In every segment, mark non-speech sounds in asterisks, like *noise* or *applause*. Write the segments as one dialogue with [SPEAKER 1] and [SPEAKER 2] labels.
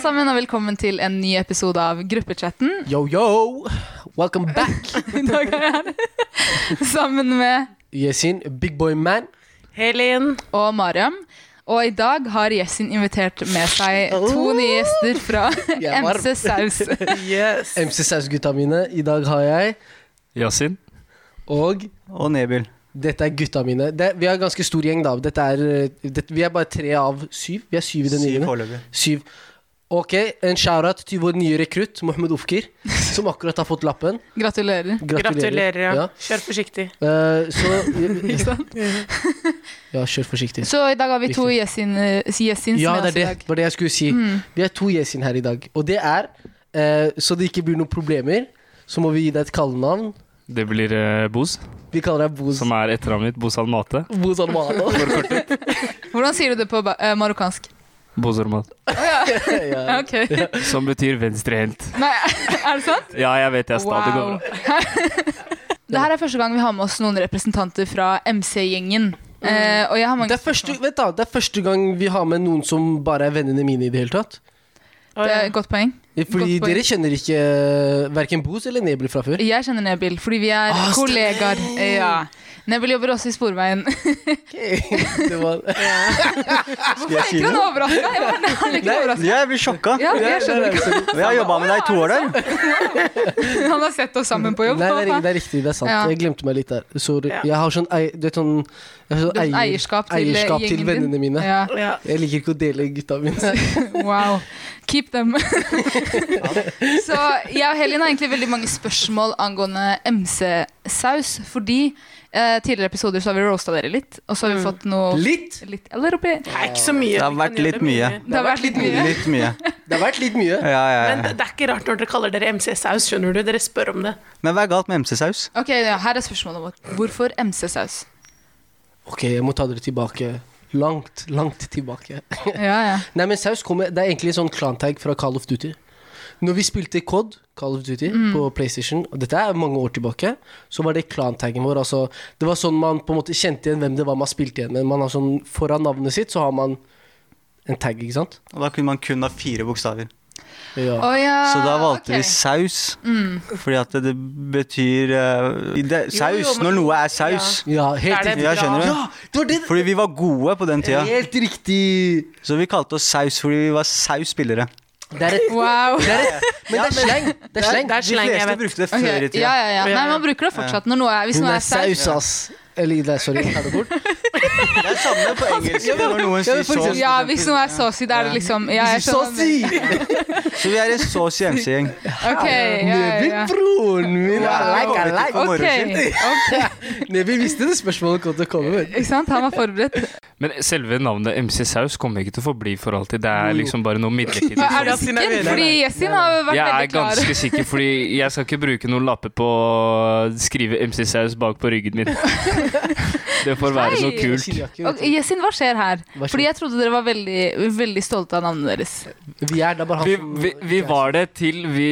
[SPEAKER 1] sammen, og velkommen til en ny episode av Gruppechatten.
[SPEAKER 2] *laughs* Yo, yo! Welcome back,
[SPEAKER 1] I dag er jeg her sammen med
[SPEAKER 2] Yasin. Big boy man.
[SPEAKER 3] Helin.
[SPEAKER 1] og Mariam. Og i dag har Jessin invitert med seg to nye gjester fra
[SPEAKER 2] Oh! *laughs* Jeg er varm.
[SPEAKER 1] MC Saus.
[SPEAKER 3] Yes.
[SPEAKER 2] MC Saus-gutta mine. I dag har jeg
[SPEAKER 4] Yasin.
[SPEAKER 2] Og
[SPEAKER 4] Og Nebil.
[SPEAKER 2] dette er gutta mine. Det, vi er en ganske stor gjeng, da. Dette er, eh, det, vi er bare tre av syv. Vi er syv i den gjengen.
[SPEAKER 4] foreløpig.
[SPEAKER 2] Syv. Ok, en shout-out til vår nye rekrutt, Mohammed Ofkir, som akkurat har fått lappen.
[SPEAKER 1] Gratulerer.
[SPEAKER 3] Gratulerer. Ja. Kjør forsiktig.
[SPEAKER 2] Eh, så
[SPEAKER 1] Ikke sant?
[SPEAKER 2] *laughs* Ja, kjør forsiktig.
[SPEAKER 1] Så i dag har vi to Jessin, Jessins
[SPEAKER 2] Ja,
[SPEAKER 1] med oss
[SPEAKER 2] det er
[SPEAKER 1] i
[SPEAKER 2] det.
[SPEAKER 1] dag.
[SPEAKER 2] Det var det jeg skulle
[SPEAKER 1] Mm.
[SPEAKER 2] si.
[SPEAKER 1] Hmm.
[SPEAKER 2] Vi er to Yasin her i dag. Og det er, eh, så det ikke blir noen problemer, så må vi gi deg et kallenavn.
[SPEAKER 4] Det blir eh, Boz,
[SPEAKER 2] Vi kaller deg Boz.
[SPEAKER 4] som er etternavnet mitt. Boz Almate.
[SPEAKER 2] Boz
[SPEAKER 5] *laughs*
[SPEAKER 2] Almada.
[SPEAKER 1] Hvordan sier du det på ba- eh, marokkansk?
[SPEAKER 4] Boz Almat.
[SPEAKER 2] *laughs* ja.
[SPEAKER 1] Ok. Nei,
[SPEAKER 4] Som betyr venstrehendt.
[SPEAKER 1] er det
[SPEAKER 2] *laughs*
[SPEAKER 1] sant?
[SPEAKER 4] Ja, jeg vet jeg er sta. Det går bra.
[SPEAKER 1] *laughs* Det her er første gang vi har med oss noen representanter fra MC-gjengen. Eh, og jeg har mange
[SPEAKER 2] Mm. det, er første, vent da, det er første gang vi har med noen som bare er vennene mine i det hele tatt.
[SPEAKER 1] Det er et godt poeng.
[SPEAKER 2] Fordi
[SPEAKER 1] Godt poeng.
[SPEAKER 2] dere kjenner ikke verken Boz eller Nebel fra før.
[SPEAKER 1] Jeg kjenner Nebil, fordi vi er
[SPEAKER 2] Ah, stemmer.
[SPEAKER 1] kollegaer. Ja. Nebil jobber også i Sporveien.
[SPEAKER 2] *laughs* det var, *laughs*
[SPEAKER 1] Hvorfor er ikke han overraska? Jeg var heller ikke overrasket.
[SPEAKER 5] Jeg blir sjokka.
[SPEAKER 1] Ja, jeg skjønner ikke.
[SPEAKER 2] liksom-
[SPEAKER 5] Jeg har jobba med deg i to år der.
[SPEAKER 1] Han har sett oss sammen på jobb.
[SPEAKER 2] Nei, det er, det er riktig. Det er sant.
[SPEAKER 1] Ja.
[SPEAKER 2] Jeg glemte meg litt der. Sorry.
[SPEAKER 3] Ja.
[SPEAKER 2] Jeg har sånn, ei- du vet, sånn, jeg har
[SPEAKER 1] Du
[SPEAKER 2] sånn
[SPEAKER 1] har
[SPEAKER 2] eier,
[SPEAKER 1] eierskap til, eh,
[SPEAKER 2] eierskap til
[SPEAKER 1] gjengen din.
[SPEAKER 2] vennene mine.
[SPEAKER 1] Ja,
[SPEAKER 3] Ja.
[SPEAKER 2] Jeg liker ikke å dele gutta
[SPEAKER 1] *laughs*
[SPEAKER 2] mine.
[SPEAKER 1] wow. Keep
[SPEAKER 2] *laughs*
[SPEAKER 1] them. Så jeg og Helin har egentlig veldig mange spørsmål angående MC-saus, fordi eh, tidligere episoder så har vi roasta dere litt, og så har vi fått noe
[SPEAKER 2] Litt!
[SPEAKER 1] litt eller oppi.
[SPEAKER 3] Det er ikke så mye.
[SPEAKER 5] Det har
[SPEAKER 3] vi
[SPEAKER 5] vært
[SPEAKER 3] kan gjøre
[SPEAKER 5] litt mye.
[SPEAKER 1] Det har vært litt mye.
[SPEAKER 5] Litt mye.
[SPEAKER 2] Det har vært litt mye.
[SPEAKER 5] Ja, ja,
[SPEAKER 3] Men
[SPEAKER 5] ja.
[SPEAKER 3] det er ikke rart når dere kaller dere MC-saus, skjønner du. Dere spør om det.
[SPEAKER 5] Men hva er galt med MC-saus?
[SPEAKER 1] Ok, ja, Her er spørsmålet vårt. Hvorfor MC-saus?
[SPEAKER 2] Ok, jeg må ta dere tilbake. Langt, langt tilbake.
[SPEAKER 1] Ja, ja.
[SPEAKER 2] Nei, men saus kommer Det er egentlig en sånn klantag fra Call of Duty. Når vi spilte COD, Call of Duty,
[SPEAKER 1] Mm.
[SPEAKER 2] på PlayStation, og dette er mange år tilbake, så var det klantaggen vår. Altså, det var sånn man på en måte kjente igjen hvem det var man spilte igjen med. Man har sånn, foran navnet sitt så har man en tag, ikke sant?
[SPEAKER 5] Og da kunne man kun ha fire bokstaver.
[SPEAKER 2] Ja.
[SPEAKER 1] Å, ja.
[SPEAKER 5] Så da valgte
[SPEAKER 1] Ah, ok.
[SPEAKER 5] vi saus. Fordi at det betyr eh, i det,
[SPEAKER 3] Jo, jo,
[SPEAKER 5] Saus
[SPEAKER 3] men-
[SPEAKER 5] når noe er saus.
[SPEAKER 2] ja
[SPEAKER 3] Er
[SPEAKER 2] helt
[SPEAKER 3] det
[SPEAKER 2] riktig.
[SPEAKER 5] Ja,
[SPEAKER 3] bra?
[SPEAKER 5] skjønner du?
[SPEAKER 2] Ja, det var det!
[SPEAKER 5] Fordi vi var gode på den tida.
[SPEAKER 2] Helt riktig!
[SPEAKER 5] Så vi kalte oss saus fordi vi var saus-spillere.
[SPEAKER 2] Det er
[SPEAKER 1] *laughs*
[SPEAKER 2] et
[SPEAKER 1] Wow.
[SPEAKER 2] det er et, Men det er sleng. Det er sleng.
[SPEAKER 3] Det
[SPEAKER 5] De
[SPEAKER 3] er slang, jeg
[SPEAKER 5] fleste
[SPEAKER 3] vet.
[SPEAKER 5] brukte det
[SPEAKER 1] Ok,
[SPEAKER 5] før i
[SPEAKER 1] ja,
[SPEAKER 5] tida.
[SPEAKER 1] ja, ja. Nei, man bruker det fortsatt når noe er, hvis
[SPEAKER 2] Hun
[SPEAKER 1] noe
[SPEAKER 2] er
[SPEAKER 1] er saus.
[SPEAKER 2] saus, ass. Eller nei, sorry, ta det bort.
[SPEAKER 5] Det er samme på engelsk. Når
[SPEAKER 2] Ja,
[SPEAKER 5] noen
[SPEAKER 2] men
[SPEAKER 5] sier sånn.
[SPEAKER 2] for eksempel-
[SPEAKER 5] saus.
[SPEAKER 1] Ja, hvis noe er saucy, da er det liksom *laughs* ja, jeg
[SPEAKER 2] Så
[SPEAKER 1] skjønner.
[SPEAKER 2] si!
[SPEAKER 5] Så vi er en saus i MC-gjeng.
[SPEAKER 1] Ok, ja, ja, ja.
[SPEAKER 2] Nebelbroren min!
[SPEAKER 5] Ja,
[SPEAKER 2] I like, I like.
[SPEAKER 5] for moro
[SPEAKER 1] Ok,
[SPEAKER 5] skyld.
[SPEAKER 1] ok.
[SPEAKER 2] Nebel visste det spørsmålet kom til å komme. vet du.
[SPEAKER 1] Ikke sant? Han var forberedt.
[SPEAKER 4] Men selve navnet MC Saus kommer ikke til å forbli for alltid. Det er liksom bare noe midlertidig.
[SPEAKER 1] Men er du
[SPEAKER 3] Yasin er
[SPEAKER 1] sikker?
[SPEAKER 3] veldig-
[SPEAKER 1] Fordi Yasin har vært
[SPEAKER 4] Jeg er
[SPEAKER 1] veldig klar.
[SPEAKER 4] ganske sikker, fordi jeg skal ikke bruke noen lapper på å skrive MC Saus bak på ryggen
[SPEAKER 1] *laughs*
[SPEAKER 4] min. Det får være så
[SPEAKER 1] Hei.
[SPEAKER 4] kult.
[SPEAKER 2] Chiliakke, vet
[SPEAKER 1] Og
[SPEAKER 2] du.
[SPEAKER 1] Yasin, hva skjer her?
[SPEAKER 2] Hva skjer?
[SPEAKER 1] Fordi jeg trodde dere var veldig, veldig stolte av navnet deres.
[SPEAKER 2] Vi er da bare han
[SPEAKER 4] Vi,
[SPEAKER 2] som-
[SPEAKER 4] vi, vi var det til vi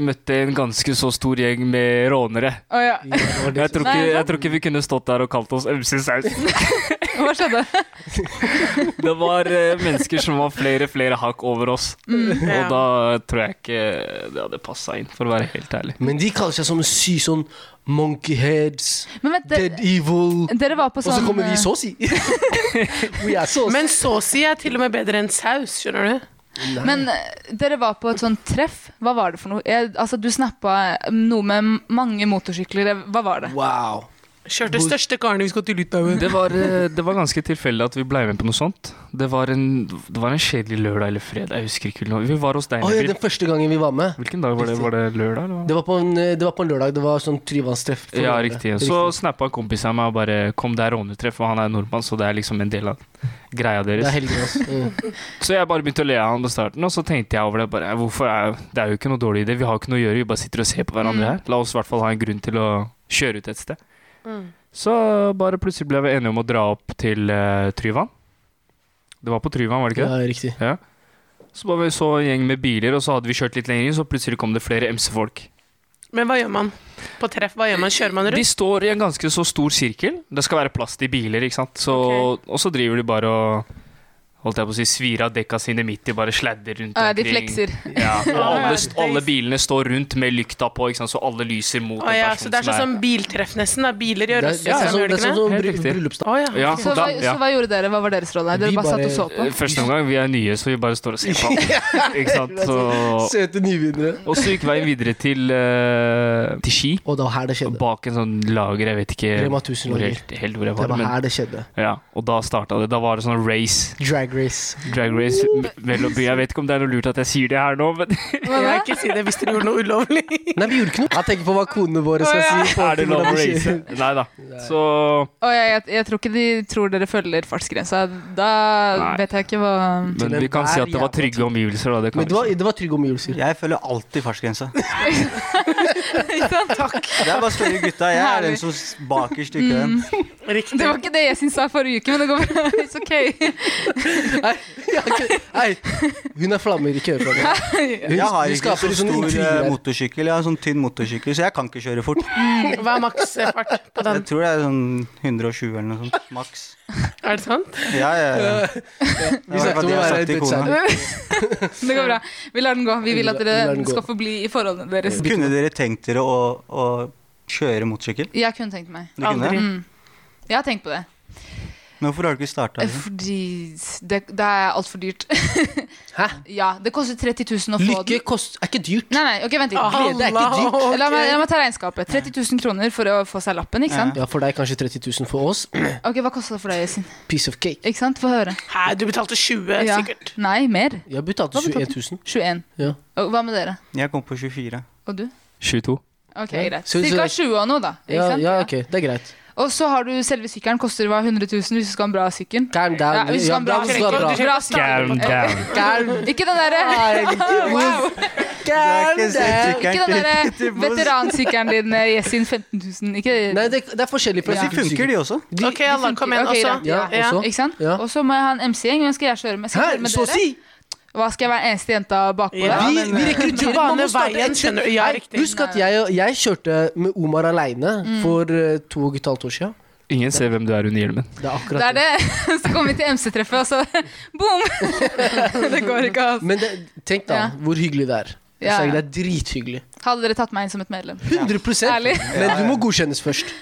[SPEAKER 4] møtte en ganske så stor gjeng med rånere.
[SPEAKER 1] Å ja.
[SPEAKER 2] Ja, det var det
[SPEAKER 4] Jeg
[SPEAKER 2] som-
[SPEAKER 4] tror, ikke, jeg tror ikke vi kunne stått der og kalt oss MC Saus.
[SPEAKER 1] Hva skjedde?
[SPEAKER 4] Det var eh, mennesker som var flere flere hakk over oss. Og da tror jeg ikke det hadde passa inn, for å være helt ærlig.
[SPEAKER 2] Men de kaller seg sånn sy sånn monkey heads,
[SPEAKER 1] Men vent,
[SPEAKER 2] dead
[SPEAKER 1] dere,
[SPEAKER 2] evil
[SPEAKER 1] dere var på
[SPEAKER 2] Og
[SPEAKER 1] sånn
[SPEAKER 2] så kommer vi
[SPEAKER 1] eh,
[SPEAKER 2] så si! *laughs* We are saucy.
[SPEAKER 3] Men saucy er til og med bedre enn saus, skjønner du.
[SPEAKER 2] Nei.
[SPEAKER 1] Men eh, dere var på et sånt treff. Hva var det for noe? Jeg, altså, du snappa eh, noe med m- mange motorsykler. Eh, Hva var det?
[SPEAKER 2] Wow.
[SPEAKER 3] Kjørte
[SPEAKER 2] Hvor-
[SPEAKER 3] største karene vi skal til Litauen.
[SPEAKER 4] Det *laughs* var, eh, det var ganske tilfeldig at vi blei med på noe sånt. Det var en, det var en kjedelig lørdag eller fredag, jeg husker ikke. nå. Vi var hos deg.
[SPEAKER 2] Å, ja,
[SPEAKER 4] Nabil.
[SPEAKER 2] den første gangen vi var med,
[SPEAKER 4] Hvilken dag var det? Var det lørdag? Eller? hva?
[SPEAKER 2] det var på en, eh, det var på en lørdag. Det var sånn trivannstreff. for
[SPEAKER 4] Ja,
[SPEAKER 2] lørdag.
[SPEAKER 4] riktig. Så snappa en kompis av meg og bare 'kom, det er rånetreff', og han er nordmann, så det er liksom en del av greia
[SPEAKER 2] Det er
[SPEAKER 4] deres.
[SPEAKER 2] helgen, altså. *laughs* Mm.
[SPEAKER 4] Så jeg bare begynte å le av han på starten, og så tenkte jeg over det. bare, hvorfor er, Det er jo ikke noe dårlig idé, vi har jo ikke noe å gjøre, vi bare sitter og ser på
[SPEAKER 1] Mm.
[SPEAKER 4] hverandre her. La oss i hvert fall ha en grunn til å kjøre ut et sted.
[SPEAKER 1] Mm.
[SPEAKER 4] Så bare plutselig ble vi enige om å dra opp til eh, Tryvann. Det var på Tryvann, var det ikke det?
[SPEAKER 2] Ja, riktig.
[SPEAKER 4] Så var vi så en gjeng med biler, og så hadde vi kjørt litt lenger inn, så plutselig kom det flere MC-folk.
[SPEAKER 3] Men hva gjør man på treff? Hva gjør man? Kjører man
[SPEAKER 4] De
[SPEAKER 3] rundt?
[SPEAKER 4] står i en ganske så stor sirkel. Det skal være plass til biler, ikke sant. Så,
[SPEAKER 3] Ok.
[SPEAKER 4] Og så driver de bare og holdt jeg på å si, svir av dekka sine midt i, bare sladder rundt
[SPEAKER 1] Eh, de
[SPEAKER 4] omkring.
[SPEAKER 1] flekser.
[SPEAKER 4] Ja, og alle, alle bilene står rundt med lykta på, ikke sant? så alle lyser mot
[SPEAKER 3] Å ja,
[SPEAKER 4] en
[SPEAKER 3] så
[SPEAKER 4] person
[SPEAKER 3] det er sånn
[SPEAKER 4] som
[SPEAKER 3] som biltreff nesten. da. Biler
[SPEAKER 2] Det
[SPEAKER 3] gjør
[SPEAKER 2] er,
[SPEAKER 3] også
[SPEAKER 2] det er, sånn,
[SPEAKER 3] det samme,
[SPEAKER 2] det
[SPEAKER 3] gjør
[SPEAKER 2] er
[SPEAKER 3] de
[SPEAKER 2] sånn,
[SPEAKER 3] ikke det?
[SPEAKER 2] sånn
[SPEAKER 4] Helt
[SPEAKER 2] bry-
[SPEAKER 4] riktig.
[SPEAKER 2] bryllupsdag.
[SPEAKER 3] Å ja.
[SPEAKER 4] er. Ja,
[SPEAKER 1] Så hva,
[SPEAKER 4] da- ja. Eh,
[SPEAKER 1] så hva gjorde dere? Hva var deres rolle? Dere
[SPEAKER 2] Vi
[SPEAKER 1] bare satt
[SPEAKER 2] bare-
[SPEAKER 1] og så
[SPEAKER 2] *laughs*
[SPEAKER 1] på?
[SPEAKER 4] Første omgang, vi er nye, så vi bare står og ser på. Ikke sant? Så,
[SPEAKER 2] Søte nyvinnere.
[SPEAKER 4] og så gikk veien videre til, eh, til Ski.
[SPEAKER 2] Og det var her det
[SPEAKER 4] Og
[SPEAKER 2] skjedde.
[SPEAKER 4] bak en sånn lager, jeg vet ikke
[SPEAKER 2] Rema 1000
[SPEAKER 4] hvor
[SPEAKER 2] lager.
[SPEAKER 4] helt, helt hvor jeg
[SPEAKER 2] Det
[SPEAKER 4] var.
[SPEAKER 2] var
[SPEAKER 4] Men,
[SPEAKER 2] her det skjedde.
[SPEAKER 4] ja, og da starta det. Da var det sånn race.
[SPEAKER 2] Drag race.
[SPEAKER 4] Drag race me- mellom by. Jeg vet ikke om det er noe lurt at jeg sier det her nå, men
[SPEAKER 1] Hva da?
[SPEAKER 3] Jeg ikke si det hvis dere gjorde noe ulovlig.
[SPEAKER 2] *laughs*
[SPEAKER 1] *laughs*
[SPEAKER 2] Nei, vi gjorde ikke noe. Jeg tenker på hva konene våre skal
[SPEAKER 3] Å, ja.
[SPEAKER 2] si. i forhold
[SPEAKER 4] *laughs* er det
[SPEAKER 2] til
[SPEAKER 4] lov å
[SPEAKER 2] hvordan vi
[SPEAKER 4] race?
[SPEAKER 2] kjører.
[SPEAKER 4] Nei da. Så
[SPEAKER 1] Å, jeg, jeg, jeg tror ikke de tror dere følger fartsgrensa. Da
[SPEAKER 4] Nei.
[SPEAKER 1] vet jeg ikke hva
[SPEAKER 4] *laughs* Men vi kan si at det var trygge omgivelser, da. Det kan
[SPEAKER 2] Men det
[SPEAKER 4] vi si.
[SPEAKER 2] var, det var trygge *laughs* omgivelser.
[SPEAKER 5] Jeg følger alltid fartsgrensa.
[SPEAKER 1] Takk.
[SPEAKER 5] Det er bare større gutta. Jeg er
[SPEAKER 1] Herlig.
[SPEAKER 5] den som s- bakerst i køen.
[SPEAKER 3] Riktig.
[SPEAKER 1] Det var ikke det jeg syntes sa forrige uke, men det går bra. *laughs* It's ok.
[SPEAKER 2] Nei, jeg har ikke- nei, hun er flammer, ikke hør på henne. Hun,
[SPEAKER 5] Jeg har
[SPEAKER 2] hun
[SPEAKER 5] ikke
[SPEAKER 2] skaper
[SPEAKER 5] så
[SPEAKER 2] sånne
[SPEAKER 5] stor
[SPEAKER 2] intriger
[SPEAKER 5] eh,
[SPEAKER 2] her.
[SPEAKER 5] motorsykkel. Jeg har en sånn tynn motorsykkel, så jeg kan ikke kjøre fort.
[SPEAKER 3] Hva er maksfart på den?
[SPEAKER 5] Jeg tror det er sånn 120 eller noe sånt. Maks.
[SPEAKER 3] Er det sant?
[SPEAKER 5] Ja, ja,
[SPEAKER 2] *laughs*
[SPEAKER 5] ja.
[SPEAKER 2] Vi snakket om å være dødseier.
[SPEAKER 1] Det går bra. Vi lar den gå. Vi vil at
[SPEAKER 2] Vi lar
[SPEAKER 1] dere
[SPEAKER 2] den gå.
[SPEAKER 1] skal få bli i forholdene deres.
[SPEAKER 5] Kunne dere tenkt dere å, å kjøre motorsykkel?
[SPEAKER 1] Jeg kunne tenkt meg.
[SPEAKER 5] Dere kunne det?
[SPEAKER 1] Mm. Jeg har tenkt på det.
[SPEAKER 5] Men hvorfor har du ikke starta?
[SPEAKER 1] Fordi det, det er altfor dyrt. *laughs*
[SPEAKER 2] Hæ?
[SPEAKER 1] Ja, det koster 30 000 å få
[SPEAKER 2] Lykke kost, er ikke dyrt.
[SPEAKER 1] Nei, nei, ok, vent litt.
[SPEAKER 2] Glede er ikke dyrt.
[SPEAKER 3] Allah,
[SPEAKER 1] La meg,
[SPEAKER 3] ok.
[SPEAKER 1] la meg ta regnskapet. 30 000 kroner for å få seg lappen, ikke sant?
[SPEAKER 2] Ja, for deg kanskje 30 000 for oss. *clears throat*
[SPEAKER 1] Ok, Hva kosta det for deg, Øystein?
[SPEAKER 2] Piece of cake.
[SPEAKER 1] Ikke sant? Få høre.
[SPEAKER 3] Hæ, du betalte 20
[SPEAKER 1] Ja.
[SPEAKER 3] sikkert.
[SPEAKER 1] Nei, mer.
[SPEAKER 2] Jeg betalte
[SPEAKER 1] Hva betalte
[SPEAKER 2] 21 000.
[SPEAKER 1] 21.
[SPEAKER 2] Ja.
[SPEAKER 1] Og Hva med dere?
[SPEAKER 5] Jeg kom på 24.
[SPEAKER 1] Og du?
[SPEAKER 4] 22.
[SPEAKER 1] Ok,
[SPEAKER 2] Ja.
[SPEAKER 1] greit.
[SPEAKER 2] Så- så-
[SPEAKER 1] Cirka 20 og noe, da. Ikke
[SPEAKER 2] Ja,
[SPEAKER 1] sant?
[SPEAKER 2] ja, ok, det er greit.
[SPEAKER 1] Og så har du selve sykkelen. Koster hva, 100 000 hvis du skal ha en bra sykkel?
[SPEAKER 2] Calm
[SPEAKER 1] Ja,
[SPEAKER 2] down.
[SPEAKER 1] hvis du
[SPEAKER 2] Ja,
[SPEAKER 1] skal ha en bra
[SPEAKER 2] hvis du skal ha bra.
[SPEAKER 1] sykkel. Bra
[SPEAKER 4] Calm
[SPEAKER 1] sykkel.
[SPEAKER 4] down.
[SPEAKER 2] Calm
[SPEAKER 1] Ikke den *laughs* derre wow.
[SPEAKER 2] Calm
[SPEAKER 5] Det er ikke
[SPEAKER 2] down.
[SPEAKER 5] sykkelen
[SPEAKER 1] Ikke den derre
[SPEAKER 5] til- til-
[SPEAKER 1] *laughs* veteransykkelen din, eh, Jessin 15 000. Ikke,
[SPEAKER 2] Nei, det, det er forskjellig fra
[SPEAKER 1] Ja.
[SPEAKER 5] Men de funker, de også.
[SPEAKER 2] De-
[SPEAKER 3] Ok, Allah,
[SPEAKER 1] funker.
[SPEAKER 3] kom igjen.
[SPEAKER 1] Ok,
[SPEAKER 3] Også.
[SPEAKER 1] greit.
[SPEAKER 2] Ja,
[SPEAKER 3] Ja.
[SPEAKER 2] også.
[SPEAKER 1] Ikke sant?
[SPEAKER 2] Ja.
[SPEAKER 1] Og så må jeg ha en MC-gjeng. Hvem skal jeg kjøre med? Skal jeg
[SPEAKER 2] Hæ,
[SPEAKER 1] kjøre med
[SPEAKER 2] så å
[SPEAKER 1] dere?
[SPEAKER 2] si!
[SPEAKER 1] Hva skal jeg være eneste jenta bakpå
[SPEAKER 3] Ja.
[SPEAKER 1] der?
[SPEAKER 2] Vi,
[SPEAKER 5] men,
[SPEAKER 2] vi
[SPEAKER 5] eh,
[SPEAKER 2] rekrutterer
[SPEAKER 3] Bane
[SPEAKER 2] man må starte
[SPEAKER 3] veien,
[SPEAKER 2] et-
[SPEAKER 3] skjønner du. Ja,
[SPEAKER 2] Nei,
[SPEAKER 3] riktig.
[SPEAKER 2] Husk at jeg, jeg kjørte med Omar aleine for eh, to og et halvt år siden.
[SPEAKER 4] Ingen ser hvem du er under hjelmen.
[SPEAKER 2] Det er
[SPEAKER 1] Det
[SPEAKER 2] akkurat
[SPEAKER 1] er det. *laughs* Så kommer vi til MC-treffet, og så boom! *laughs* Det går ikke, altså.
[SPEAKER 2] Men det, tenk da
[SPEAKER 1] Ja.
[SPEAKER 2] hvor hyggelig det er. Jeg
[SPEAKER 1] Ja,
[SPEAKER 2] sa
[SPEAKER 1] ja.
[SPEAKER 2] Det er drithyggelig.
[SPEAKER 1] Hadde dere tatt meg inn som et medlem?
[SPEAKER 2] 100
[SPEAKER 1] Ærlig.
[SPEAKER 2] Men du må godkjennes først.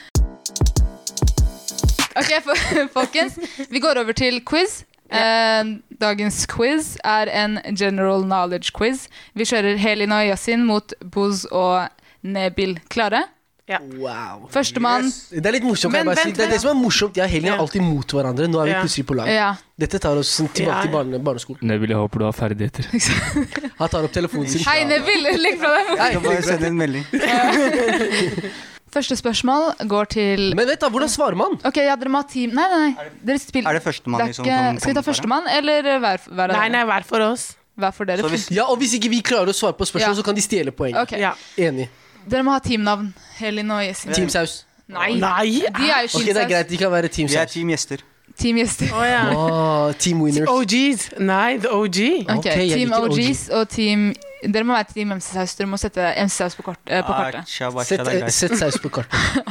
[SPEAKER 1] Ok, fo- *laughs* folkens. Vi går over til quiz. Eh, dagens quiz er en general knowledge quiz. Vi kjører Helin og Yasin mot Boz og Nebil. Klare?
[SPEAKER 2] Wow.
[SPEAKER 1] Førstemann.
[SPEAKER 2] Det er litt morsomt.
[SPEAKER 3] Men
[SPEAKER 2] jeg bare
[SPEAKER 3] vent,
[SPEAKER 2] sier. det er det som er morsomt. Jeg og Helene
[SPEAKER 3] Ja.
[SPEAKER 2] er alltid mot hverandre. Nå er vi
[SPEAKER 3] Ja.
[SPEAKER 2] plutselig på lag.
[SPEAKER 1] Ja.
[SPEAKER 2] Dette tar oss sånn tilbake
[SPEAKER 3] Ja, ja.
[SPEAKER 2] til barne, barneskolen.
[SPEAKER 4] Neville, jeg håper du har ferdigheter.
[SPEAKER 2] Han tar opp telefonen sin.
[SPEAKER 1] Hei, Nebil. *laughs* Legg fra deg.
[SPEAKER 5] Jeg skal bare sende en melding.
[SPEAKER 1] Første spørsmål går til
[SPEAKER 2] Men vent, da. Hvordan svarer man?
[SPEAKER 1] Ok, ja, dere må ha team Nei, nei, nei. Dere
[SPEAKER 5] Er
[SPEAKER 1] spiller
[SPEAKER 5] det førstemann
[SPEAKER 1] Det er
[SPEAKER 5] liksom,
[SPEAKER 1] ikke-
[SPEAKER 5] som
[SPEAKER 1] Skal vi ta
[SPEAKER 5] kommer foran?
[SPEAKER 1] førstemann, eller hver, hver, av
[SPEAKER 3] Nei,
[SPEAKER 1] dere?
[SPEAKER 3] nei, hver for oss.
[SPEAKER 1] hver for dere?
[SPEAKER 5] Så hvis-
[SPEAKER 2] Ja, Og hvis ikke vi klarer å svare på
[SPEAKER 1] Ja.
[SPEAKER 2] spørsmål, så kan de stjele poeng.
[SPEAKER 1] Ok,
[SPEAKER 3] Ja.
[SPEAKER 2] Enig.
[SPEAKER 1] Dere må ha teamnavn. Helin og Jessin.
[SPEAKER 2] Team Saus.
[SPEAKER 1] Nei,
[SPEAKER 3] Nei!
[SPEAKER 1] de er jo
[SPEAKER 2] Ok, det er
[SPEAKER 1] skinnsaus.
[SPEAKER 2] greit. De kan være Team
[SPEAKER 5] Vi er
[SPEAKER 2] Saus.
[SPEAKER 5] team gjester.
[SPEAKER 1] Team Gjester.
[SPEAKER 3] Å ja.
[SPEAKER 2] Å, team Winners.
[SPEAKER 3] OGs. Nei, the OG.
[SPEAKER 1] Ok,
[SPEAKER 2] Ok, jeg
[SPEAKER 1] Team
[SPEAKER 2] liker OG.
[SPEAKER 1] OGs og team Dere må være Team MC-saus. Dere må sette MC-saus på, kort, eh, på
[SPEAKER 2] Ah,
[SPEAKER 1] kartet.
[SPEAKER 5] Acha, bacha,
[SPEAKER 2] Sett, eh,
[SPEAKER 5] det er greit.
[SPEAKER 2] sett saus på kartet.
[SPEAKER 5] *laughs*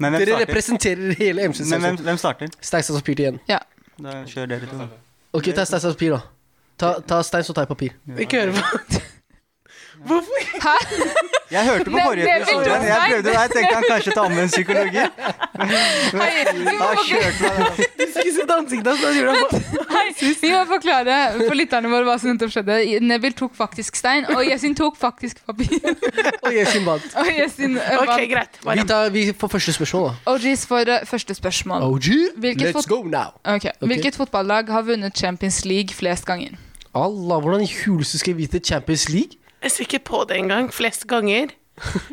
[SPEAKER 5] Men hvem
[SPEAKER 2] Dere
[SPEAKER 5] starter?
[SPEAKER 2] representerer hele MC
[SPEAKER 5] Men hvem,
[SPEAKER 2] Sausen.
[SPEAKER 5] hvem starter?
[SPEAKER 2] Stein, saks, papir til igjen.
[SPEAKER 5] Da kjører dere to.
[SPEAKER 2] Ok, ta stein, saks, papir, da. Ta, ta stein, så tar jeg
[SPEAKER 5] *laughs*
[SPEAKER 2] papir.
[SPEAKER 3] Ikke høre på Hvorfor?
[SPEAKER 1] Hæ?
[SPEAKER 5] Jeg hørte på
[SPEAKER 1] Men
[SPEAKER 5] forrige
[SPEAKER 1] det er
[SPEAKER 5] episode.
[SPEAKER 1] veldig
[SPEAKER 5] Jeg
[SPEAKER 1] feil.
[SPEAKER 5] prøvde, jeg tenkte han kanskje tar omvendt psykologi.
[SPEAKER 1] *laughs* Hei, vi må
[SPEAKER 2] Ah,
[SPEAKER 5] Da
[SPEAKER 1] forklare,
[SPEAKER 5] kjørte han altså.
[SPEAKER 3] Du skulle sett ansiktet hans. da gjorde
[SPEAKER 2] *laughs*
[SPEAKER 3] han på-
[SPEAKER 1] hei, vi må forklare for lytterne våre hva som nettopp skjedde. Nebil tok faktisk stein, og Jessin tok faktisk papir. *laughs*
[SPEAKER 2] Og Yesin vant.
[SPEAKER 1] Og Jessin eh,
[SPEAKER 3] Ok,
[SPEAKER 1] vant.
[SPEAKER 3] greit.
[SPEAKER 2] Vi,
[SPEAKER 3] Bare.
[SPEAKER 2] tar, vi får første spørsmål, da.
[SPEAKER 1] OGs for eh, første spørsmål.
[SPEAKER 2] OG,
[SPEAKER 1] Hvilket
[SPEAKER 2] let's
[SPEAKER 1] fot-
[SPEAKER 2] go now.
[SPEAKER 1] Ok, Hvilket fotballag har vunnet Champions League flest ganger?
[SPEAKER 2] Allah, hvordan i huleste skal jeg vite Champions League?
[SPEAKER 3] Jeg ser ikke på det engang. Flest ganger.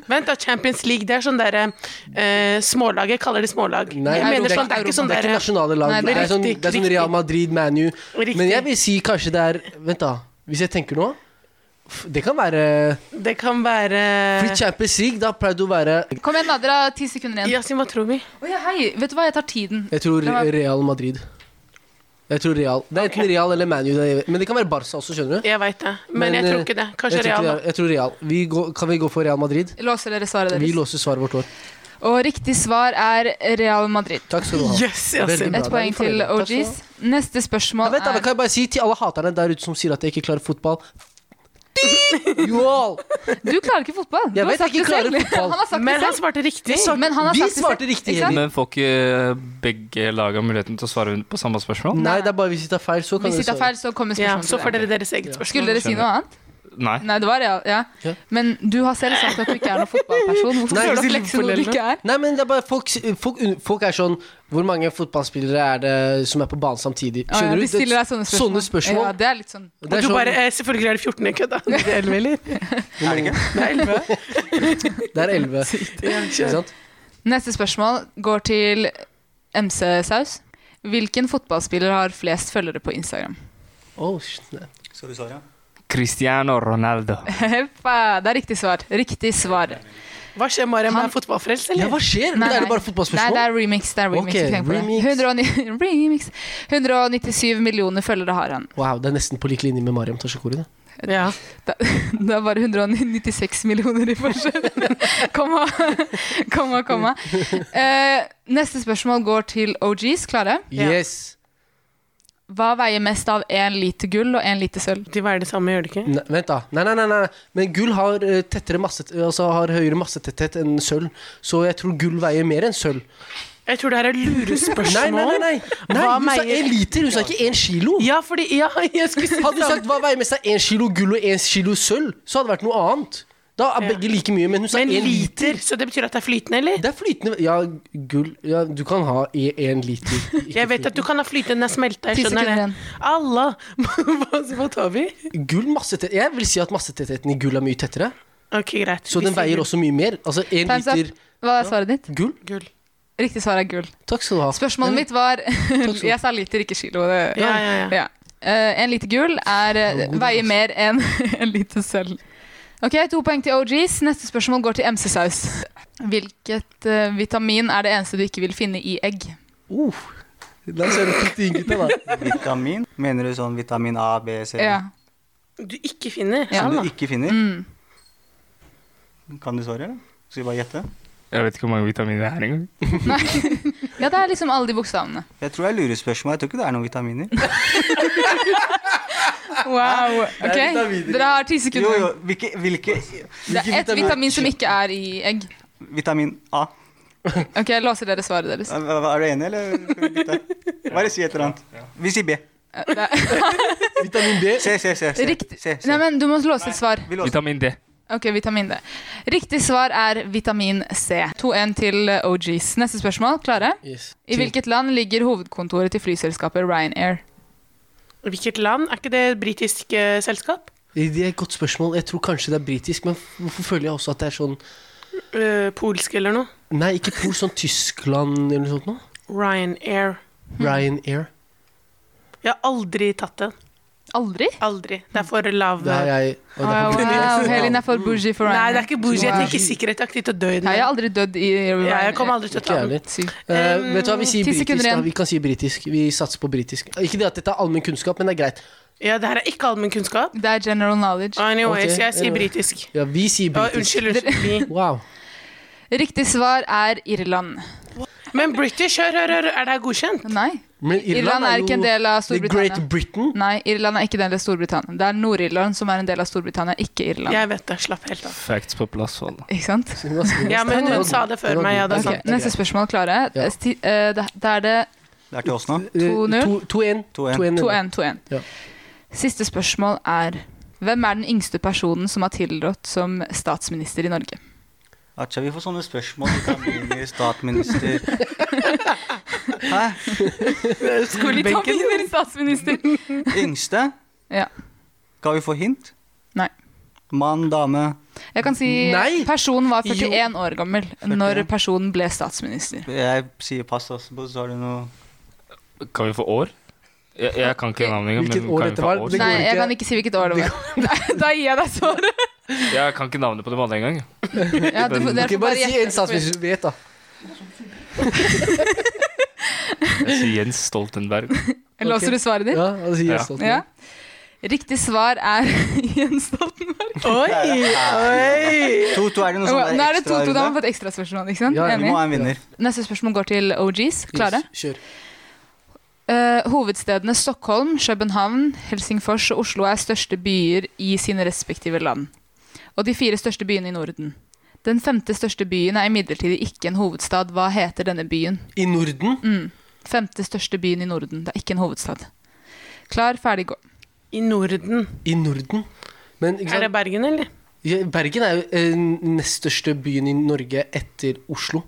[SPEAKER 3] Vent, da. Champions League, det er sånn derre eh, Smålaget kaller de smålag.
[SPEAKER 2] Nei,
[SPEAKER 3] jeg mener
[SPEAKER 1] det er
[SPEAKER 3] sånn, det er ikke sånn
[SPEAKER 2] Det er ikke
[SPEAKER 3] derre
[SPEAKER 2] nasjonale lag.
[SPEAKER 1] Nei,
[SPEAKER 2] det,
[SPEAKER 1] det
[SPEAKER 2] er
[SPEAKER 1] er
[SPEAKER 2] sånn,
[SPEAKER 3] riktig,
[SPEAKER 2] det er sånn
[SPEAKER 3] riktig.
[SPEAKER 2] Real Madrid, ManU.
[SPEAKER 3] Riktig.
[SPEAKER 2] Men jeg vil si kanskje det er Vent, da. Hvis jeg tenker nå f- Det kan være
[SPEAKER 3] Det kan være
[SPEAKER 2] Fordi Champions League, da pleier det å være
[SPEAKER 1] Kom igjen, da. Dere har ti sekunder igjen.
[SPEAKER 3] Yasin, hva tror vi?
[SPEAKER 1] Å ja, hei. Vet du hva, jeg tar tiden.
[SPEAKER 2] Jeg tror
[SPEAKER 1] Det var-
[SPEAKER 2] Real Madrid. Jeg tror Real Det er enten Real eller ManU. Men det kan være Barca også, skjønner du.
[SPEAKER 3] Jeg veit det, men,
[SPEAKER 2] Men,
[SPEAKER 3] jeg tror
[SPEAKER 2] eh,
[SPEAKER 3] ikke det.
[SPEAKER 2] Jeg
[SPEAKER 3] Kanskje
[SPEAKER 2] tror, ikke
[SPEAKER 3] Real. da.
[SPEAKER 2] det er- jeg tror Real. Vi går, kan vi gå for Real Madrid?
[SPEAKER 1] Låser dere svaret
[SPEAKER 2] Vi
[SPEAKER 1] deres?
[SPEAKER 2] låser svaret vårt år.
[SPEAKER 1] Og riktig svar er Real Madrid.
[SPEAKER 2] Takk skal du ha.
[SPEAKER 3] Yes, Yasin.
[SPEAKER 2] Veldig bra.
[SPEAKER 1] Ett poeng til
[SPEAKER 2] Takk skal du ha.
[SPEAKER 1] OGs. Neste
[SPEAKER 2] Jeg
[SPEAKER 1] spørsmål
[SPEAKER 2] vet, da,
[SPEAKER 1] er
[SPEAKER 2] kan jeg bare si til alle haterne der ute som sier at jeg ikke klarer fotball You all!
[SPEAKER 1] Du klarer ikke fotball! Du
[SPEAKER 2] Jeg
[SPEAKER 1] har
[SPEAKER 2] vet
[SPEAKER 1] sagt
[SPEAKER 2] jeg
[SPEAKER 1] det
[SPEAKER 2] ikke
[SPEAKER 1] selv.
[SPEAKER 2] klarer fotball.
[SPEAKER 1] Han har sagt det
[SPEAKER 3] Men han
[SPEAKER 1] selv.
[SPEAKER 3] svarte riktig.
[SPEAKER 1] sa- Men han har
[SPEAKER 2] Vi
[SPEAKER 1] sagt det
[SPEAKER 2] svarte
[SPEAKER 1] selv,
[SPEAKER 2] riktig.
[SPEAKER 1] ikke sant?
[SPEAKER 2] Jenny.
[SPEAKER 4] Men får ikke eh, begge laga muligheten til å svare på samme spørsmål?
[SPEAKER 2] Nei, det er bare hvis vi tar feil, så kan
[SPEAKER 1] Hvis
[SPEAKER 2] dere
[SPEAKER 1] det er
[SPEAKER 2] svare.
[SPEAKER 1] feil, så kommer
[SPEAKER 3] Ja,
[SPEAKER 1] spørsmålet
[SPEAKER 3] så
[SPEAKER 1] til
[SPEAKER 3] får
[SPEAKER 1] deg.
[SPEAKER 3] dere deres eget spørsmål.
[SPEAKER 1] Skulle dere si noe annet?
[SPEAKER 4] Nei.
[SPEAKER 1] Nei, det var Real. Ja.
[SPEAKER 2] Ja.
[SPEAKER 1] Men du har selv sagt at du ikke er noen fotballperson. Hvorfor
[SPEAKER 2] Nei,
[SPEAKER 1] gjør du opp
[SPEAKER 3] Liverpool
[SPEAKER 1] lekser når du
[SPEAKER 3] eller
[SPEAKER 1] ikke er?
[SPEAKER 2] Nei, men det er bare folk, folk, folk er sånn Hvor mange fotballspillere er det som er på banen samtidig?
[SPEAKER 1] Å, ja,
[SPEAKER 2] Skjønner
[SPEAKER 1] de
[SPEAKER 2] du?
[SPEAKER 1] stiller deg
[SPEAKER 2] Det,
[SPEAKER 1] sånne spørsmål.
[SPEAKER 2] sånne spørsmål.
[SPEAKER 1] Ja, det er litt sånn.
[SPEAKER 2] det
[SPEAKER 3] Og
[SPEAKER 2] er
[SPEAKER 3] du bare,
[SPEAKER 2] sånn,
[SPEAKER 3] eh, selvfølgelig er det 14 i kødda. Det er 11,
[SPEAKER 2] *laughs*
[SPEAKER 3] eller?
[SPEAKER 5] Er det ikke?
[SPEAKER 3] Det er 11.
[SPEAKER 2] det er
[SPEAKER 3] *laughs*
[SPEAKER 2] elleve. Ikke sant?
[SPEAKER 1] Neste spørsmål går til MC Saus. Hvilken fotballspiller har flest følgere på Instagram? *laughs*
[SPEAKER 2] Oh, shit. nei.
[SPEAKER 5] Skal du svare?
[SPEAKER 4] Cristiano Ronaldo.
[SPEAKER 1] Heppa, det er riktig svar. Riktig svar.
[SPEAKER 3] Hva skjer, Mariam?
[SPEAKER 1] Han-
[SPEAKER 3] Er fotballfrelst,
[SPEAKER 2] Ja,
[SPEAKER 3] eller?
[SPEAKER 1] *laughs*
[SPEAKER 2] hva skjer?
[SPEAKER 1] Nei,
[SPEAKER 2] er
[SPEAKER 1] nei.
[SPEAKER 2] det bare
[SPEAKER 1] Nei,
[SPEAKER 2] fotballspørsmål?
[SPEAKER 1] det er remix. Det er remix.
[SPEAKER 2] Ok,
[SPEAKER 1] ikke tenk på det.
[SPEAKER 2] remix.
[SPEAKER 1] 109 *laughs* remix. 197 millioner følgere har han.
[SPEAKER 2] Wow, det er nesten på lik linje med Mariam Tashakori. Det.
[SPEAKER 3] Ja.
[SPEAKER 1] *laughs* Det er bare 196 millioner i forskjell. *laughs* komma, komma, komma. Eh, neste spørsmål går til OGs. Klare?
[SPEAKER 3] Ja.
[SPEAKER 2] Yes.
[SPEAKER 1] Hva veier mest av én liter gull og én liter sølv?
[SPEAKER 3] De veier det samme, gjør de ikke?
[SPEAKER 2] Ne vent, da. Nei, nei, nei, nei. Men gull har, eh, tettere masse, altså har høyere massetetthet enn sølv, så jeg tror gull veier mer enn sølv.
[SPEAKER 3] Jeg tror det her er lurespørsmål.
[SPEAKER 2] *laughs* Nei, nei, nei. nei. nei
[SPEAKER 3] Hva
[SPEAKER 2] hun sa
[SPEAKER 3] veier-
[SPEAKER 2] én liter, hun sa ikke én kilo.
[SPEAKER 3] Ja, fordi Ja, *laughs* jeg skulle si
[SPEAKER 2] Hadde hun
[SPEAKER 3] samme.
[SPEAKER 2] sagt hva veier mest av én kilo gull og én kilo sølv, så hadde det vært noe annet. Da er
[SPEAKER 3] Ja.
[SPEAKER 2] begge like mye, men hun sa
[SPEAKER 3] Men
[SPEAKER 2] én liter.
[SPEAKER 3] liter, så det betyr at det er flytende, eller?
[SPEAKER 2] Det er flytende Ja, gull ja, Du kan ha én liter. ikke
[SPEAKER 3] *laughs* Jeg vet at du kan ha flytende, den er smelta,
[SPEAKER 1] Ti
[SPEAKER 3] jeg skjønner
[SPEAKER 1] sekunder
[SPEAKER 3] det.
[SPEAKER 1] igjen.
[SPEAKER 3] Alle! *laughs* Hva hva tar vi?
[SPEAKER 2] flytende. Gull massetett Jeg vil si at massetettheten i gull er mye tettere,
[SPEAKER 3] Ok, greit.
[SPEAKER 2] så
[SPEAKER 3] Vi
[SPEAKER 2] den
[SPEAKER 3] sier
[SPEAKER 2] veier
[SPEAKER 3] gull.
[SPEAKER 2] også mye mer. Altså én
[SPEAKER 1] Time's up.
[SPEAKER 2] liter
[SPEAKER 1] Hva er svaret ditt?
[SPEAKER 2] gull.
[SPEAKER 3] Gull.
[SPEAKER 1] Riktig svar er gull.
[SPEAKER 2] Takk skal du ha.
[SPEAKER 1] Spørsmålet mitt var
[SPEAKER 2] skal du ha.
[SPEAKER 1] *laughs* Jeg sa liter, ikke kilo. Det,
[SPEAKER 3] Ja, ja, ja.
[SPEAKER 1] Ja. Eh, en liter gull er, eh,
[SPEAKER 5] Oh.
[SPEAKER 2] god,
[SPEAKER 1] veier
[SPEAKER 2] altså.
[SPEAKER 1] mer enn *laughs* en liter sølv. Ok, To poeng til OGs. Neste spørsmål går til MC-saus. Hvilket eh, vitamin er det eneste du ikke vil finne i egg?
[SPEAKER 2] Uh, la oss høre på ting, gutta, da.
[SPEAKER 5] Vitamin? Mener du sånn vitamin A, B, C?
[SPEAKER 1] Ja.
[SPEAKER 3] Du ikke finner?
[SPEAKER 1] Ja.
[SPEAKER 5] Som
[SPEAKER 3] Sånn,
[SPEAKER 5] du
[SPEAKER 3] da.
[SPEAKER 5] ikke finner?
[SPEAKER 1] Mm.
[SPEAKER 5] Kan du svare, eller? Skal vi bare gjette?
[SPEAKER 4] Jeg vet ikke hvor mange vitaminer det er engang.
[SPEAKER 1] ja, det er liksom alle de
[SPEAKER 5] *laughs*
[SPEAKER 1] bokstavene.
[SPEAKER 5] Jeg tror det er lurespørsmål. Jeg tror ikke det er noen vitaminer.
[SPEAKER 1] Wow.
[SPEAKER 2] Det er
[SPEAKER 1] Ok,
[SPEAKER 2] vitaminer.
[SPEAKER 1] Dere har ti
[SPEAKER 5] Jo, jo,
[SPEAKER 1] sekunder.
[SPEAKER 5] hvilke, hvilke
[SPEAKER 1] Det er ett vitamin som ikke er i egg.
[SPEAKER 5] Vitamin A.
[SPEAKER 1] Ok, Låser dere svaret deres?
[SPEAKER 5] Er er du enig, eller skal vi bytte? Bare si et eller annet. Vi sier B.
[SPEAKER 1] Eh, Det
[SPEAKER 5] *laughs*
[SPEAKER 1] er,
[SPEAKER 2] Vitamin B.
[SPEAKER 5] Se, se, se. se.
[SPEAKER 1] Riktig.
[SPEAKER 5] se, se.
[SPEAKER 1] nei, men Du må låse et svar.
[SPEAKER 5] Vi låser.
[SPEAKER 4] Vitamin D.
[SPEAKER 1] Ok, vitamin D. Riktig svar er vitamin C. 2-1 til OGs. Neste spørsmål. Klare?
[SPEAKER 2] Yes.
[SPEAKER 1] I hvilket land ligger hovedkontoret til flyselskapet Ryanair?
[SPEAKER 3] Hvilket land? Er ikke det et britisk eh, selskap?
[SPEAKER 2] Det er et godt spørsmål. Jeg tror kanskje det er britisk, men hvorfor føler jeg også at det er sånn
[SPEAKER 3] Eh, polsk eller noe?
[SPEAKER 2] Nei, ikke Pol, sånn Tyskland eller noe sånt noe?
[SPEAKER 3] Ryanair.
[SPEAKER 2] Ryanair.
[SPEAKER 3] Jeg har aldri tatt den.
[SPEAKER 1] Aldri?
[SPEAKER 3] Aldri. Det er for lav
[SPEAKER 2] Det har jeg og det har
[SPEAKER 1] wow, Helin er for bougie for
[SPEAKER 3] Nei,
[SPEAKER 1] Ryanair.
[SPEAKER 3] det er ikke bougie. Jeg
[SPEAKER 1] Wow.
[SPEAKER 3] tenker sikkerhetsaktig til å dø i
[SPEAKER 1] Nei, Jeg har
[SPEAKER 3] den.
[SPEAKER 1] aldri dødd i
[SPEAKER 3] Ja, jeg kommer
[SPEAKER 1] Ryanair.
[SPEAKER 3] aldri til å
[SPEAKER 2] Ikke
[SPEAKER 3] ta
[SPEAKER 2] jeg
[SPEAKER 3] den.
[SPEAKER 2] heller.
[SPEAKER 1] Sykt.
[SPEAKER 2] Eh, vet du hva, vi sier
[SPEAKER 1] ti sekunder
[SPEAKER 2] britisk. Da.
[SPEAKER 1] igjen.
[SPEAKER 2] Vi kan si britisk. Vi satser på britisk. Ikke det at dette er allmenn kunnskap, men det er greit.
[SPEAKER 3] Ja, det her er ikke allmennkunnskap.
[SPEAKER 1] Det er general
[SPEAKER 3] Ah.
[SPEAKER 1] knowledge.
[SPEAKER 3] Anyways,
[SPEAKER 2] Ok,
[SPEAKER 3] jeg sier
[SPEAKER 2] anyway.
[SPEAKER 3] britisk.
[SPEAKER 2] Ja, vi sier
[SPEAKER 3] Ja,
[SPEAKER 2] britisk.
[SPEAKER 3] unnskyld, unnskyld. Vi-
[SPEAKER 2] Wow.
[SPEAKER 1] Riktig svar er Irland.
[SPEAKER 3] Men British, hør, hør, hør, er det her godkjent?
[SPEAKER 1] Nei,
[SPEAKER 2] Men
[SPEAKER 1] Irland er ikke en del av
[SPEAKER 2] The Great
[SPEAKER 1] Storbritannia.
[SPEAKER 2] Britain.
[SPEAKER 1] Nei, Irland er ikke en del av Storbritannia. Det er Nord-Irland som er en del av Storbritannia, ikke Irland.
[SPEAKER 3] Jeg vet det. Slapp helt av.
[SPEAKER 4] Facts på plass. Hold.
[SPEAKER 1] Ikke sant?
[SPEAKER 3] Ja, men hun sa det før meg, ja, det er
[SPEAKER 1] Ok,
[SPEAKER 3] sant.
[SPEAKER 1] Neste spørsmål, Klare.
[SPEAKER 2] Ja.
[SPEAKER 1] Sti- eh, det- Da er det
[SPEAKER 5] Det er til oss nå.
[SPEAKER 2] Eh,
[SPEAKER 1] 2-0.
[SPEAKER 2] 2-1.
[SPEAKER 5] 2-1.
[SPEAKER 1] 2-1, 2-1.
[SPEAKER 2] Ja.
[SPEAKER 1] Siste spørsmål er hvem er den yngste personen som har tilrådt som statsminister i Norge?
[SPEAKER 5] Acha, vi får sånne spørsmål. Vitaminer, statsminister Hæ?
[SPEAKER 1] Vitaminer, statsminister!
[SPEAKER 5] Yngste?
[SPEAKER 1] Ja.
[SPEAKER 5] Skal vi få hint?
[SPEAKER 1] Nei.
[SPEAKER 5] Mann, dame
[SPEAKER 1] Jeg kan si
[SPEAKER 2] Nei!
[SPEAKER 1] personen var 41 år gammel når
[SPEAKER 5] 41.
[SPEAKER 1] personen ble statsminister.
[SPEAKER 5] Jeg sier pass også, på, så har du noe
[SPEAKER 4] Kan vi få år? Jeg, jeg kan ikke navnet engang.
[SPEAKER 2] Hvilket
[SPEAKER 4] men
[SPEAKER 2] år
[SPEAKER 4] kan vi
[SPEAKER 2] dette
[SPEAKER 4] få
[SPEAKER 2] var?
[SPEAKER 4] år?
[SPEAKER 2] Det går
[SPEAKER 1] Nei, jeg
[SPEAKER 2] ikke.
[SPEAKER 1] kan ikke si hvilket år det var. Nei, Da gir jeg deg
[SPEAKER 2] *laughs*
[SPEAKER 1] svaret.
[SPEAKER 4] Jeg kan ikke navnet på dem alle engang.
[SPEAKER 1] Ja, du, får- dere
[SPEAKER 2] Ok,
[SPEAKER 1] får
[SPEAKER 2] bare si
[SPEAKER 1] gjette.
[SPEAKER 2] en statsminister du vet, da.
[SPEAKER 4] Jeg sier Jens Stoltenberg.
[SPEAKER 1] Låser du svaret ditt?
[SPEAKER 2] Ja, altså,
[SPEAKER 4] Ja.
[SPEAKER 2] yes,
[SPEAKER 1] Ja. Riktig svar er *laughs* Jens Stoltenberg.
[SPEAKER 3] Oi, oi!
[SPEAKER 5] 2-2 er det noe
[SPEAKER 1] Nå
[SPEAKER 5] sånn
[SPEAKER 1] er det 2-2, da
[SPEAKER 5] ekstra
[SPEAKER 1] har
[SPEAKER 5] runde?
[SPEAKER 1] vi fått ekstraspørsmål. ikke sant?
[SPEAKER 2] Ja,
[SPEAKER 5] Vi må
[SPEAKER 1] Enig?
[SPEAKER 5] ha en vinner.
[SPEAKER 1] Neste spørsmål går til OGs. Klare?
[SPEAKER 2] Yes, kjør.
[SPEAKER 1] Eh, hovedstedene Stockholm, København, Helsingfors og Oslo er største byer i sine respektive land. Og de fire største byene i Norden. Den femte største byen er imidlertid ikke en hovedstad. Hva heter denne byen?
[SPEAKER 2] I Norden
[SPEAKER 1] Mm. Femte største byen i Norden. Det er ikke en hovedstad. Klar, ferdig, gå.
[SPEAKER 3] I Norden.
[SPEAKER 2] I Norden. Men ikke
[SPEAKER 3] Er det
[SPEAKER 2] sant?
[SPEAKER 3] Bergen, eller?
[SPEAKER 2] Ja, Bergen er jo eh, nest største byen i Norge etter Oslo.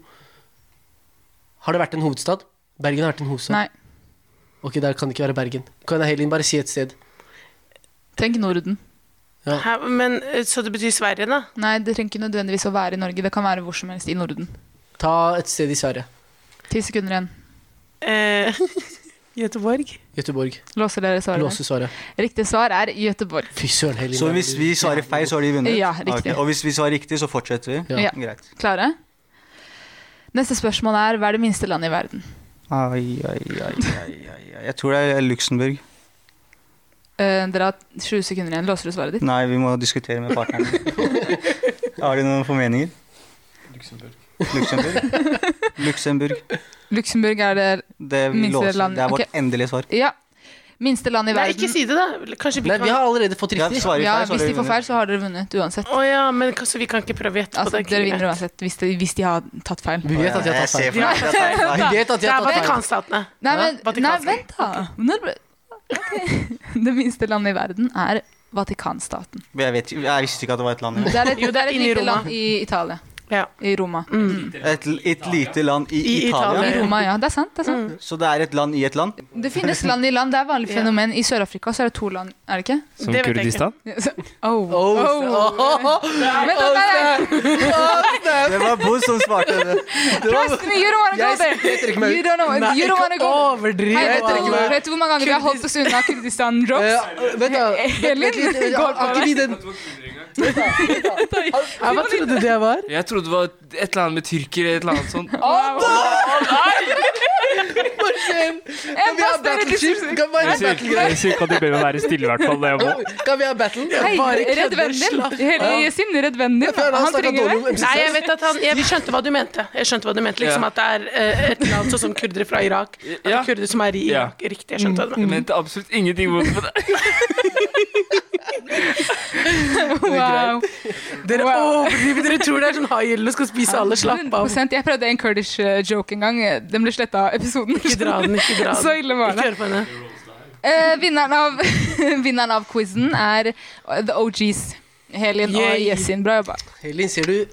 [SPEAKER 2] Har det vært en hovedstad? Bergen har vært en hovedstad.
[SPEAKER 1] Nei.
[SPEAKER 2] Ok, der kan det ikke være Bergen. Kan jeg Helin bare si et sted?
[SPEAKER 1] Tenk Norden.
[SPEAKER 3] Hæ, men, eh, så det betyr Sverige, da?
[SPEAKER 1] Nei, det trenger ikke nødvendigvis å være i Norge. Det kan være hvor som helst i Norden.
[SPEAKER 2] Ta et sted i Sverige.
[SPEAKER 1] Ti sekunder igjen.
[SPEAKER 3] Eh, *laughs* Göteborg?
[SPEAKER 2] Göteborg.
[SPEAKER 1] Låser dere svaret?
[SPEAKER 2] Låse svaret.
[SPEAKER 1] Riktig svar er Göteborg.
[SPEAKER 2] Fy søren, Helin.
[SPEAKER 5] Så hvis vi svarer feil, så har de vunnet? Ah,
[SPEAKER 1] Ja, riktig.
[SPEAKER 5] Ok, Og hvis vi svarer riktig, så fortsetter vi?
[SPEAKER 2] Ja.
[SPEAKER 1] Ja.
[SPEAKER 5] Greit.
[SPEAKER 1] Klare? Neste spørsmål er hva er det minste landet i verden?
[SPEAKER 5] Ai, ai, ai, ai, ai. ai. Jeg tror det er Luxembourg.
[SPEAKER 1] Eh, dere har 20 sekunder igjen. Låser du svaret ditt?
[SPEAKER 5] Nei, vi må diskutere med
[SPEAKER 1] *laughs*
[SPEAKER 5] partnerne. Har de noen formeninger? Luxembourg. Luxembourg.
[SPEAKER 1] Luxembourg er det
[SPEAKER 5] Det, vi
[SPEAKER 1] Minste
[SPEAKER 5] låser.
[SPEAKER 1] land-
[SPEAKER 5] det er vårt
[SPEAKER 1] ok.
[SPEAKER 5] endelige svar.
[SPEAKER 1] Ja. Minste land i
[SPEAKER 3] Nei,
[SPEAKER 1] verden.
[SPEAKER 3] ikke si det, da. Kanskje vi
[SPEAKER 2] Nei,
[SPEAKER 3] kan
[SPEAKER 2] vi har allerede fått
[SPEAKER 5] Ja,
[SPEAKER 2] riktig.
[SPEAKER 5] svarer vi
[SPEAKER 1] ja,
[SPEAKER 5] feil, så har
[SPEAKER 1] hvis
[SPEAKER 5] de
[SPEAKER 1] de får
[SPEAKER 5] vunnet.
[SPEAKER 1] feil, så har dere vunnet uansett.
[SPEAKER 3] Å ja, men altså, vi kan ikke prøve å gjette på
[SPEAKER 1] Altså,
[SPEAKER 3] det.
[SPEAKER 1] dere vinner uansett hvis de, hvis de har tatt feil.
[SPEAKER 2] Vi vet at vi har tatt feil.
[SPEAKER 5] Jeg ser
[SPEAKER 1] *laughs*
[SPEAKER 5] for meg at det er
[SPEAKER 2] Vi
[SPEAKER 5] feil.
[SPEAKER 2] vet at
[SPEAKER 3] Det
[SPEAKER 2] vi
[SPEAKER 3] er
[SPEAKER 2] har tatt feil.
[SPEAKER 3] Vatikanstatene.
[SPEAKER 1] Nei, men, nei
[SPEAKER 3] Vatikansk.
[SPEAKER 1] vent, da. Når ble... Ok. *laughs* Det minste landet i verden er Vatikanstaten.
[SPEAKER 5] Men Jeg, vet, jeg visste ikke at det var et land.
[SPEAKER 1] Det er et,
[SPEAKER 3] Jo,
[SPEAKER 1] det er et
[SPEAKER 3] inni
[SPEAKER 1] lite
[SPEAKER 3] Roma.
[SPEAKER 1] land i Italia.
[SPEAKER 3] Ja.
[SPEAKER 1] I Roma.
[SPEAKER 3] Mm.
[SPEAKER 5] Et, et lite land i,
[SPEAKER 3] I
[SPEAKER 5] Italia.
[SPEAKER 1] I
[SPEAKER 3] Italia.
[SPEAKER 1] Roma, ja. Det er sant. Det, er sant.
[SPEAKER 5] Så det er et land i et land?
[SPEAKER 1] det finnes land i land. Det er vanlig
[SPEAKER 3] Mm. Ja.
[SPEAKER 1] fenomen. I Sør-Afrika så er det to land, er det ikke?
[SPEAKER 4] Som
[SPEAKER 3] Det vet jeg
[SPEAKER 4] Kurdistan?
[SPEAKER 1] Oh.
[SPEAKER 2] Oh,
[SPEAKER 1] Oh. Vent, da, nei, nei.
[SPEAKER 5] Det var Boz som svarte det.
[SPEAKER 1] Trust me, you don't wanna go there. You don't, know, you don't wanna
[SPEAKER 3] ikke
[SPEAKER 1] go
[SPEAKER 3] overdriv!
[SPEAKER 1] Hei, vet,
[SPEAKER 3] Anna.
[SPEAKER 1] du, vet du hvor mange ganger vi har holdt oss unna Kurdistan-drops?
[SPEAKER 2] *laughs* Eh, Vent, da. Vent litt.
[SPEAKER 1] Helin går
[SPEAKER 2] Har
[SPEAKER 1] på
[SPEAKER 2] har ikke vi den
[SPEAKER 3] Ja, hva trodde du det var?
[SPEAKER 4] Jeg trodde det var et eller annet med tyrkere, et eller annet sånt.
[SPEAKER 2] Kan vi ha
[SPEAKER 1] Enda større
[SPEAKER 2] battle ship?
[SPEAKER 1] diskusjon.
[SPEAKER 2] Kan vi ha
[SPEAKER 4] Jeg
[SPEAKER 2] en
[SPEAKER 4] sier-
[SPEAKER 2] battle grei?
[SPEAKER 4] jeg sier ikke at de ber meg være stille, i hvert fall. Det må.
[SPEAKER 2] Kan vi ha battle?
[SPEAKER 1] Hei,
[SPEAKER 3] Bare kødder,
[SPEAKER 1] redd vennen din.
[SPEAKER 3] slapp
[SPEAKER 1] Hele Yasin, redd vennen din.
[SPEAKER 2] Før han
[SPEAKER 1] Han
[SPEAKER 2] snakket
[SPEAKER 1] trenger
[SPEAKER 2] dårlig
[SPEAKER 1] det.
[SPEAKER 2] om MC
[SPEAKER 3] Nei, jeg
[SPEAKER 2] Saus.
[SPEAKER 3] vet at han Jeg skjønte hva du mente. Jeg skjønte hva du mente Liksom
[SPEAKER 4] Ja.
[SPEAKER 3] at det er eh, et land sånn som kurdere fra Irak. At det
[SPEAKER 4] Ja.
[SPEAKER 3] er kurdere som er i
[SPEAKER 4] Ja.
[SPEAKER 3] Irak. Riktig. jeg skjønte hva du mente
[SPEAKER 4] Jeg mente absolutt ingenting vondt med det.
[SPEAKER 1] Wow.
[SPEAKER 3] Dere overdriver. Dere tror det er sånn haiel og skal spise alle. Slapp av.
[SPEAKER 1] 100%. Jeg prøvde en Kurdish eh, joke en gang. Den ble sletta av episoden.
[SPEAKER 3] Ikke dra den, ikke dra
[SPEAKER 1] Så
[SPEAKER 3] den.
[SPEAKER 1] ille var
[SPEAKER 3] Ikke
[SPEAKER 1] det.
[SPEAKER 3] hør på henne.
[SPEAKER 1] *laughs* Eh, vinneren av, *laughs* vinneren av quizen er eh, The OGs. Helin og
[SPEAKER 3] Yay.
[SPEAKER 1] Yasin. Bra jobba.
[SPEAKER 2] Helin, ser du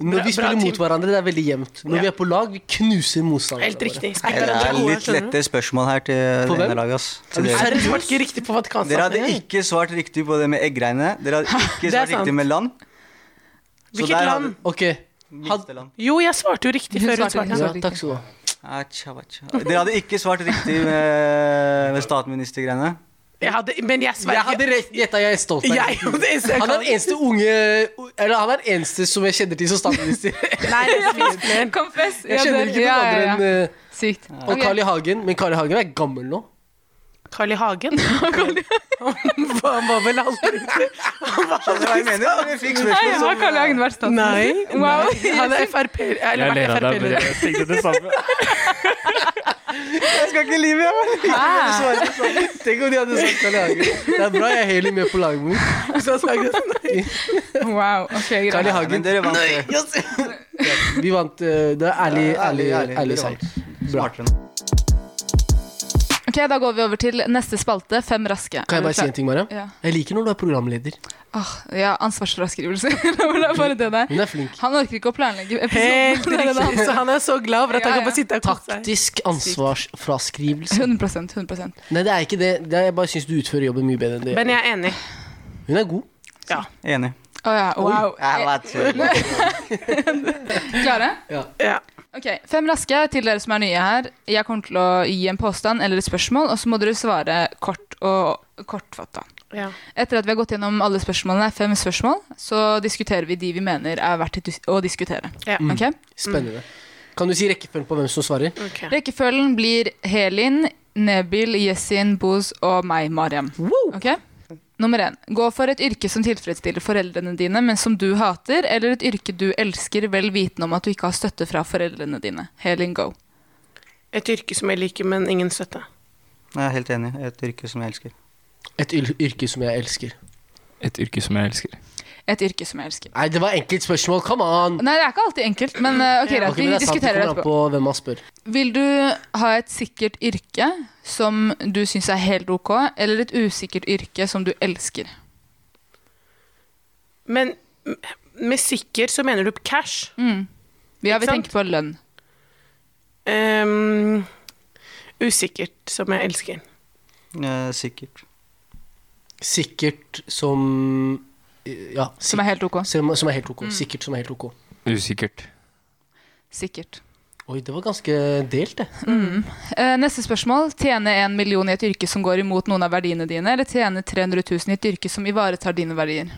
[SPEAKER 2] når vi
[SPEAKER 3] Bra- bra
[SPEAKER 2] spiller mot
[SPEAKER 3] team.
[SPEAKER 2] hverandre, det er veldig jevnt. Når
[SPEAKER 3] Ja.
[SPEAKER 2] vi er på lag, vi knuser motstanderne.
[SPEAKER 3] Helt riktig.
[SPEAKER 5] Det er litt lette spørsmål her til
[SPEAKER 2] På
[SPEAKER 5] det
[SPEAKER 2] hvem?
[SPEAKER 5] ene laget. ass.
[SPEAKER 2] Er
[SPEAKER 5] Til
[SPEAKER 2] du
[SPEAKER 5] dere.
[SPEAKER 3] Dere svarte ikke riktig på
[SPEAKER 5] dere hadde
[SPEAKER 3] Vatikanstaten.
[SPEAKER 5] ikke svart riktig på det med eggreiene. Dere hadde ikke
[SPEAKER 3] Det er
[SPEAKER 5] svart
[SPEAKER 3] sant.
[SPEAKER 5] riktig med land. Så
[SPEAKER 3] Hvilket
[SPEAKER 5] der
[SPEAKER 3] land?
[SPEAKER 2] Ok,
[SPEAKER 5] Minste land.
[SPEAKER 3] Jo, jeg svarte jo riktig
[SPEAKER 1] Hun
[SPEAKER 3] før hun
[SPEAKER 1] svarte, hun
[SPEAKER 3] svarte.
[SPEAKER 2] ja, takk skal du ha.
[SPEAKER 5] Acha, acha. Dere hadde ikke svart riktig med, med statsministergreiene.
[SPEAKER 3] Jeg hadde, men jeg
[SPEAKER 2] Jeg
[SPEAKER 3] sverger.
[SPEAKER 2] hadde rett, gjetta jeg er stolt av.
[SPEAKER 3] Jeg, det eneste jeg
[SPEAKER 2] Han er
[SPEAKER 3] kan.
[SPEAKER 2] den eneste unge Eller han er den eneste som jeg kjenner til som statsminister.
[SPEAKER 3] Nei, det finnes flere.
[SPEAKER 1] Confess.
[SPEAKER 2] Jeg kjenner ikke noen andre enn eh,
[SPEAKER 1] Sykt.
[SPEAKER 2] Og Carl I. Hagen. Men Carl I. Hagen er gammel nå.
[SPEAKER 3] Carl I. *laughs* Hagen. Han var vel aldri
[SPEAKER 5] Skjønner du hva jeg mener? Dere fikk spørsmål
[SPEAKER 1] Nei, har
[SPEAKER 5] som-
[SPEAKER 1] Karl Jagen vært statsminister?
[SPEAKER 3] Nei.
[SPEAKER 1] Wow.
[SPEAKER 3] nei. Han er Frp. Eller vært
[SPEAKER 4] Jeg ler av deg, men
[SPEAKER 3] Frp-leder.
[SPEAKER 4] jeg tenkte det samme.
[SPEAKER 5] Jeg skal ikke lyve, jeg.
[SPEAKER 1] Hæ?
[SPEAKER 2] Tenk om de hadde sagt Carl I. Hagen. Det er bra jeg er Haley med på laget mitt.
[SPEAKER 3] Hvis han sa det.
[SPEAKER 1] Wow. Ok,
[SPEAKER 2] Carl
[SPEAKER 1] greit.
[SPEAKER 2] I.
[SPEAKER 5] Men
[SPEAKER 2] Hagen.
[SPEAKER 5] dere vant. eh, det.
[SPEAKER 2] Vi vant. eh, Det er ærlig, ærlig, ærlig,
[SPEAKER 5] Dere
[SPEAKER 2] seier.
[SPEAKER 5] vant.
[SPEAKER 2] Bra.
[SPEAKER 5] Smartere nå.
[SPEAKER 1] Ok, Da går vi over til neste spalte, Fem raske.
[SPEAKER 2] Kan jeg bare si en ting, Mariam?
[SPEAKER 1] Ja.
[SPEAKER 2] Jeg liker når du er programleder.
[SPEAKER 1] Åh, Ah, ja, ansvarsfraskrivelse. *laughs* La meg la bare det der.
[SPEAKER 2] Hun er flink.
[SPEAKER 1] Han orker ikke å planlegge
[SPEAKER 3] *laughs* Helt
[SPEAKER 1] episoden. *laughs* Det er det
[SPEAKER 3] riktig.
[SPEAKER 1] han-
[SPEAKER 3] Så han er så glad for at han
[SPEAKER 1] Ja,
[SPEAKER 3] kan bare
[SPEAKER 1] ja.
[SPEAKER 3] sitte og kose seg.
[SPEAKER 2] Taktisk ansvarsfraskrivelse.
[SPEAKER 1] 100 100
[SPEAKER 2] Nei, det er ikke det. det er, jeg bare syns du utfører jobben mye bedre enn
[SPEAKER 3] Men
[SPEAKER 2] det.
[SPEAKER 3] jeg er enig.
[SPEAKER 2] Hun er god.
[SPEAKER 5] Enig.
[SPEAKER 1] Å ja, wow. Eh,
[SPEAKER 5] Jeg vet ikke.
[SPEAKER 1] Klare?
[SPEAKER 3] Ja.
[SPEAKER 1] Ok, Fem raske til dere som er nye her. Jeg kommer til å gi en påstand eller et spørsmål, og så må dere svare kort og kortfatta.
[SPEAKER 3] Ja.
[SPEAKER 1] Etter at vi har gått gjennom alle spørsmålene, fem spørsmål, så diskuterer vi de vi mener er verdt dis- å diskutere.
[SPEAKER 3] Ja.
[SPEAKER 1] Ok?
[SPEAKER 2] Spennende. Kan du si rekkefølgen på hvem som svarer?
[SPEAKER 3] ok.
[SPEAKER 1] Rekkefølgen blir Helin, Nebil, Yesin, Boz og meg, Mariam. Ok? Nummer én. Gå for et yrke som tilfredsstiller foreldrene dine, men som du hater, eller et yrke du elsker, vel vitende om at du ikke har støtte fra foreldrene dine. Helin go.
[SPEAKER 3] Et yrke som jeg liker, men ingen støtte.
[SPEAKER 5] Jeg er helt enig. Et yrke som jeg elsker.
[SPEAKER 2] Et yl- yrke som jeg elsker.
[SPEAKER 4] *laughs* Et yrke som jeg elsker.
[SPEAKER 1] Et yrke som jeg elsker.
[SPEAKER 2] Nei, det var enkelt spørsmål. Come on!
[SPEAKER 1] Nei, det er ikke alltid enkelt, men eh, ok, greit.
[SPEAKER 2] Ok, men
[SPEAKER 1] vi
[SPEAKER 2] det er sant, det
[SPEAKER 1] diskuterer det
[SPEAKER 2] kommer an
[SPEAKER 1] etterpå.
[SPEAKER 2] på hvem man spør.
[SPEAKER 1] Vil du ha et sikkert yrke som du syns er helt ok, eller et usikkert yrke som du elsker?
[SPEAKER 3] Men m- med sikker så mener du cash.
[SPEAKER 1] Mm. Ja, vi
[SPEAKER 3] Ikke
[SPEAKER 1] tenker på lønn.
[SPEAKER 3] Ehm, usikkert, som jeg elsker.
[SPEAKER 5] Eh, sikkert.
[SPEAKER 2] Sikkert som eh, Ja.
[SPEAKER 1] Som er helt ok.
[SPEAKER 2] sik- som, som er helt ok. Sikkert som er helt ok.
[SPEAKER 4] Usikkert.
[SPEAKER 1] Sikkert.
[SPEAKER 2] Oi, det var ganske delt, det.
[SPEAKER 1] Eh, Neste spørsmål. Tjene en million i et yrke som går imot noen av verdiene dine, eller tjene 300 000 i et yrke som ivaretar dine verdier?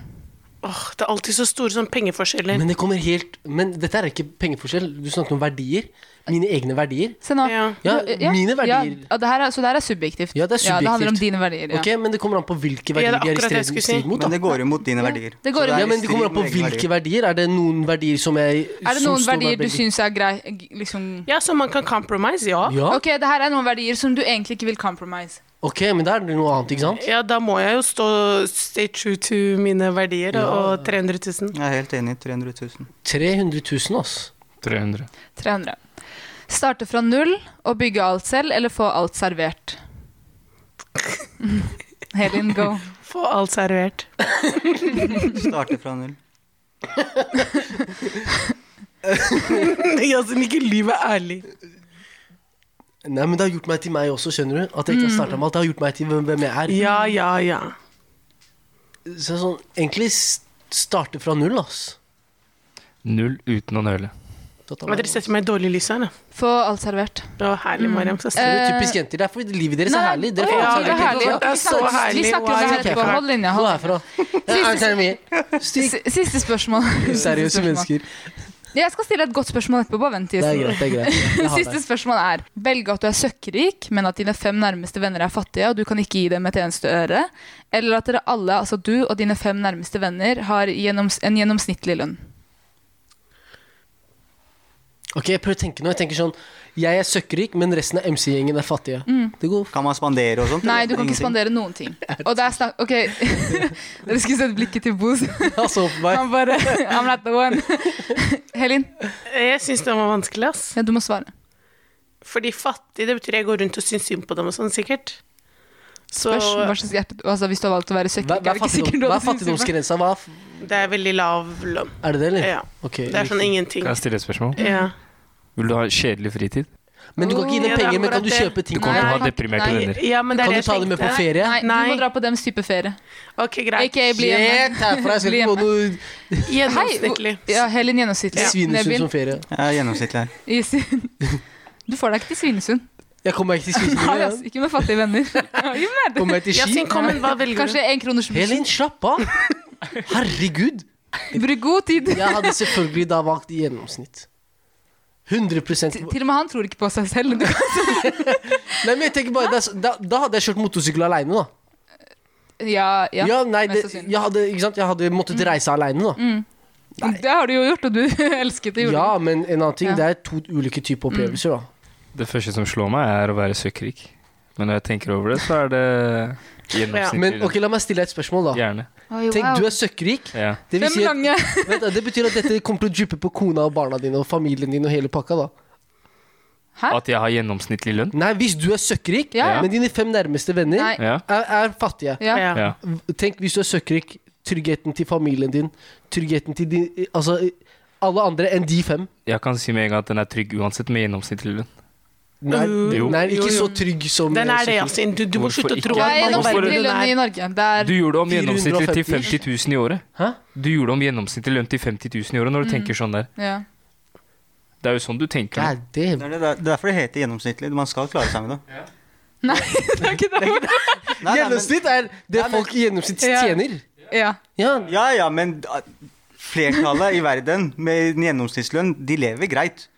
[SPEAKER 3] Åh, det er alltid så store sånn pengeforskjeller.
[SPEAKER 2] Men det kommer helt Men dette er ikke pengeforskjell. Du snakker om verdier. Mine egne verdier.
[SPEAKER 1] Se nå.
[SPEAKER 3] ja.
[SPEAKER 2] Ja,
[SPEAKER 1] Du- ja,
[SPEAKER 2] mine verdier.
[SPEAKER 1] Ja, det her er, så det her er subjektivt.
[SPEAKER 2] Ja, det er
[SPEAKER 1] det handler om
[SPEAKER 2] subjektivt.
[SPEAKER 1] dine verdier. Ja.
[SPEAKER 2] Ok, Men det kommer an på hvilke
[SPEAKER 3] det
[SPEAKER 2] verdier
[SPEAKER 3] er
[SPEAKER 2] de er i
[SPEAKER 3] akkurat det jeg
[SPEAKER 2] strid,
[SPEAKER 3] skulle si.
[SPEAKER 2] strid mot.
[SPEAKER 5] Men
[SPEAKER 2] Da.
[SPEAKER 5] det går jo mot dine
[SPEAKER 1] Ja,
[SPEAKER 5] verdier.
[SPEAKER 1] det går
[SPEAKER 5] Så
[SPEAKER 1] jo-
[SPEAKER 5] er
[SPEAKER 2] Ja,
[SPEAKER 5] i
[SPEAKER 2] men Det kommer
[SPEAKER 5] strid
[SPEAKER 2] an på
[SPEAKER 5] med egne
[SPEAKER 2] hvilke verdier. Er det noen verdier som jeg
[SPEAKER 1] Er det
[SPEAKER 2] som
[SPEAKER 1] noen
[SPEAKER 2] står meg
[SPEAKER 1] verdier du
[SPEAKER 2] veldig-
[SPEAKER 1] syns er grei g- liksom,
[SPEAKER 3] ja, så man kan compromise, ja.
[SPEAKER 2] Ja,
[SPEAKER 1] Ok, det her er noen verdier som du egentlig ikke vil compromise.
[SPEAKER 2] ok, men da er det noe annet, ikke sant?
[SPEAKER 3] Ja, da må jeg jo stå stay true to mine verdier
[SPEAKER 2] Ja.
[SPEAKER 3] og 300 000.
[SPEAKER 5] Jeg er helt enig. 300 000.
[SPEAKER 2] 300 000, ass.
[SPEAKER 4] 300.
[SPEAKER 1] 300. Starte fra null og bygge alt selv, eller få alt servert? *laughs* Helin, go.
[SPEAKER 3] Få alt servert. *laughs*
[SPEAKER 5] Starte fra null.
[SPEAKER 3] ja, som ikke livet er ærlig.
[SPEAKER 2] Nei, men det har gjort meg til meg også, skjønner du? At jeg ikke har startet med alt. Det har gjort meg til hvem hvem jeg er.
[SPEAKER 3] Ja, ja, ja.
[SPEAKER 2] Så det er sånn, egentlig s- starte fra null, ass.
[SPEAKER 4] Null uten å nøle.
[SPEAKER 2] Det er
[SPEAKER 3] Men dere setter meg i dårlig lys her, da.
[SPEAKER 1] Få alt servert.
[SPEAKER 3] Å, herlig, Mariam. Så søt.
[SPEAKER 2] Det er typisk jenter. Det er fordi livet deres
[SPEAKER 1] Eh,
[SPEAKER 2] er
[SPEAKER 1] Nei,
[SPEAKER 2] herlig.
[SPEAKER 1] å
[SPEAKER 2] Dere
[SPEAKER 1] ja,
[SPEAKER 2] får alt
[SPEAKER 1] det er
[SPEAKER 2] servert.
[SPEAKER 1] herlig.
[SPEAKER 3] Ja, det er så
[SPEAKER 1] Vi snakker-
[SPEAKER 3] herlig.
[SPEAKER 1] Vi snakker om det her etterpå. Hold linja.
[SPEAKER 2] Hvor
[SPEAKER 1] Hold.
[SPEAKER 2] er
[SPEAKER 1] *laughs*
[SPEAKER 2] herfra. Det er termin. Stygt.
[SPEAKER 1] Siste spørsmål.
[SPEAKER 2] *laughs* Seriøse mennesker.
[SPEAKER 1] Jeg skal stille et godt spørsmål etterpå. Bare vent.
[SPEAKER 2] Det er
[SPEAKER 1] Jason.
[SPEAKER 2] greit, det er greit. Jeg har
[SPEAKER 1] Siste
[SPEAKER 2] deg.
[SPEAKER 1] spørsmål er Velge at du er søkkrik, men at dine fem nærmeste venner er fattige, og du kan ikke gi dem et eneste øre. Eller at dere alle, altså du og dine fem nærmeste venner, har gjennoms en gjennomsnittlig lønn.
[SPEAKER 2] *laughs* Ok, jeg prøver å tenke nå. Jeg tenker sånn, jeg er søkkrik, men resten av MC-gjengen er fattige.
[SPEAKER 1] Mm.
[SPEAKER 2] Det går *laughs*
[SPEAKER 5] Kan man spandere og sånt?
[SPEAKER 1] Nei,
[SPEAKER 5] eller?
[SPEAKER 1] du kan ikke
[SPEAKER 5] Ingenting.
[SPEAKER 1] spandere noen ting. Og det er snakk Ok, *laughs* dere skulle sett blikket til Boz.
[SPEAKER 2] altså opp meg.
[SPEAKER 1] Han bare I'm not the one. *laughs* Helin,
[SPEAKER 3] Jeg syns den var vanskelig, ass.
[SPEAKER 1] ja, du må svare.
[SPEAKER 3] Fordi fattig, det betyr jeg går rundt og syns synd på dem og sånn, sikkert. Så
[SPEAKER 1] Spørs hva slags hjerte altså, Hvis du har valgt å være
[SPEAKER 2] Hva,
[SPEAKER 1] søkkrik, er
[SPEAKER 2] hva er
[SPEAKER 1] det ikke sikkert
[SPEAKER 2] fattigdom,
[SPEAKER 1] du
[SPEAKER 2] hva
[SPEAKER 1] hadde
[SPEAKER 2] er
[SPEAKER 1] syntes synd på-
[SPEAKER 2] fattigdomsgrensa? Hva er, f-
[SPEAKER 3] det er veldig lav lønn.
[SPEAKER 2] er det det, eller?
[SPEAKER 3] Ja.
[SPEAKER 2] Ok,
[SPEAKER 3] Det er sånn ingenting.
[SPEAKER 4] Kan jeg stille et spørsmål?
[SPEAKER 3] Ja.
[SPEAKER 4] Vil du ha kjedelig fritid?
[SPEAKER 2] Men du kan ikke gi dem
[SPEAKER 3] Ja, det er
[SPEAKER 2] penger, men kan
[SPEAKER 3] akkurat
[SPEAKER 2] du
[SPEAKER 3] det.
[SPEAKER 2] kjøpe ting?
[SPEAKER 4] Du kommer til å ha
[SPEAKER 1] Nei.
[SPEAKER 4] deprimerte
[SPEAKER 1] Nei.
[SPEAKER 4] venner.
[SPEAKER 3] ja, men det
[SPEAKER 2] Kan
[SPEAKER 3] er
[SPEAKER 2] du
[SPEAKER 3] det
[SPEAKER 2] ta
[SPEAKER 3] jeg
[SPEAKER 2] dem med på
[SPEAKER 3] tenkte.
[SPEAKER 2] ferie?
[SPEAKER 1] Nei, du
[SPEAKER 3] Nei.
[SPEAKER 1] må dra på dems type ferie.
[SPEAKER 3] Ok, greit.
[SPEAKER 1] Ikke bli hjemme.
[SPEAKER 2] Shit, herfra, jeg skal
[SPEAKER 1] Bli
[SPEAKER 2] ikke få noe
[SPEAKER 3] Gjennomsnittlig.
[SPEAKER 1] Hei, ja, Helin Gjennomsnittlig.
[SPEAKER 2] Svinesund som ferie.
[SPEAKER 5] Jeg er gjennomsnittlig her.
[SPEAKER 1] i Svin- *laughs* Du får deg ikke til *laughs* Svinesund.
[SPEAKER 2] Jeg kommer meg ikke til
[SPEAKER 1] Nei, altså,
[SPEAKER 2] Svinesund.
[SPEAKER 1] ikke med fattige *laughs* venner. Jo, men
[SPEAKER 2] jeg Kommer meg til Ski.
[SPEAKER 3] Yasin, kom igjen, hva velger du?
[SPEAKER 1] Kanskje en kroners buss.
[SPEAKER 2] Helin, slapp av! Herregud!
[SPEAKER 1] Bruk god tid.
[SPEAKER 2] Jeg hadde selvfølgelig da valgt i gjennomsnitt. 100
[SPEAKER 1] Til til og med han tror ikke på seg selv. Du,
[SPEAKER 2] Nei, men jeg tenker bare, det er så- da, da hadde jeg kjørt motorsykkel aleine, da.
[SPEAKER 1] ja, ja.
[SPEAKER 2] Ja, nei, det,
[SPEAKER 1] mest sannsynlig. Mm.
[SPEAKER 2] jeg, hadde, ikke sant? jeg hadde måttet reise aleine, da.
[SPEAKER 1] Det har du jo gjort, og du *laughs* elsket det. gjorde
[SPEAKER 2] Ja, men en annen ting,
[SPEAKER 1] Ja. Mm.
[SPEAKER 2] det er to ulike typer opplevelser, da.
[SPEAKER 4] Det første som slår meg, er å være søkkrik. Men når jeg tenker over det, så er det
[SPEAKER 2] Men
[SPEAKER 4] gjennomsnittlig.
[SPEAKER 2] ok, la meg stille deg et spørsmål, da.
[SPEAKER 4] Gjerne.
[SPEAKER 1] du. Oi,
[SPEAKER 2] Tenk,
[SPEAKER 1] wow.
[SPEAKER 2] du er søkkrik.
[SPEAKER 4] Ja.
[SPEAKER 2] Det, vil
[SPEAKER 1] Fem
[SPEAKER 2] si at,
[SPEAKER 1] lange.
[SPEAKER 2] vent, da, det betyr at dette kommer til å dryppe på kona og barna dine og familien din og hele pakka, da.
[SPEAKER 1] Hæ?
[SPEAKER 4] At jeg har gjennomsnittlig lønn?
[SPEAKER 2] Nei, hvis du er søkkrik,
[SPEAKER 1] Ja,
[SPEAKER 4] ja.
[SPEAKER 2] men dine fem nærmeste venner
[SPEAKER 1] Nei.
[SPEAKER 2] er,
[SPEAKER 4] Ja.
[SPEAKER 2] er fattige.
[SPEAKER 1] Ja.
[SPEAKER 3] Ja.
[SPEAKER 4] ja.
[SPEAKER 2] Tenk hvis du er søkkrik, tryggheten til familien din, tryggheten til din Altså alle andre enn de fem.
[SPEAKER 4] Jeg kan si med en gang at den er trygg uansett med gjennomsnittlig lønn.
[SPEAKER 2] Nei,
[SPEAKER 3] Jo.
[SPEAKER 2] nei ikke
[SPEAKER 3] Jo, jo.
[SPEAKER 2] så trygg som eh,
[SPEAKER 3] Den er det, altså.
[SPEAKER 2] søkkrik.
[SPEAKER 3] Yasin. Du, du må
[SPEAKER 4] Hvorfor
[SPEAKER 3] slutte å
[SPEAKER 4] ikke?
[SPEAKER 3] tro
[SPEAKER 1] Det er
[SPEAKER 3] at man er
[SPEAKER 4] Hvorfor-
[SPEAKER 3] verre
[SPEAKER 1] gjennomsnittlig
[SPEAKER 3] enn
[SPEAKER 1] lønn i
[SPEAKER 3] hun er.
[SPEAKER 1] Norge. Det er
[SPEAKER 4] Du gjorde om gjennomsnittlig til
[SPEAKER 2] 450
[SPEAKER 4] 50 000 i året.
[SPEAKER 2] Hæ?
[SPEAKER 4] Du gjorde om gjennomsnittlig lønn til 50 000 i året
[SPEAKER 1] Mm.
[SPEAKER 4] når du tenker sånn der.
[SPEAKER 1] ja.
[SPEAKER 4] Det er jo sånn du tenker.
[SPEAKER 2] God damn.
[SPEAKER 5] Det er, det, det er derfor det heter gjennomsnittlig. Man skal klare seg med det.
[SPEAKER 1] Nei, det er ikke det.
[SPEAKER 5] Nei, nei, men-
[SPEAKER 2] Gjennomsnitt er det
[SPEAKER 5] Nei, men-
[SPEAKER 2] folk i gjennomsnitt
[SPEAKER 1] Ja.
[SPEAKER 2] tjener.
[SPEAKER 1] Ja.
[SPEAKER 2] Ja,
[SPEAKER 5] Ja, ah, ja, men da- flertallet i verden med en gjennomsnittslønn, de lever greit.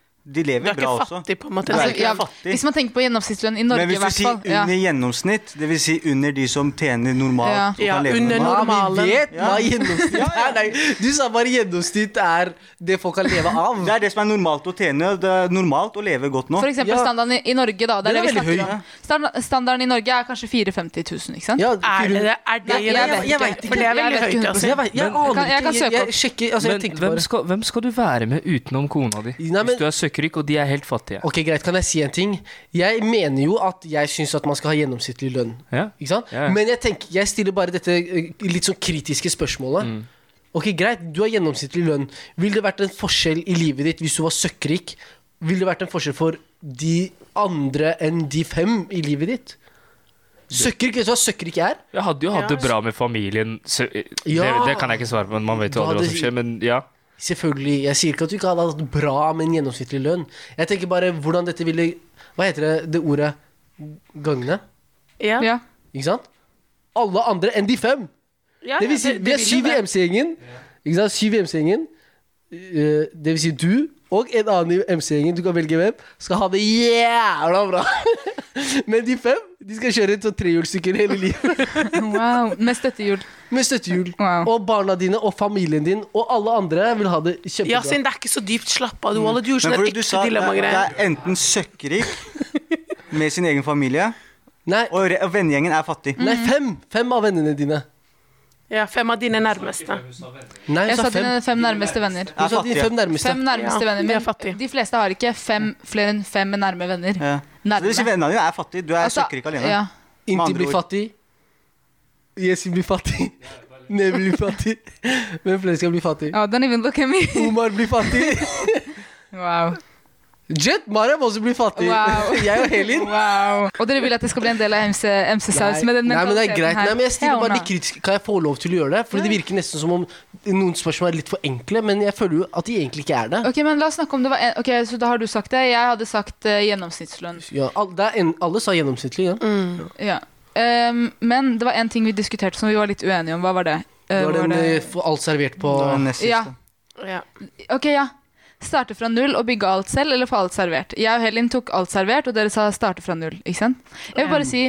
[SPEAKER 3] Du
[SPEAKER 5] de lever
[SPEAKER 3] er
[SPEAKER 5] bra
[SPEAKER 3] ikke
[SPEAKER 5] også.
[SPEAKER 3] fattig, på en måte.
[SPEAKER 5] Du er
[SPEAKER 1] Altså,
[SPEAKER 5] ikke
[SPEAKER 1] ja,
[SPEAKER 5] fattig.
[SPEAKER 1] Hvis man tenker på gjennomsnittslønn i Norge,
[SPEAKER 5] Men
[SPEAKER 1] i
[SPEAKER 5] hvis du
[SPEAKER 1] hvert
[SPEAKER 5] sier
[SPEAKER 1] fall. Ja.
[SPEAKER 5] under gjennomsnitt, dvs. Si under de som tjener normalt
[SPEAKER 1] Ja.
[SPEAKER 5] og kan
[SPEAKER 3] Ja,
[SPEAKER 5] leve
[SPEAKER 3] under
[SPEAKER 5] normalt
[SPEAKER 3] normalen.
[SPEAKER 2] Vi vet hva
[SPEAKER 5] Ja.
[SPEAKER 2] gjennomsnitt
[SPEAKER 5] *laughs* Ja, ja.
[SPEAKER 2] er. Nei, du sa bare gjennomsnitt er det folk kan leve av.
[SPEAKER 5] Det er det som er normalt å tjene. Det er normalt å leve godt nå.
[SPEAKER 1] For eksempel
[SPEAKER 2] Ja.
[SPEAKER 1] standarden i, i Norge, da. Det er
[SPEAKER 2] Den
[SPEAKER 1] det vi
[SPEAKER 2] er veldig
[SPEAKER 1] snakker om. Standard, standarden i Norge er kanskje 450 000, ikke sant?
[SPEAKER 2] Ja,
[SPEAKER 3] Er det det? Er det
[SPEAKER 1] Nei, jeg vet
[SPEAKER 3] gjennomsnitt?
[SPEAKER 1] ikke.
[SPEAKER 2] Jeg vet ikke.
[SPEAKER 3] For det er
[SPEAKER 1] Jeg
[SPEAKER 3] veldig
[SPEAKER 1] vet
[SPEAKER 3] høyt,
[SPEAKER 1] ikke.
[SPEAKER 3] altså.
[SPEAKER 2] Jeg, vet, jeg
[SPEAKER 4] Men-
[SPEAKER 1] Jeg
[SPEAKER 2] aner
[SPEAKER 1] kan- jeg
[SPEAKER 2] ikke.
[SPEAKER 1] kan søke
[SPEAKER 2] Jeg,
[SPEAKER 1] opp.
[SPEAKER 2] jeg sjekker altså,
[SPEAKER 4] Men
[SPEAKER 2] jeg tenkte
[SPEAKER 4] hvem
[SPEAKER 2] bare.
[SPEAKER 4] skal, hvem skal du være med utenom kona di?
[SPEAKER 2] Nei, men-
[SPEAKER 4] Hvis du er søkkrik, og de er helt fattige.
[SPEAKER 2] Ok, Greit, kan jeg si en ting? Jeg mener jo at jeg syns at man skal ha gjennomsnittlig lønn.
[SPEAKER 4] Ja.
[SPEAKER 2] Ikke sant?
[SPEAKER 4] Ja, ja.
[SPEAKER 2] Men jeg tenker, jeg stiller bare dette eh, litt sånn kritiske spørsmålet.
[SPEAKER 4] Mm.
[SPEAKER 2] Ok, Greit, du har gjennomsnittlig lønn. Vil det vært en forskjell i livet ditt hvis du var søkkrik? Vil det vært en forskjell for de andre enn de fem i livet ditt? Søkkrik, vet du hva søkkrik er?
[SPEAKER 4] Jeg hadde jo hatt det
[SPEAKER 3] Ja.
[SPEAKER 4] bra med familien. Så, eh, det,
[SPEAKER 2] Ja.
[SPEAKER 4] det kan jeg ikke svare på, men man vet jo
[SPEAKER 2] Du
[SPEAKER 4] aldri hva
[SPEAKER 2] hadde-
[SPEAKER 4] som skjer. Men ja.
[SPEAKER 2] Selvfølgelig. Jeg sier ikke at du ikke hadde hatt bra med en gjennomsnittlig lønn. Jeg tenker bare hvordan dette ville Hva heter det, det ordet? Gagne?
[SPEAKER 3] Ja.
[SPEAKER 1] Ja.
[SPEAKER 2] Ikke sant? Alle andre enn de fem!
[SPEAKER 3] Ja,
[SPEAKER 2] Det vil si,
[SPEAKER 3] det-
[SPEAKER 2] vi
[SPEAKER 3] det
[SPEAKER 2] er
[SPEAKER 3] vil jo
[SPEAKER 2] syv i
[SPEAKER 3] det.
[SPEAKER 2] MC-gjengen. Ikke sant? Syv i MC-gjengen. Eh, Det vil si du og en annen i MC-gjengen, du kan velge hvem, skal ha det jævla bra. *laughs* Men de fem de skal kjøre et sånt trehjulssykkel hele
[SPEAKER 3] *laughs*
[SPEAKER 2] livet
[SPEAKER 1] Wow. Med
[SPEAKER 2] *laughs*
[SPEAKER 1] støttehjul.
[SPEAKER 2] med støttehjul.
[SPEAKER 1] Wow.
[SPEAKER 2] Og barna dine og familien din og alle andre vil ha det
[SPEAKER 3] Ja,
[SPEAKER 2] kjempebra.
[SPEAKER 3] siden det er ikke så dypt slapp av, du, Ola. Du gjorde sånn
[SPEAKER 5] Men fordi
[SPEAKER 3] ekte
[SPEAKER 5] du sa det er, det
[SPEAKER 3] dilemmagreier.
[SPEAKER 5] er enten søkkrik med sin egen familie,
[SPEAKER 2] Nei,
[SPEAKER 5] og, re- og vennegjengen er fattig.
[SPEAKER 2] nei,
[SPEAKER 1] Mhm.
[SPEAKER 2] fem! Fem av vennene dine.
[SPEAKER 3] Ja, fem av dine nærmeste.
[SPEAKER 2] Nei,
[SPEAKER 1] Jeg
[SPEAKER 2] hun sa
[SPEAKER 1] sa
[SPEAKER 2] fem.
[SPEAKER 1] dine fem nærmeste venner.
[SPEAKER 2] Hun sa dine
[SPEAKER 5] fattige.
[SPEAKER 2] fem nærmeste.
[SPEAKER 1] Fem nærmeste
[SPEAKER 3] Ja,
[SPEAKER 1] venner.
[SPEAKER 3] de er
[SPEAKER 1] Men
[SPEAKER 3] fattige.
[SPEAKER 1] de fleste har ikke fem, flere enn fem nærme venner.
[SPEAKER 5] Ja. Så det vil si
[SPEAKER 1] Nærme.
[SPEAKER 5] vennene dine er fattige. Du er
[SPEAKER 1] Altså,
[SPEAKER 5] søkkrik alene.
[SPEAKER 1] ja.
[SPEAKER 5] Med
[SPEAKER 2] Inntil
[SPEAKER 5] andre
[SPEAKER 2] blir
[SPEAKER 5] ord.
[SPEAKER 2] fattig. Yesin blir fattig. Nevi blir fattig. Men flere skal bli fattig.
[SPEAKER 1] Oh, don't even look at me.
[SPEAKER 2] Omar blir fattig.
[SPEAKER 1] *laughs* Wow.
[SPEAKER 2] Jet Mariam også blir fattig.
[SPEAKER 1] Wow.
[SPEAKER 2] *laughs* jeg og Helin.
[SPEAKER 1] wow. Og dere vil at det skal bli en del av MC, MC-saus med den
[SPEAKER 2] Nei, men det er
[SPEAKER 1] mentaliteten
[SPEAKER 2] greit.
[SPEAKER 1] her.
[SPEAKER 2] Nei, men jeg stiller
[SPEAKER 1] Ja,
[SPEAKER 2] bare
[SPEAKER 1] Ona.
[SPEAKER 2] litt kritisk. Kan jeg få lov til å gjøre det? Fordi det virker nesten som om noen spørsmål er litt for enkle, men jeg føler jo at de egentlig ikke er det.
[SPEAKER 1] Ok, men la oss snakke om det var en... Ok, så da har du sagt det. Jeg hadde sagt eh, gjennomsnittslønn.
[SPEAKER 2] Ja, al- det er en, alle sa gjennomsnittlig, ja.
[SPEAKER 1] Mm, Ja. Ehm, men det var en ting vi diskuterte som vi var litt uenige om. Hva var det? Eh,
[SPEAKER 2] Det var
[SPEAKER 1] var
[SPEAKER 2] den eh,
[SPEAKER 1] det-
[SPEAKER 2] for alt servert på
[SPEAKER 5] Det var den nest siste.
[SPEAKER 1] Ja.
[SPEAKER 3] Ja.
[SPEAKER 1] Ok, ja. Starte fra null og bygge alt selv, eller få alt servert? Jeg og Helin tok alt servert, og dere sa starte fra null. ikke sant? Jeg vil bare si,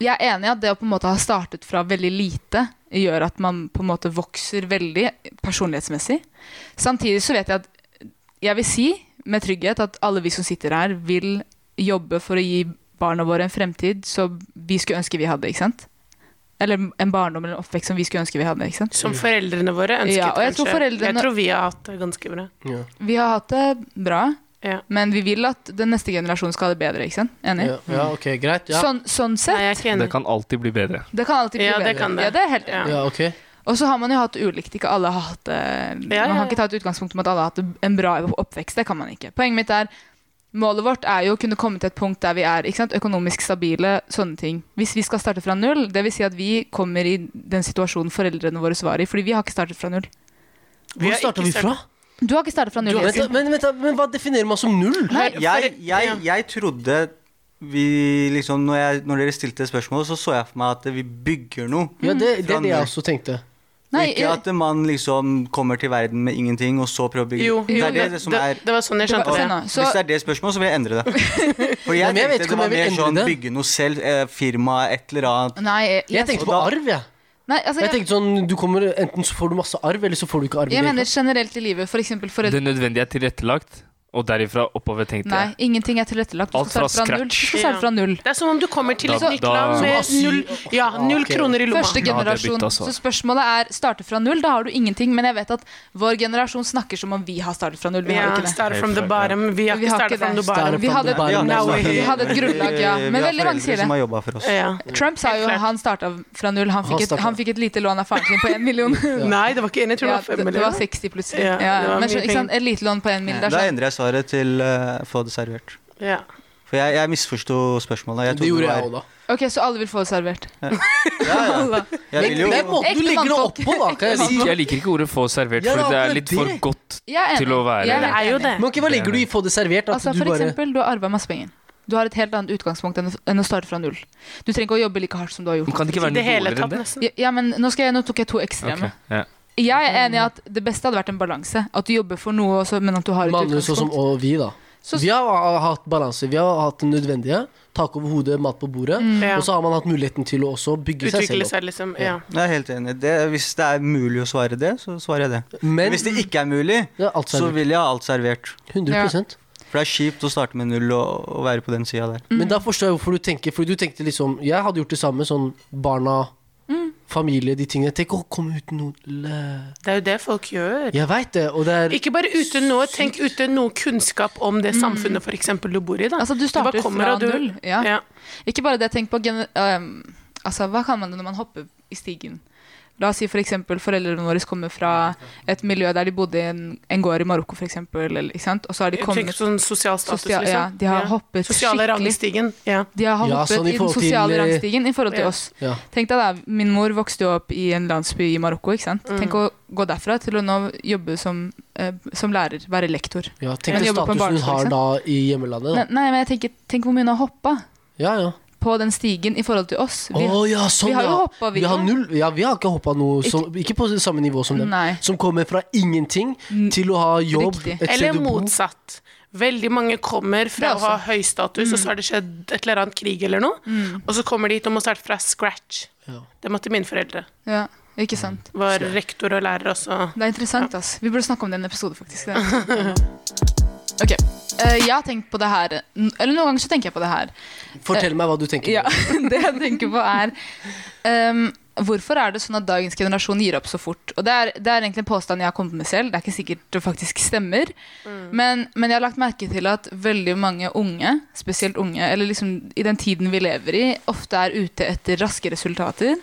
[SPEAKER 1] jeg er enig i at det å på en måte ha startet fra veldig lite, gjør at man på en måte vokser veldig personlighetsmessig. Samtidig så vet jeg at jeg vil si med trygghet at alle vi som sitter her, vil jobbe for å gi barna våre en fremtid som vi skulle ønske vi hadde, ikke sant? Eller en barndom eller en oppvekst som vi skulle ønske vi hadde. ikke sant?
[SPEAKER 3] Som foreldrene våre ønsket,
[SPEAKER 1] Ja, og jeg tror
[SPEAKER 3] kanskje.
[SPEAKER 1] foreldrene-
[SPEAKER 3] Jeg tror vi har hatt det ganske bra.
[SPEAKER 2] ja.
[SPEAKER 1] Vi har hatt det bra,
[SPEAKER 3] Ja.
[SPEAKER 1] men vi vil at den neste generasjonen skal ha det bedre. ikke sant? Enig?
[SPEAKER 2] Ja, ja, ok, greit. Ja.
[SPEAKER 1] Sånn, sånn
[SPEAKER 3] Nei,
[SPEAKER 1] sett.
[SPEAKER 3] jeg er ikke
[SPEAKER 4] Det
[SPEAKER 3] enig.
[SPEAKER 4] kan alltid bli bedre.
[SPEAKER 1] Det kan alltid bli
[SPEAKER 3] Ja,
[SPEAKER 1] bedre.
[SPEAKER 3] det kan det.
[SPEAKER 1] Ja, det er helt
[SPEAKER 3] Ja.
[SPEAKER 2] ja, ok.
[SPEAKER 1] Og så har man jo hatt ulikt. Ikke alle har hatt det
[SPEAKER 3] Ja, ja,
[SPEAKER 1] Man
[SPEAKER 3] ja.
[SPEAKER 1] kan ikke ta et utgangspunkt om at alle har hatt en bra oppvekst. Det kan man ikke. Poenget mitt er Målet vårt er jo å kunne komme til et punkt der vi er ikke sant? økonomisk stabile. sånne ting. Hvis vi skal starte fra null, dvs. Si at vi kommer i den situasjonen foreldrene våre var i. fordi vi har ikke startet fra null.
[SPEAKER 3] har
[SPEAKER 2] Hvor starta
[SPEAKER 3] ikke
[SPEAKER 2] vi
[SPEAKER 3] startet-
[SPEAKER 2] fra?
[SPEAKER 1] Du har ikke startet fra
[SPEAKER 2] Du,
[SPEAKER 1] null.
[SPEAKER 2] vent, da,
[SPEAKER 1] Yasin.
[SPEAKER 2] men, vent, da, men hva definerer man som null?
[SPEAKER 5] Jeg, jeg, jeg trodde vi liksom når, jeg, når dere stilte spørsmål, så så jeg for meg at vi bygger noe.
[SPEAKER 2] Ja, det, det
[SPEAKER 5] Fra
[SPEAKER 2] er det
[SPEAKER 5] null.
[SPEAKER 2] jeg også tenkte.
[SPEAKER 1] Nei,
[SPEAKER 5] ikke at man liksom kommer til verden med ingenting, og så prøver å bygge
[SPEAKER 3] Jo,
[SPEAKER 5] Det
[SPEAKER 3] jo
[SPEAKER 5] er det, det som er
[SPEAKER 3] det var sånn jeg
[SPEAKER 1] Det var-
[SPEAKER 3] skjønte
[SPEAKER 1] se
[SPEAKER 3] det.
[SPEAKER 1] nå, så-
[SPEAKER 5] Hvis det er det spørsmålet, så vil jeg
[SPEAKER 1] *laughs*
[SPEAKER 5] endre det. For
[SPEAKER 2] Ja,
[SPEAKER 5] jeg
[SPEAKER 2] men jeg vet
[SPEAKER 5] tenkte
[SPEAKER 2] ikke
[SPEAKER 5] det
[SPEAKER 2] om jeg
[SPEAKER 5] var
[SPEAKER 2] vil
[SPEAKER 5] mer
[SPEAKER 2] endre
[SPEAKER 5] sånn
[SPEAKER 2] det.
[SPEAKER 5] bygge noe selv, eh, firma, et eller annet.
[SPEAKER 1] Nei, jeg,
[SPEAKER 2] Jeg tenkte på
[SPEAKER 5] Og da-
[SPEAKER 2] arv, jeg.
[SPEAKER 1] nei, altså,
[SPEAKER 2] Jeg
[SPEAKER 1] jeg,
[SPEAKER 2] tenkte sånn, du kommer, Enten så får du masse arv, eller så får du ikke arv. i
[SPEAKER 1] jeg
[SPEAKER 2] det hele
[SPEAKER 1] mener generelt i livet. For eksempel foreldre
[SPEAKER 4] Det nødvendige er tilrettelagt, og derifra oppover, tenkte
[SPEAKER 1] Nei,
[SPEAKER 4] jeg.
[SPEAKER 1] ingenting er tilrettelagt. Du
[SPEAKER 4] Alt
[SPEAKER 1] skal
[SPEAKER 4] fra
[SPEAKER 1] starte fra null. Du skal
[SPEAKER 3] scratch.
[SPEAKER 1] starte fra null.
[SPEAKER 3] Det er som om du kommer til et
[SPEAKER 4] Da-
[SPEAKER 3] nytt
[SPEAKER 4] da-
[SPEAKER 3] land med
[SPEAKER 2] Som asyl.
[SPEAKER 3] null, ja, null
[SPEAKER 2] ok.
[SPEAKER 3] kroner i
[SPEAKER 1] Første
[SPEAKER 3] lomma.
[SPEAKER 4] Ja, det er
[SPEAKER 1] generasjon.
[SPEAKER 4] bytt, altså.
[SPEAKER 1] Så spørsmålet er starte fra null. Da har du ingenting. Men jeg vet at vår generasjon snakker som om vi har startet fra null. Vi
[SPEAKER 3] Ja,
[SPEAKER 1] har jo ikke det.
[SPEAKER 3] start from the bottom. Vi har
[SPEAKER 1] Vi
[SPEAKER 3] ikke
[SPEAKER 1] har
[SPEAKER 3] startet
[SPEAKER 1] ikke
[SPEAKER 3] from
[SPEAKER 1] det.
[SPEAKER 3] the
[SPEAKER 2] Start
[SPEAKER 3] bottom.
[SPEAKER 1] Vi hadde,
[SPEAKER 2] Bare sånn-
[SPEAKER 5] Ja,
[SPEAKER 2] om det
[SPEAKER 3] Now
[SPEAKER 5] men-
[SPEAKER 3] we-
[SPEAKER 1] vi hadde et grunnlag, ja.
[SPEAKER 5] Eh, Vi
[SPEAKER 1] Men
[SPEAKER 5] har
[SPEAKER 1] veldig mange
[SPEAKER 5] foreldre
[SPEAKER 1] sier det.
[SPEAKER 5] Som har jobbet for oss.
[SPEAKER 3] Ja.
[SPEAKER 1] Trump sa jo
[SPEAKER 3] Helt klart.
[SPEAKER 1] han starta fra null. Han
[SPEAKER 2] Han
[SPEAKER 1] fikk, et,
[SPEAKER 2] startet.
[SPEAKER 1] han fikk et lite lån av faren sin på én
[SPEAKER 3] *laughs*
[SPEAKER 1] million.
[SPEAKER 3] Nei, det var ikke en, jeg
[SPEAKER 1] Ja,
[SPEAKER 3] tror det var
[SPEAKER 1] det,
[SPEAKER 3] fem
[SPEAKER 1] det var
[SPEAKER 3] eller noe.
[SPEAKER 1] 60 plutselig.
[SPEAKER 3] Ja,
[SPEAKER 1] Ja,
[SPEAKER 3] det var
[SPEAKER 1] men
[SPEAKER 3] mye
[SPEAKER 1] skjønner- ikke sant? Et lite lån på én mil. Det er
[SPEAKER 5] Da
[SPEAKER 1] sånn.
[SPEAKER 5] endrer jeg svaret til eh, få det servert.
[SPEAKER 3] Ja.
[SPEAKER 5] For jeg, jeg misforsto spørsmålet. Jeg
[SPEAKER 2] tatt. Det
[SPEAKER 5] trodde
[SPEAKER 2] gjorde
[SPEAKER 5] var-
[SPEAKER 2] jeg òg, da.
[SPEAKER 1] Ok, så alle vil få det servert.
[SPEAKER 5] Ja, ja. Jeg
[SPEAKER 2] Men
[SPEAKER 5] vil jo
[SPEAKER 2] det er måten du
[SPEAKER 1] Ekte
[SPEAKER 2] legger det opp
[SPEAKER 1] mannfolk.
[SPEAKER 2] på, da. Kan jeg
[SPEAKER 4] Jeg
[SPEAKER 2] si.
[SPEAKER 4] liker, jeg liker ikke ordet 'få servert',
[SPEAKER 2] Ja, det
[SPEAKER 4] for
[SPEAKER 2] er
[SPEAKER 4] det er
[SPEAKER 2] akkurat
[SPEAKER 4] litt for
[SPEAKER 2] det.
[SPEAKER 4] godt.
[SPEAKER 1] Jeg er enig.
[SPEAKER 4] Til å være-
[SPEAKER 1] Jeg
[SPEAKER 3] Det er
[SPEAKER 1] helt
[SPEAKER 3] jo
[SPEAKER 1] enig.
[SPEAKER 3] det.
[SPEAKER 2] Men ok, hva legger du i 'få det servert'? At
[SPEAKER 1] Altså,
[SPEAKER 2] du
[SPEAKER 1] for
[SPEAKER 2] bare
[SPEAKER 1] eksempel, du har arva masse penger. Du har et helt annet utgangspunkt enn å- enn å starte fra null. Du trenger ikke å jobbe like hardt som du har
[SPEAKER 4] Man
[SPEAKER 1] gjort.
[SPEAKER 4] kan ikke
[SPEAKER 3] I
[SPEAKER 4] være
[SPEAKER 3] det
[SPEAKER 4] noe
[SPEAKER 3] hele
[SPEAKER 4] dårligere
[SPEAKER 3] tatt,
[SPEAKER 4] enn det.
[SPEAKER 3] nesten.
[SPEAKER 1] Ja, ja, men nå, skal jeg, nå tok jeg to ekstreme.
[SPEAKER 4] Ok, ja.
[SPEAKER 1] Jeg er enig i at det beste hadde vært en balanse. At du jobber for noe, også, men at du har et
[SPEAKER 2] Manus sånn som
[SPEAKER 1] utgangspunkt.
[SPEAKER 2] og vi, da.
[SPEAKER 1] Så-
[SPEAKER 2] Vi har ha- hatt balanse. Vi har hatt det nødvendige. Tak over hodet, mat på bordet.
[SPEAKER 1] Mm.
[SPEAKER 3] Ja.
[SPEAKER 2] Og så har man hatt muligheten til å også bygge seg selv
[SPEAKER 3] Utvikle
[SPEAKER 2] opp.
[SPEAKER 3] seg, liksom. Ja.
[SPEAKER 5] Jeg er helt enig. Det, hvis det er mulig å svare det, så svarer jeg det.
[SPEAKER 2] Men
[SPEAKER 5] hvis det ikke er mulig,
[SPEAKER 2] ja, alt
[SPEAKER 5] så
[SPEAKER 2] servert.
[SPEAKER 5] vil jeg ha alt servert.
[SPEAKER 2] 100
[SPEAKER 5] For det er kjipt å starte med null og, og være på den sida der.
[SPEAKER 1] Mm.
[SPEAKER 2] Men da forstår jeg hvorfor du tenker. Fordi du tenkte liksom Jeg hadde gjort det samme. Sånn barna,
[SPEAKER 1] Mm.
[SPEAKER 2] familie, de tingene. Tenk å komme uten noe le-
[SPEAKER 3] Det er jo det folk gjør.
[SPEAKER 2] Jeg veit det, og det er
[SPEAKER 3] Ikke bare uten noe, tenk uten noe kunnskap om det samfunnet for eksempel du bor i. da.
[SPEAKER 1] Mm. Altså, du starter
[SPEAKER 3] bare kommer,
[SPEAKER 1] fra
[SPEAKER 3] og du-
[SPEAKER 1] null. Ja.
[SPEAKER 3] Ja.
[SPEAKER 1] Ikke bare det, tenk på gen ehm, Altså, hva kan man når man hopper i stigen? La oss si for eksempel foreldrene våre kommer fra et miljø der de bodde i en, en gård i Marokko, for eksempel, eller, ikke sant? Og så har de
[SPEAKER 3] Jeg
[SPEAKER 1] kommet
[SPEAKER 3] tenker sånn sosial status,
[SPEAKER 1] Sosial-
[SPEAKER 3] liksom.
[SPEAKER 1] ja, de har hoppet
[SPEAKER 3] Sosiale
[SPEAKER 1] skikkelig.
[SPEAKER 3] rangstigen. Ja.
[SPEAKER 1] De har
[SPEAKER 2] Ja,
[SPEAKER 1] hoppet
[SPEAKER 2] sånn i
[SPEAKER 1] i den
[SPEAKER 2] forhold til-
[SPEAKER 1] sosiale rangstigen i forhold til
[SPEAKER 3] Ja.
[SPEAKER 1] oss.
[SPEAKER 2] Ja.
[SPEAKER 1] Tenk deg da, Min mor vokste jo opp i en landsby i Marokko. ikke sant? Tenk å gå derfra til å nå jobbe som, eh, som lærer, være lektor.
[SPEAKER 2] ja, Tenk
[SPEAKER 1] Men
[SPEAKER 2] den
[SPEAKER 1] jobber på en
[SPEAKER 2] statusen
[SPEAKER 1] barneskole,
[SPEAKER 2] hun har
[SPEAKER 1] ikke
[SPEAKER 2] da i hjemmelandet.
[SPEAKER 1] Nei,
[SPEAKER 2] Da.
[SPEAKER 1] nei, men jeg tenker, Tenk hvor mye hun har hoppa
[SPEAKER 2] Ja, ja.
[SPEAKER 1] på den stigen i forhold til oss.
[SPEAKER 2] Å ja, sånn,
[SPEAKER 1] vi har jo
[SPEAKER 2] ja.
[SPEAKER 1] hoppet, vi
[SPEAKER 2] vi har
[SPEAKER 1] da.
[SPEAKER 2] null, ja. Vi har ikke hoppa noe som, Ikke på samme nivå som dem.
[SPEAKER 1] Nei.
[SPEAKER 2] Som kommer fra ingenting til å ha jobb,
[SPEAKER 1] Riktig.
[SPEAKER 2] et
[SPEAKER 3] Eller
[SPEAKER 2] sted å bo.
[SPEAKER 3] motsatt. Veldig mange kommer fra
[SPEAKER 1] Det
[SPEAKER 3] å ha
[SPEAKER 1] også. Mm.
[SPEAKER 3] høy status, og så har det skjedd et eller annet krig eller noe, og så kommer de hit og må starte fra scratch.
[SPEAKER 2] Ja.
[SPEAKER 3] Det måtte mine foreldre.
[SPEAKER 1] Ja, ikke sant?
[SPEAKER 3] Var rektor og lærer også.
[SPEAKER 1] Det er interessant, ass. Vi burde snakke om den episoden, faktisk. Det er interessant. Ok, eh, jeg har tenkt på det her n- Eller noen ganger så tenker jeg på det her.
[SPEAKER 2] Fortell meg hva du tenker.
[SPEAKER 1] Ja, *laughs* det jeg tenker på er ehm, Hvorfor er det sånn at dagens generasjon gir opp så fort? Og det er, det er egentlig en påstand jeg har kommet med selv. Det er ikke sikkert det faktisk stemmer. Men, men jeg har lagt merke til at veldig mange unge, spesielt unge, eller liksom i den tiden vi lever i, ofte er ute etter raske resultater.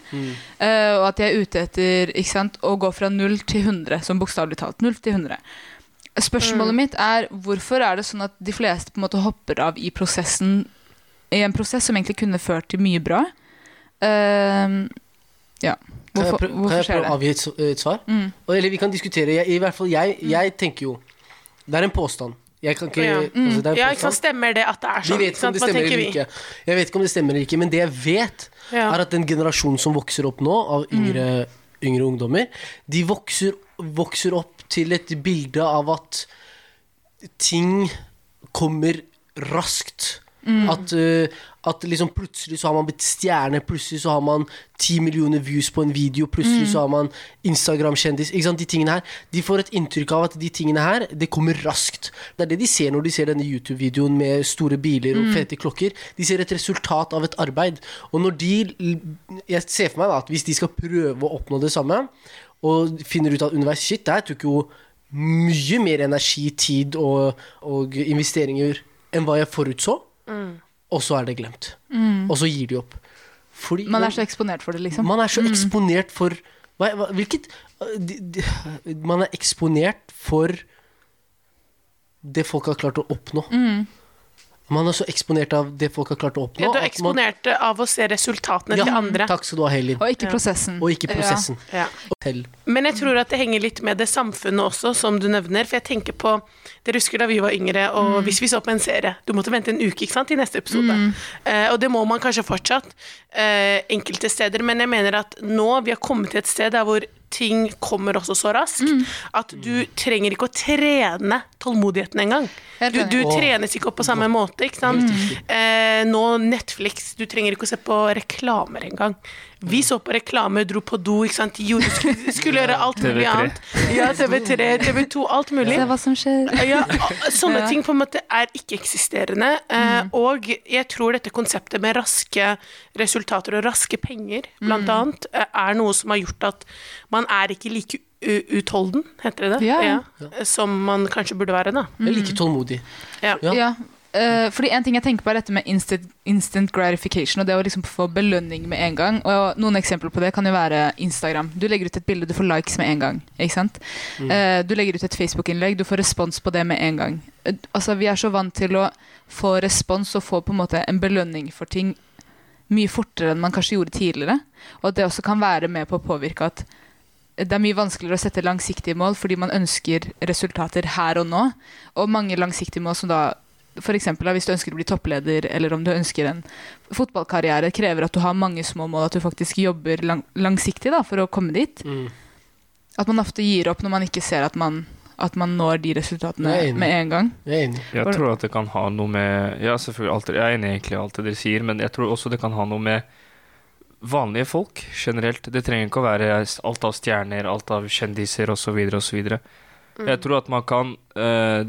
[SPEAKER 1] Eh, og at de er ute etter ikke sant, å gå fra 0 til 100, som bokstavelig talt. 0 til 100. Spørsmålet mitt er hvorfor er det sånn at de fleste på en måte hopper av i prosessen i en prosess som egentlig kunne ført til mye bra. Ehm, ja.
[SPEAKER 2] Kan jeg
[SPEAKER 1] Hvorfor,
[SPEAKER 2] prø- kan
[SPEAKER 1] hvorfor
[SPEAKER 2] jeg
[SPEAKER 1] skjer
[SPEAKER 2] prøve å
[SPEAKER 1] det?
[SPEAKER 2] avgi et, s- et svar?
[SPEAKER 3] Mm.
[SPEAKER 2] Og- Eller vi kan diskutere. Jeg, I hvert fall, jeg, jeg tenker jo Det er en påstand. Jeg kan ikke,
[SPEAKER 3] Ja. Mm.
[SPEAKER 2] altså, det er en
[SPEAKER 3] Ja,
[SPEAKER 2] påstand.
[SPEAKER 3] ikke sant, stemmer det at det er
[SPEAKER 2] Vi
[SPEAKER 3] sånn?
[SPEAKER 2] vet ikke om det
[SPEAKER 3] sant? Hva
[SPEAKER 2] stemmer
[SPEAKER 3] tenker
[SPEAKER 2] eller
[SPEAKER 3] vi?
[SPEAKER 2] ikke. Jeg vet ikke om det stemmer eller ikke, men det jeg vet,
[SPEAKER 3] Ja. Mm.
[SPEAKER 2] er at den generasjonen som vokser opp nå, av yngre, yngre ungdommer, de vokser, vokser opp til et bilde av at ting kommer raskt. At, eh, at liksom plutselig så har man blitt stjerne, plutselig så har man ti millioner views på en video, plutselig så har man Instagram-kjendis. Ikke sant, De tingene her De får et inntrykk av at de tingene her, det kommer raskt. Det er det de ser når de ser denne YouTube-videoen med store biler og fete klokker. De ser et resultat av et arbeid. Og når de l- Jeg ser for meg da at hvis de skal prøve å oppnå det samme, og finner ut at underveis Shit, det her tok jo mye mer energi, tid og, og investeringer enn hva jeg forutså.
[SPEAKER 3] Mm.
[SPEAKER 2] Og så er det glemt. Og så gir de opp. Fordi
[SPEAKER 1] Mm. Man er så eksponert for det, liksom.
[SPEAKER 2] man er så eksponert for hva, hva, Hvilket øh, de, de, Man er eksponert for det folk har klart å oppnå.
[SPEAKER 1] Mm.
[SPEAKER 2] Man er så eksponert av det folk har klart å oppnå.
[SPEAKER 3] Ja, du er
[SPEAKER 2] at man-
[SPEAKER 3] eksponert av å se resultatene til
[SPEAKER 2] Ja,
[SPEAKER 3] andre.
[SPEAKER 2] Takk skal du ha, Helin.
[SPEAKER 1] Og ikke prosessen.
[SPEAKER 2] Og ikke prosessen.
[SPEAKER 3] Ja.
[SPEAKER 2] Selv.
[SPEAKER 3] Men jeg tror at det henger litt med det samfunnet også, som du nevner. For jeg tenker på Dere husker da vi var yngre, og hvis vi så på en serie Du måtte vente en uke ikke sant, til neste episode. Eh, og det må man kanskje fortsatt eh, enkelte steder. Men jeg mener at nå vi har kommet til et sted der hvor ting kommer også så raskt at du trenger ikke å trene tålmodigheten engang.
[SPEAKER 1] Helt
[SPEAKER 3] Du,
[SPEAKER 1] enig.
[SPEAKER 3] du
[SPEAKER 2] Åh.
[SPEAKER 3] trenes ikke opp på samme måte, ikke
[SPEAKER 2] Mm.
[SPEAKER 1] Mm.
[SPEAKER 3] sant. Eh, nå Netflix, du trenger ikke å se på reklamer engang. Vi så på reklamer, dro på do, ikke sant. Gjorde, skulle, skulle gjøre alt mulig
[SPEAKER 4] TV3.
[SPEAKER 3] annet. Ja, TV3, TV2, alt mulig.
[SPEAKER 1] Se hva som skjer. *laughs*
[SPEAKER 3] Ja, og sånne
[SPEAKER 1] Ja. Mm.
[SPEAKER 3] ting på en måte er ikke-eksisterende. eh, Og jeg tror dette konseptet med raske resultater og raske penger, blant
[SPEAKER 1] Mm.
[SPEAKER 3] annet, eh, er noe som har gjort at man er ikke like u- utholden, heter det det?
[SPEAKER 1] Ja.
[SPEAKER 3] Som man kanskje burde være, da.
[SPEAKER 2] Eller
[SPEAKER 1] Mm.
[SPEAKER 2] ikke tålmodig.
[SPEAKER 3] Ja.
[SPEAKER 2] Ja.
[SPEAKER 1] Ja. eh, fordi en ting jeg tenker på er dette med instant, instant gratification og det å liksom få belønning med en gang. Og Noen eksempler på det kan jo være Instagram. Du legger ut et bilde, du får likes med en gang. Ikke sant? Eh, du legger ut et Facebook-innlegg, du får respons på det med en gang. Eh, altså, vi er så vant til å få respons og få på en måte en belønning for ting mye fortere enn man kanskje gjorde tidligere. Og at det også kan være med på å påvirke at det er mye vanskeligere å sette langsiktige mål fordi man ønsker resultater her og nå. Og mange langsiktige mål som da f.eks. hvis du ønsker å bli toppleder, eller om du ønsker en fotballkarriere, krever at du har mange små mål, at du faktisk jobber
[SPEAKER 2] Mm.
[SPEAKER 1] lang langsiktig da, for å komme dit. At man ofte gir opp når man ikke ser at man at man når de resultatene
[SPEAKER 2] Jeg er enig.
[SPEAKER 1] med en gang.
[SPEAKER 2] Jeg er enig.
[SPEAKER 4] Jeg tror at det kan ha noe med Ja, selvfølgelig, alt, jeg er enig egentlig i alt det dere sier, men jeg tror også det kan ha noe med vanlige folk generelt. Det trenger ikke å være alt av stjerner, alt av kjendiser osv. osv.
[SPEAKER 3] Mm.
[SPEAKER 4] Jeg tror at man kan eh,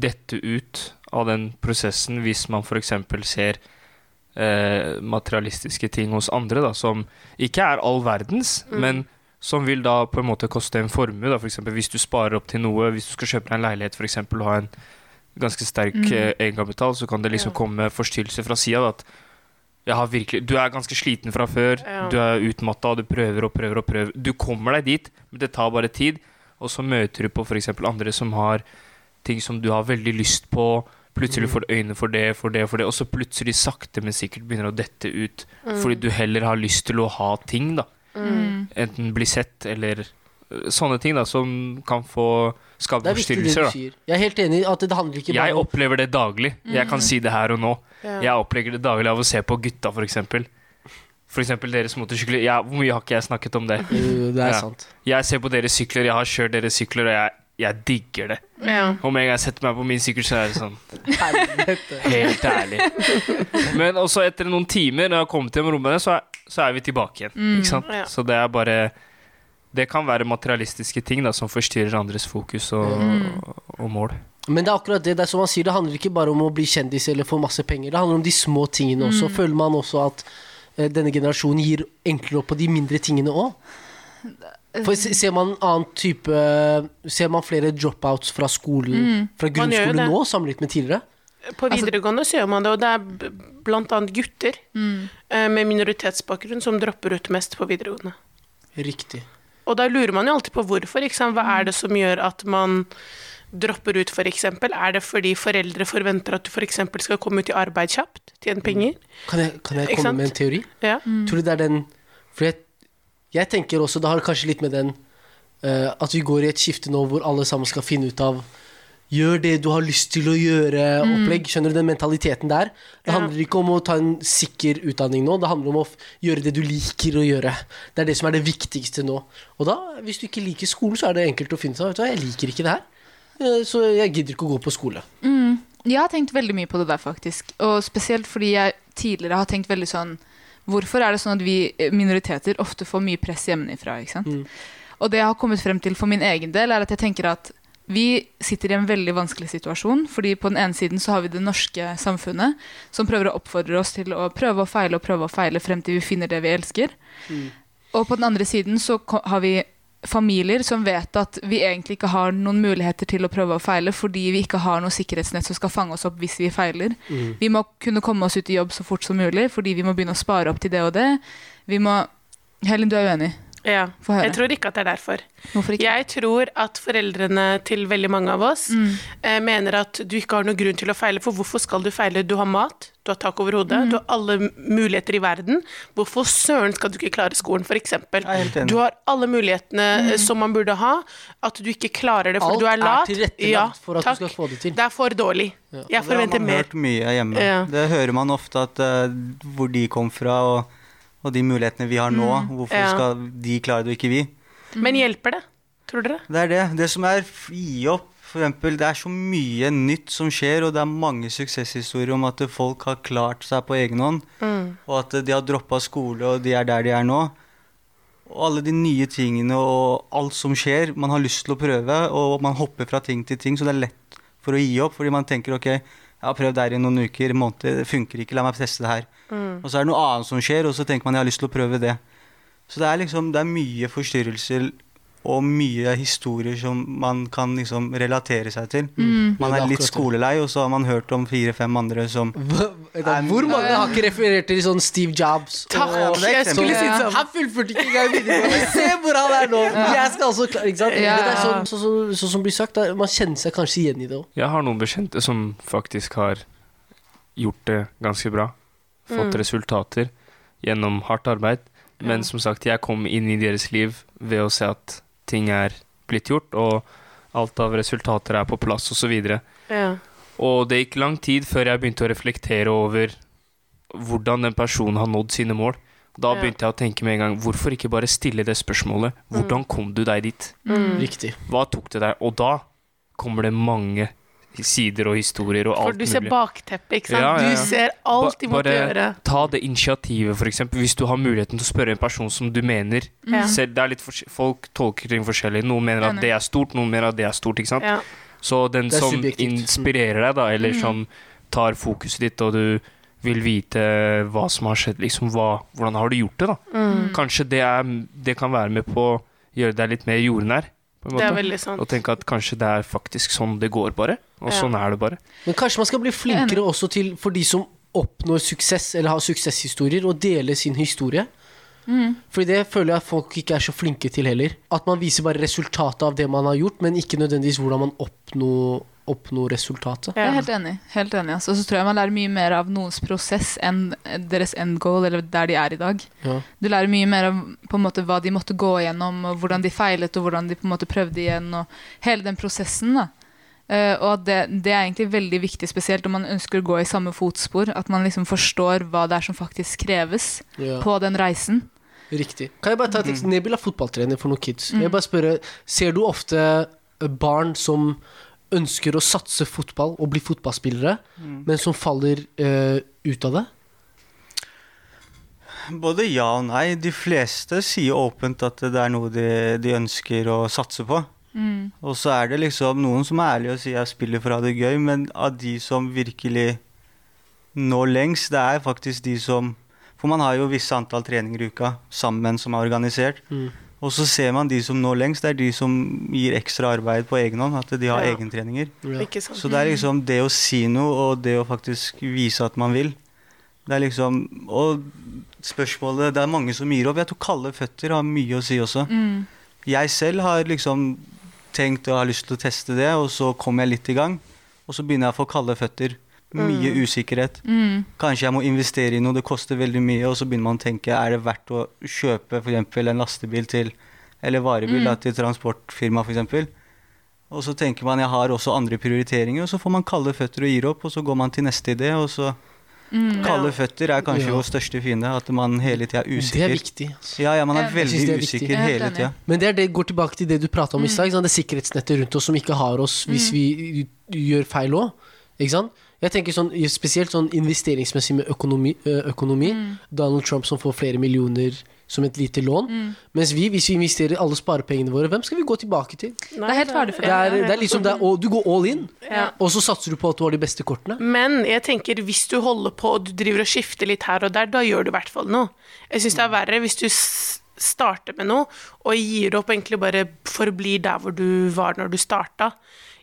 [SPEAKER 4] dette ut av den prosessen hvis man f.eks. ser eh, materialistiske ting hos andre, da, som ikke er all verdens,
[SPEAKER 3] Mm.
[SPEAKER 4] men som vil da på en måte koste en formue. Da, for eksempel, hvis du sparer opp til noe, hvis du skal kjøpe deg en leilighet for eksempel, og ha en ganske sterk
[SPEAKER 1] Mm.
[SPEAKER 4] eh, egenkapital, så kan det liksom
[SPEAKER 3] Ja.
[SPEAKER 4] komme forstyrrelser fra sida. da, At jeg har virkelig, du er ganske sliten fra før,
[SPEAKER 3] Ja.
[SPEAKER 4] du er utmatta, du prøver og prøver og prøver. Du kommer deg dit, men det tar bare tid. Og så møter du på f.eks. andre som har ting som du har veldig lyst på. Plutselig får du øyne for det, for det, for det. Og så plutselig, sakte, men sikkert, begynner å dette ut.
[SPEAKER 3] Mm.
[SPEAKER 4] Fordi du heller har lyst til å ha ting, da.
[SPEAKER 1] Mm.
[SPEAKER 4] Enten bli sett eller øh, sånne ting, da, som kan få
[SPEAKER 2] Det
[SPEAKER 4] skape
[SPEAKER 2] er viktig det
[SPEAKER 4] forstyrrelser,
[SPEAKER 2] du
[SPEAKER 4] da.
[SPEAKER 2] sier. Jeg er helt enig i at det handler ikke
[SPEAKER 4] Jeg
[SPEAKER 2] bare om
[SPEAKER 4] opplever det daglig. Jeg kan si det her og nå.
[SPEAKER 3] Ja.
[SPEAKER 4] Jeg opplever det daglig av å se på gutta, for eksempel. For eksempel deres motorsykler. Ja, hvor mye har ikke jeg snakket om det?
[SPEAKER 2] Jo, Det er
[SPEAKER 4] Ja.
[SPEAKER 2] sant.
[SPEAKER 4] Jeg ser på deres sykler, jeg har kjørt deres sykler, og jeg, jeg digger det.
[SPEAKER 1] Mm.
[SPEAKER 3] Ja.
[SPEAKER 4] Og med en gang jeg setter meg på min sykkel, så er det sånn
[SPEAKER 2] Helvete.
[SPEAKER 3] *laughs*
[SPEAKER 4] Helt ærlig. Men også etter noen timer, når jeg har kommet hjem og rommet, så, er- så er vi tilbake igjen. Ikke sant?
[SPEAKER 3] Mm. Ja.
[SPEAKER 4] Så det er bare Det kan være materialistiske ting da, som forstyrrer andres fokus og,
[SPEAKER 3] Mm.
[SPEAKER 4] og mål.
[SPEAKER 2] Men det er akkurat det. Det er som han sier, det handler ikke bare om å bli kjendis eller få masse penger. Det handler om de små tingene
[SPEAKER 3] Mm.
[SPEAKER 2] også. Føler man også at eh, denne generasjonen gir enklere opp på de mindre tingene òg? For se- ser man en annen type Ser man flere dropouts fra skolen Fra
[SPEAKER 3] Mm. Man gjør jo
[SPEAKER 2] grunnskolen
[SPEAKER 3] det.
[SPEAKER 2] nå sammenlignet med tidligere?
[SPEAKER 3] På
[SPEAKER 1] Altså-
[SPEAKER 3] videregående så gjør man det, og det er b- blant annet gutter
[SPEAKER 1] Mm.
[SPEAKER 3] eh, med minoritetsbakgrunn som dropper ut mest på videregående.
[SPEAKER 2] Riktig.
[SPEAKER 3] Og da lurer man jo alltid på hvorfor. Ikke sant? Hva er det som gjør at man dropper ut, f.eks.? Er det fordi foreldre forventer at du f.eks. skal komme ut i arbeid kjapt,
[SPEAKER 1] Mm.
[SPEAKER 3] tjene penger?
[SPEAKER 2] Kan jeg, kan jeg
[SPEAKER 3] Ikke
[SPEAKER 2] komme
[SPEAKER 3] sant?
[SPEAKER 2] med en teori?
[SPEAKER 3] Ja.
[SPEAKER 2] Tror du det er den For jeg, jeg tenker også Det har kanskje litt med den eh, At vi går i et skifte nå hvor alle sammen skal finne ut av Gjør det du har lyst til å gjøre Opplegg, skjønner du den mentaliteten der Det
[SPEAKER 3] Mm. Ja.
[SPEAKER 2] handler ikke om å ta en sikker utdanning nå Det handler om å f- gjøre det du liker å gjøre Det er det som er det viktigste nå Og da, hvis du ikke liker skolen Så er det enkelt å finne seg Vet du hva, jeg liker ikke det her eh, Så jeg gidder ikke å gå på skole
[SPEAKER 1] Mm. Jeg har tenkt veldig mye på det der, faktisk. Og spesielt fordi jeg tidligere har tenkt veldig sånn Hvorfor er det sånn at vi eh, minoriteter ofte får mye press hjemmefra? ikke sant? Og det jeg har kommet frem til for min egen del, er at jeg tenker at vi sitter i en veldig vanskelig situasjon. fordi på den ene siden så har vi det norske samfunnet som prøver å oppfordre oss til å prøve og feile og prøve og feile frem til vi finner det vi elsker. Og på den andre siden så ko- har vi familier som vet at vi egentlig ikke har noen muligheter til å prøve å feile fordi vi ikke har noe sikkerhetsnett som skal fange oss opp hvis vi feiler. Vi må kunne komme oss ut i jobb så fort som mulig fordi vi må begynne å spare opp til det og det. Vi må Helen, du er uenig.
[SPEAKER 3] ja.
[SPEAKER 1] Få høre.
[SPEAKER 3] Jeg tror ikke at det er derfor.
[SPEAKER 1] Hvorfor ikke?
[SPEAKER 3] Jeg tror at foreldrene til veldig mange av oss eh, mener at du ikke har noen grunn til å feile, for hvorfor skal du feile? Du har mat, du har tak over hodet, du har alle m- muligheter i verden. Hvorfor søren skal du ikke klare skolen, f.eks.?
[SPEAKER 5] er helt enig.
[SPEAKER 3] Du har alle mulighetene eh, som man burde ha. At du ikke klarer det fordi
[SPEAKER 2] Alt
[SPEAKER 3] du
[SPEAKER 2] er
[SPEAKER 3] er lat.
[SPEAKER 2] tilrettelagt for at du
[SPEAKER 3] takk.
[SPEAKER 2] skal få det til.
[SPEAKER 3] Det er for dårlig. Jeg
[SPEAKER 5] det
[SPEAKER 3] forventer
[SPEAKER 5] har man
[SPEAKER 3] mer.
[SPEAKER 5] hørt mye hjemme.
[SPEAKER 3] Ja.
[SPEAKER 5] Det hører man ofte at eh, hvor de kom fra, og, og de mulighetene vi har nå. Hvorfor
[SPEAKER 3] Mm, Ja.
[SPEAKER 5] skal de klare det, og ikke vi?
[SPEAKER 3] Men hjelper det? Tror dere?
[SPEAKER 5] Det er det. Det som er f- gi opp, for eksempel, det er så mye nytt som skjer, og det er mange suksesshistorier om at folk har klart seg på egen hånd, og at de har droppa skole, og de er der de er nå. Og alle de nye tingene og alt som skjer. Man har lyst til å prøve, og man hopper fra ting til ting, så det er lett for å gi opp, fordi man tenker ok, jeg har prøvd det her i noen uker, måneder, det funker ikke, la meg teste det her. Og så er det noe annet som skjer, og så tenker man jeg har lyst til å prøve det. Så det er liksom, det er mye forstyrrelser og mye historier som man kan liksom relatere seg til.
[SPEAKER 2] Ja,
[SPEAKER 5] Man
[SPEAKER 2] Mm. det
[SPEAKER 5] er
[SPEAKER 2] er
[SPEAKER 5] litt
[SPEAKER 2] akkurat det.
[SPEAKER 5] skolelei, og så har man hørt om fire-fem andre som
[SPEAKER 2] Hva- Hvor mange har ikke referert til sånn Steve Jobs
[SPEAKER 3] Takk!
[SPEAKER 2] og-
[SPEAKER 5] det er
[SPEAKER 3] Jeg skulle si det
[SPEAKER 2] Ja.
[SPEAKER 3] samme.
[SPEAKER 2] Han fullførte ikke engang videregående. Se hvor han er nå! Jeg skal også klare ikke sant?
[SPEAKER 1] Ja.
[SPEAKER 2] Men det er sånn så, så, så, som blir sagt, da, man kjenner seg kanskje igjen i det òg.
[SPEAKER 4] Jeg har noen bekjente som faktisk har gjort det ganske bra. Fått resultater gjennom hardt arbeid. Men som sagt, jeg kom inn i deres liv ved å se at ting er blitt gjort, og alt av resultater er på plass, osv.
[SPEAKER 3] Ja.
[SPEAKER 4] Og det gikk lang tid før jeg begynte å reflektere over hvordan den personen har nådd sine mål. Da
[SPEAKER 3] Ja.
[SPEAKER 4] begynte jeg å tenke med en gang, hvorfor
[SPEAKER 2] Mm.
[SPEAKER 4] ikke bare stille det spørsmålet? Hvordan kom du deg dit?
[SPEAKER 2] Riktig.
[SPEAKER 4] Hva tok det deg? Og da kommer det mange sider og historier og
[SPEAKER 3] For
[SPEAKER 4] alt
[SPEAKER 3] du ser
[SPEAKER 4] mulig.
[SPEAKER 3] bakteppet, ikke sant?
[SPEAKER 4] Ja, ja, ja.
[SPEAKER 3] Du ser alt de
[SPEAKER 4] Ba-
[SPEAKER 3] måtte
[SPEAKER 4] bare-
[SPEAKER 3] gjøre.
[SPEAKER 4] Ta det initiativet, f.eks. Hvis du har muligheten til å spørre en person som du mener
[SPEAKER 1] Mm.
[SPEAKER 3] Ja.
[SPEAKER 4] selv, det er litt forskj- Folk tolker ting forskjellig. Noen mener at
[SPEAKER 1] Enig.
[SPEAKER 4] det er stort, noen mener at det er stort. ikke sant?
[SPEAKER 3] Ja.
[SPEAKER 4] Så den
[SPEAKER 2] Det er
[SPEAKER 4] som
[SPEAKER 2] subjektivt. Mm.
[SPEAKER 4] inspirerer deg, da, eller
[SPEAKER 1] Mm.
[SPEAKER 4] som tar fokuset ditt, og du vil vite hva som har skjedd, liksom hva, hvordan har du gjort det, da?
[SPEAKER 3] Mm.
[SPEAKER 4] Kanskje det, er, det kan være med på å gjøre deg litt mer jordnær, på en
[SPEAKER 3] Det er
[SPEAKER 4] måte.
[SPEAKER 3] veldig sant.
[SPEAKER 4] Og tenke at kanskje det er faktisk sånn det går, bare. Og
[SPEAKER 3] Ja.
[SPEAKER 4] sånn er det bare.
[SPEAKER 2] Men kanskje man skal bli flinkere også til for de som oppnår suksess, eller har suksesshistorier, og dele sin historie. Fordi det føler jeg at folk ikke er så flinke til heller. At man viser bare resultatet av det man har gjort, men ikke nødvendigvis hvordan man oppnår, oppnår resultatet.
[SPEAKER 1] Jeg er
[SPEAKER 3] Ja.
[SPEAKER 1] helt enig. Helt enig altså. Og så tror jeg man lærer mye mer av noens prosess enn deres end goal, eller der de er i dag.
[SPEAKER 2] Ja.
[SPEAKER 1] Du lærer mye mer om på en måte, hva de måtte gå igjennom, og hvordan de feilet, og hvordan de på en måte prøvde igjen, og hele den prosessen. da. Eh, og at det, det er egentlig veldig viktig, spesielt om man ønsker å gå i samme fotspor, at man liksom forstår hva det er som faktisk kreves
[SPEAKER 2] Ja.
[SPEAKER 1] på den reisen.
[SPEAKER 2] Riktig. Kan jeg bare ta et
[SPEAKER 5] Mhm.
[SPEAKER 2] eksempel? Nebil er fotballtrener for noen kids. Jeg vil bare spørre, Ser du ofte eh, barn som ønsker å satse fotball og bli fotballspillere,
[SPEAKER 5] Mhm.
[SPEAKER 2] men som faller eh, ut av det?
[SPEAKER 5] Både ja og nei. De fleste sier åpent at det er noe de, de ønsker å satse på. Og så er det liksom noen som er ærlige og sier 'jeg spiller for å ha det gøy', men av de som virkelig når lengst, det er faktisk de som For man har jo visse antall treninger i uka sammen som er organisert.
[SPEAKER 2] Mm.
[SPEAKER 5] Og så ser man de som når lengst, det er de som gir ekstra arbeid på egen hånd. At de har
[SPEAKER 3] Ja.
[SPEAKER 5] egentreninger.
[SPEAKER 2] Ja.
[SPEAKER 3] Ikke sant?
[SPEAKER 5] Så det er liksom det å si noe, og det å faktisk vise at man vil. Det er liksom Og spørsmålet Det er mange som gir opp. Jeg tror kalde føtter har mye å si også.
[SPEAKER 1] Mm,
[SPEAKER 5] Jeg selv har liksom tenkt og har lyst til å teste det, og så kom jeg litt i gang. Og så begynner jeg å få kalde føtter. Mye usikkerhet.
[SPEAKER 1] mm.
[SPEAKER 5] Kanskje jeg må investere i noe, det koster veldig mye, og så begynner man å tenke er det verdt å kjøpe for eksempel en lastebil til, eller varebil
[SPEAKER 3] Mm.
[SPEAKER 5] da, til transportfirma f.eks. Og så tenker man jeg har også andre prioriteringer, og så får man kalde føtter og gir opp, og så går man til neste idé, og så
[SPEAKER 3] Mm.
[SPEAKER 5] Kalde føtter er kanskje
[SPEAKER 2] Ja.
[SPEAKER 5] vår største fiende, at man hele tida er
[SPEAKER 2] Det er
[SPEAKER 5] usikker.
[SPEAKER 2] viktig. Altså.
[SPEAKER 5] Ja, ja, man er
[SPEAKER 1] Jeg
[SPEAKER 5] veldig
[SPEAKER 2] synes det er viktig.
[SPEAKER 5] usikker
[SPEAKER 1] Jeg er helt
[SPEAKER 5] hele
[SPEAKER 1] enig.
[SPEAKER 5] tida.
[SPEAKER 2] Men det, er det går tilbake til det du prata om
[SPEAKER 3] Mm.
[SPEAKER 2] i stad. ikke sant? Det er sikkerhetsnettet rundt oss som ikke har oss hvis vi gjør feil òg. Ikke sant? Jeg tenker sånn, Spesielt sånn investeringsmessig med økonomi. ø, økonomi.
[SPEAKER 3] Mm.
[SPEAKER 2] Donald Trump som får flere millioner som et lite lån.
[SPEAKER 3] Mm.
[SPEAKER 2] Mens vi, hvis vi investerer alle sparepengene våre, hvem skal vi gå tilbake til?
[SPEAKER 3] Nei,
[SPEAKER 1] Det er helt ferdig for
[SPEAKER 2] Det er, det er
[SPEAKER 5] sånn-
[SPEAKER 2] liksom det er, all- Du går all in,
[SPEAKER 3] Ja.
[SPEAKER 2] og så satser du på at du har de beste kortene.
[SPEAKER 3] Men jeg tenker hvis du holder på og du driver og skifter litt her og der, da gjør du i hvert fall noe. Jeg syns det
[SPEAKER 5] Mm.
[SPEAKER 3] er verre hvis du s- starter med noe og gir opp og egentlig bare forblir der hvor du var når du starta.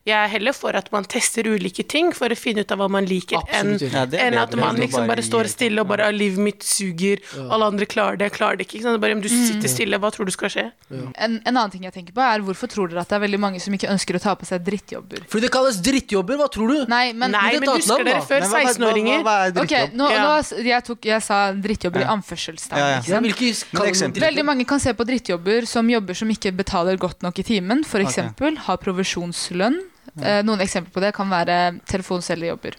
[SPEAKER 3] Jeg er heller for at man tester ulike ting for å finne ut av hva man liker, enn
[SPEAKER 2] Absolutt. enig.
[SPEAKER 5] Ja, det er
[SPEAKER 3] enn
[SPEAKER 5] bedre
[SPEAKER 3] at man
[SPEAKER 5] enn å
[SPEAKER 3] liksom
[SPEAKER 5] bare
[SPEAKER 3] bare
[SPEAKER 5] gi
[SPEAKER 3] står
[SPEAKER 5] opp.
[SPEAKER 3] stille og bare «Ah, 'Livet mitt suger, alle andre klarer det, jeg klarer det ikke'. ikke sant? Det er Bare, om du sitter
[SPEAKER 5] Mm.
[SPEAKER 3] stille, hva tror du skal skje?
[SPEAKER 1] En, en annen ting jeg tenker på, er hvorfor tror dere at det er veldig mange som ikke ønsker å ta på seg drittjobber?
[SPEAKER 2] Fordi det kalles drittjobber, hva tror du?
[SPEAKER 1] Nei, men
[SPEAKER 3] Nei,
[SPEAKER 2] det er et
[SPEAKER 3] men
[SPEAKER 2] annet
[SPEAKER 3] husker
[SPEAKER 2] navn,
[SPEAKER 3] dere
[SPEAKER 2] da.
[SPEAKER 3] før
[SPEAKER 5] Men hva- hva- hva-
[SPEAKER 3] 16-åringer?
[SPEAKER 5] Hva er
[SPEAKER 1] Ok,
[SPEAKER 5] drittjobb?
[SPEAKER 1] nå,
[SPEAKER 3] Ja.
[SPEAKER 1] nå, s- jeg, tok, jeg sa drittjobber i
[SPEAKER 5] Ja.
[SPEAKER 1] anførselstegn.
[SPEAKER 5] Ja, ja.
[SPEAKER 1] ikke
[SPEAKER 2] Ja,
[SPEAKER 1] sant?
[SPEAKER 2] hvilke kaller man
[SPEAKER 5] eksempel.
[SPEAKER 1] Veldig mange kan se på drittjobber som jobber som ikke betaler godt nok i timen.
[SPEAKER 5] Ok.
[SPEAKER 1] F.eks. Okay. har provisjonslønn. Eh, noen eksempler på det kan være telefonselgerjobber.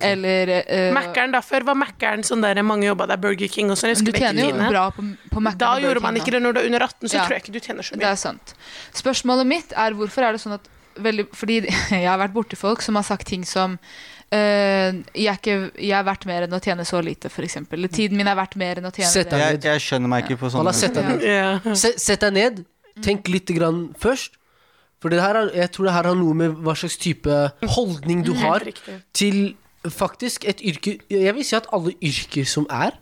[SPEAKER 1] Eller eh,
[SPEAKER 3] Mækkern, da. Før var Mækkern sånn der mange jobba der, Burger King og sånn. jeg
[SPEAKER 1] Du
[SPEAKER 3] husker det
[SPEAKER 1] tjener jo
[SPEAKER 3] ikke.
[SPEAKER 1] bra på, på Mac.
[SPEAKER 3] Da gjorde man ikke det når du er under 18, så
[SPEAKER 1] Ja.
[SPEAKER 3] tror jeg ikke du tjener så
[SPEAKER 1] Det
[SPEAKER 3] mye.
[SPEAKER 1] er sant. Spørsmålet mitt er hvorfor er det sånn at veldig, Fordi *laughs* jeg har vært borti folk som har sagt ting som eh, jeg, er ikke, 'Jeg er verdt mer enn å tjene så lite', f.eks. Eller 'Tiden min er verdt mer enn å tjene
[SPEAKER 2] Sett
[SPEAKER 1] det'.
[SPEAKER 2] deg.
[SPEAKER 5] Jeg, jeg skjønner meg ikke på
[SPEAKER 2] Han
[SPEAKER 5] sånne
[SPEAKER 2] har sett deg
[SPEAKER 1] Ja.
[SPEAKER 2] ned.
[SPEAKER 3] Ja.
[SPEAKER 2] Se- Sett deg ned, tenk litt grann først. For det her er, jeg tror det her har noe med hva slags type holdning du har
[SPEAKER 3] Mm, riktig.
[SPEAKER 2] til faktisk et yrke Jeg vil si at alle yrker som er,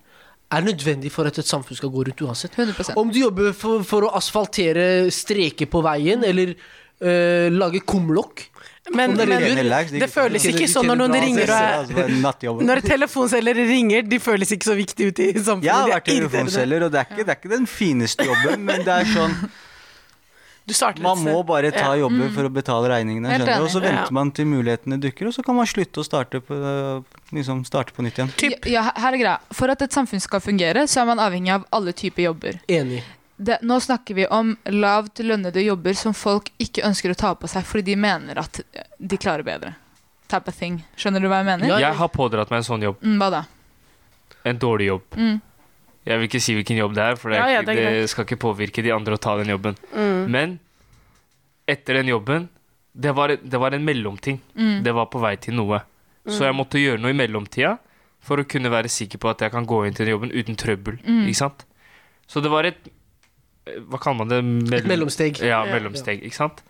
[SPEAKER 2] er nødvendig for at et samfunn skal gå rundt uansett.
[SPEAKER 1] 100
[SPEAKER 2] Om du jobber for, for å asfaltere streker på veien, eller øh, lage kumlokk
[SPEAKER 3] Men,
[SPEAKER 2] Om det er
[SPEAKER 3] men
[SPEAKER 5] Tjener lag,
[SPEAKER 3] det føles
[SPEAKER 5] ikke-
[SPEAKER 3] ikke sånn når noen
[SPEAKER 5] Ja,
[SPEAKER 3] ringer og er
[SPEAKER 5] altså, det er nattjobb.
[SPEAKER 3] Når telefonselgere ringer, de føles ikke så viktige ute i samfunnet.
[SPEAKER 5] Jeg har
[SPEAKER 3] de er
[SPEAKER 5] vært
[SPEAKER 3] irriterende.
[SPEAKER 5] telefonselger, og det er, ikke, det er ikke den fineste jobben, men det
[SPEAKER 3] *laughs*
[SPEAKER 5] er sånn
[SPEAKER 3] Du starter
[SPEAKER 5] Man
[SPEAKER 3] et
[SPEAKER 5] må
[SPEAKER 3] sted.
[SPEAKER 5] bare ta jobber for å betale regningene,
[SPEAKER 1] Helt
[SPEAKER 5] skjønner du. Og så
[SPEAKER 1] enig.
[SPEAKER 3] Mm. Ja.
[SPEAKER 5] venter man til mulighetene dukker, og så kan man slutte å starte på, liksom, starte på nytt igjen.
[SPEAKER 3] Typ.
[SPEAKER 1] Ja, ja, her er greia. For at et samfunn skal fungere, så er man avhengig av alle typer jobber.
[SPEAKER 2] Enig.
[SPEAKER 1] Det, nå snakker vi om lavt lønnede jobber som folk ikke ønsker å ta på seg fordi de mener at de klarer bedre. Type of thing. Skjønner du hva jeg mener?
[SPEAKER 2] Ja.
[SPEAKER 4] Jeg har pådratt meg en sånn jobb.
[SPEAKER 1] Mm, hva da? Mm.
[SPEAKER 4] En dårlig jobb. Jeg vil ikke si hvilken jobb det er, for det, er
[SPEAKER 3] Ja, ja,
[SPEAKER 4] ikke,
[SPEAKER 3] det er Mm,
[SPEAKER 4] det skal ikke påvirke de andre å ta den jobben. Men etter den jobben det var, det var en mellomting.
[SPEAKER 3] Mm.
[SPEAKER 4] Det var på vei til noe. Så jeg måtte gjøre noe i mellomtida for å kunne være sikker på at jeg kan gå inn til den jobben uten trøbbel.
[SPEAKER 3] Mm.
[SPEAKER 4] Ikke sant? Så det var et eh, Hva kaller man det? Mellom-
[SPEAKER 2] Et mellomsteg.
[SPEAKER 4] Ja,
[SPEAKER 3] Ja.
[SPEAKER 4] mellomsteg. Ikke sant?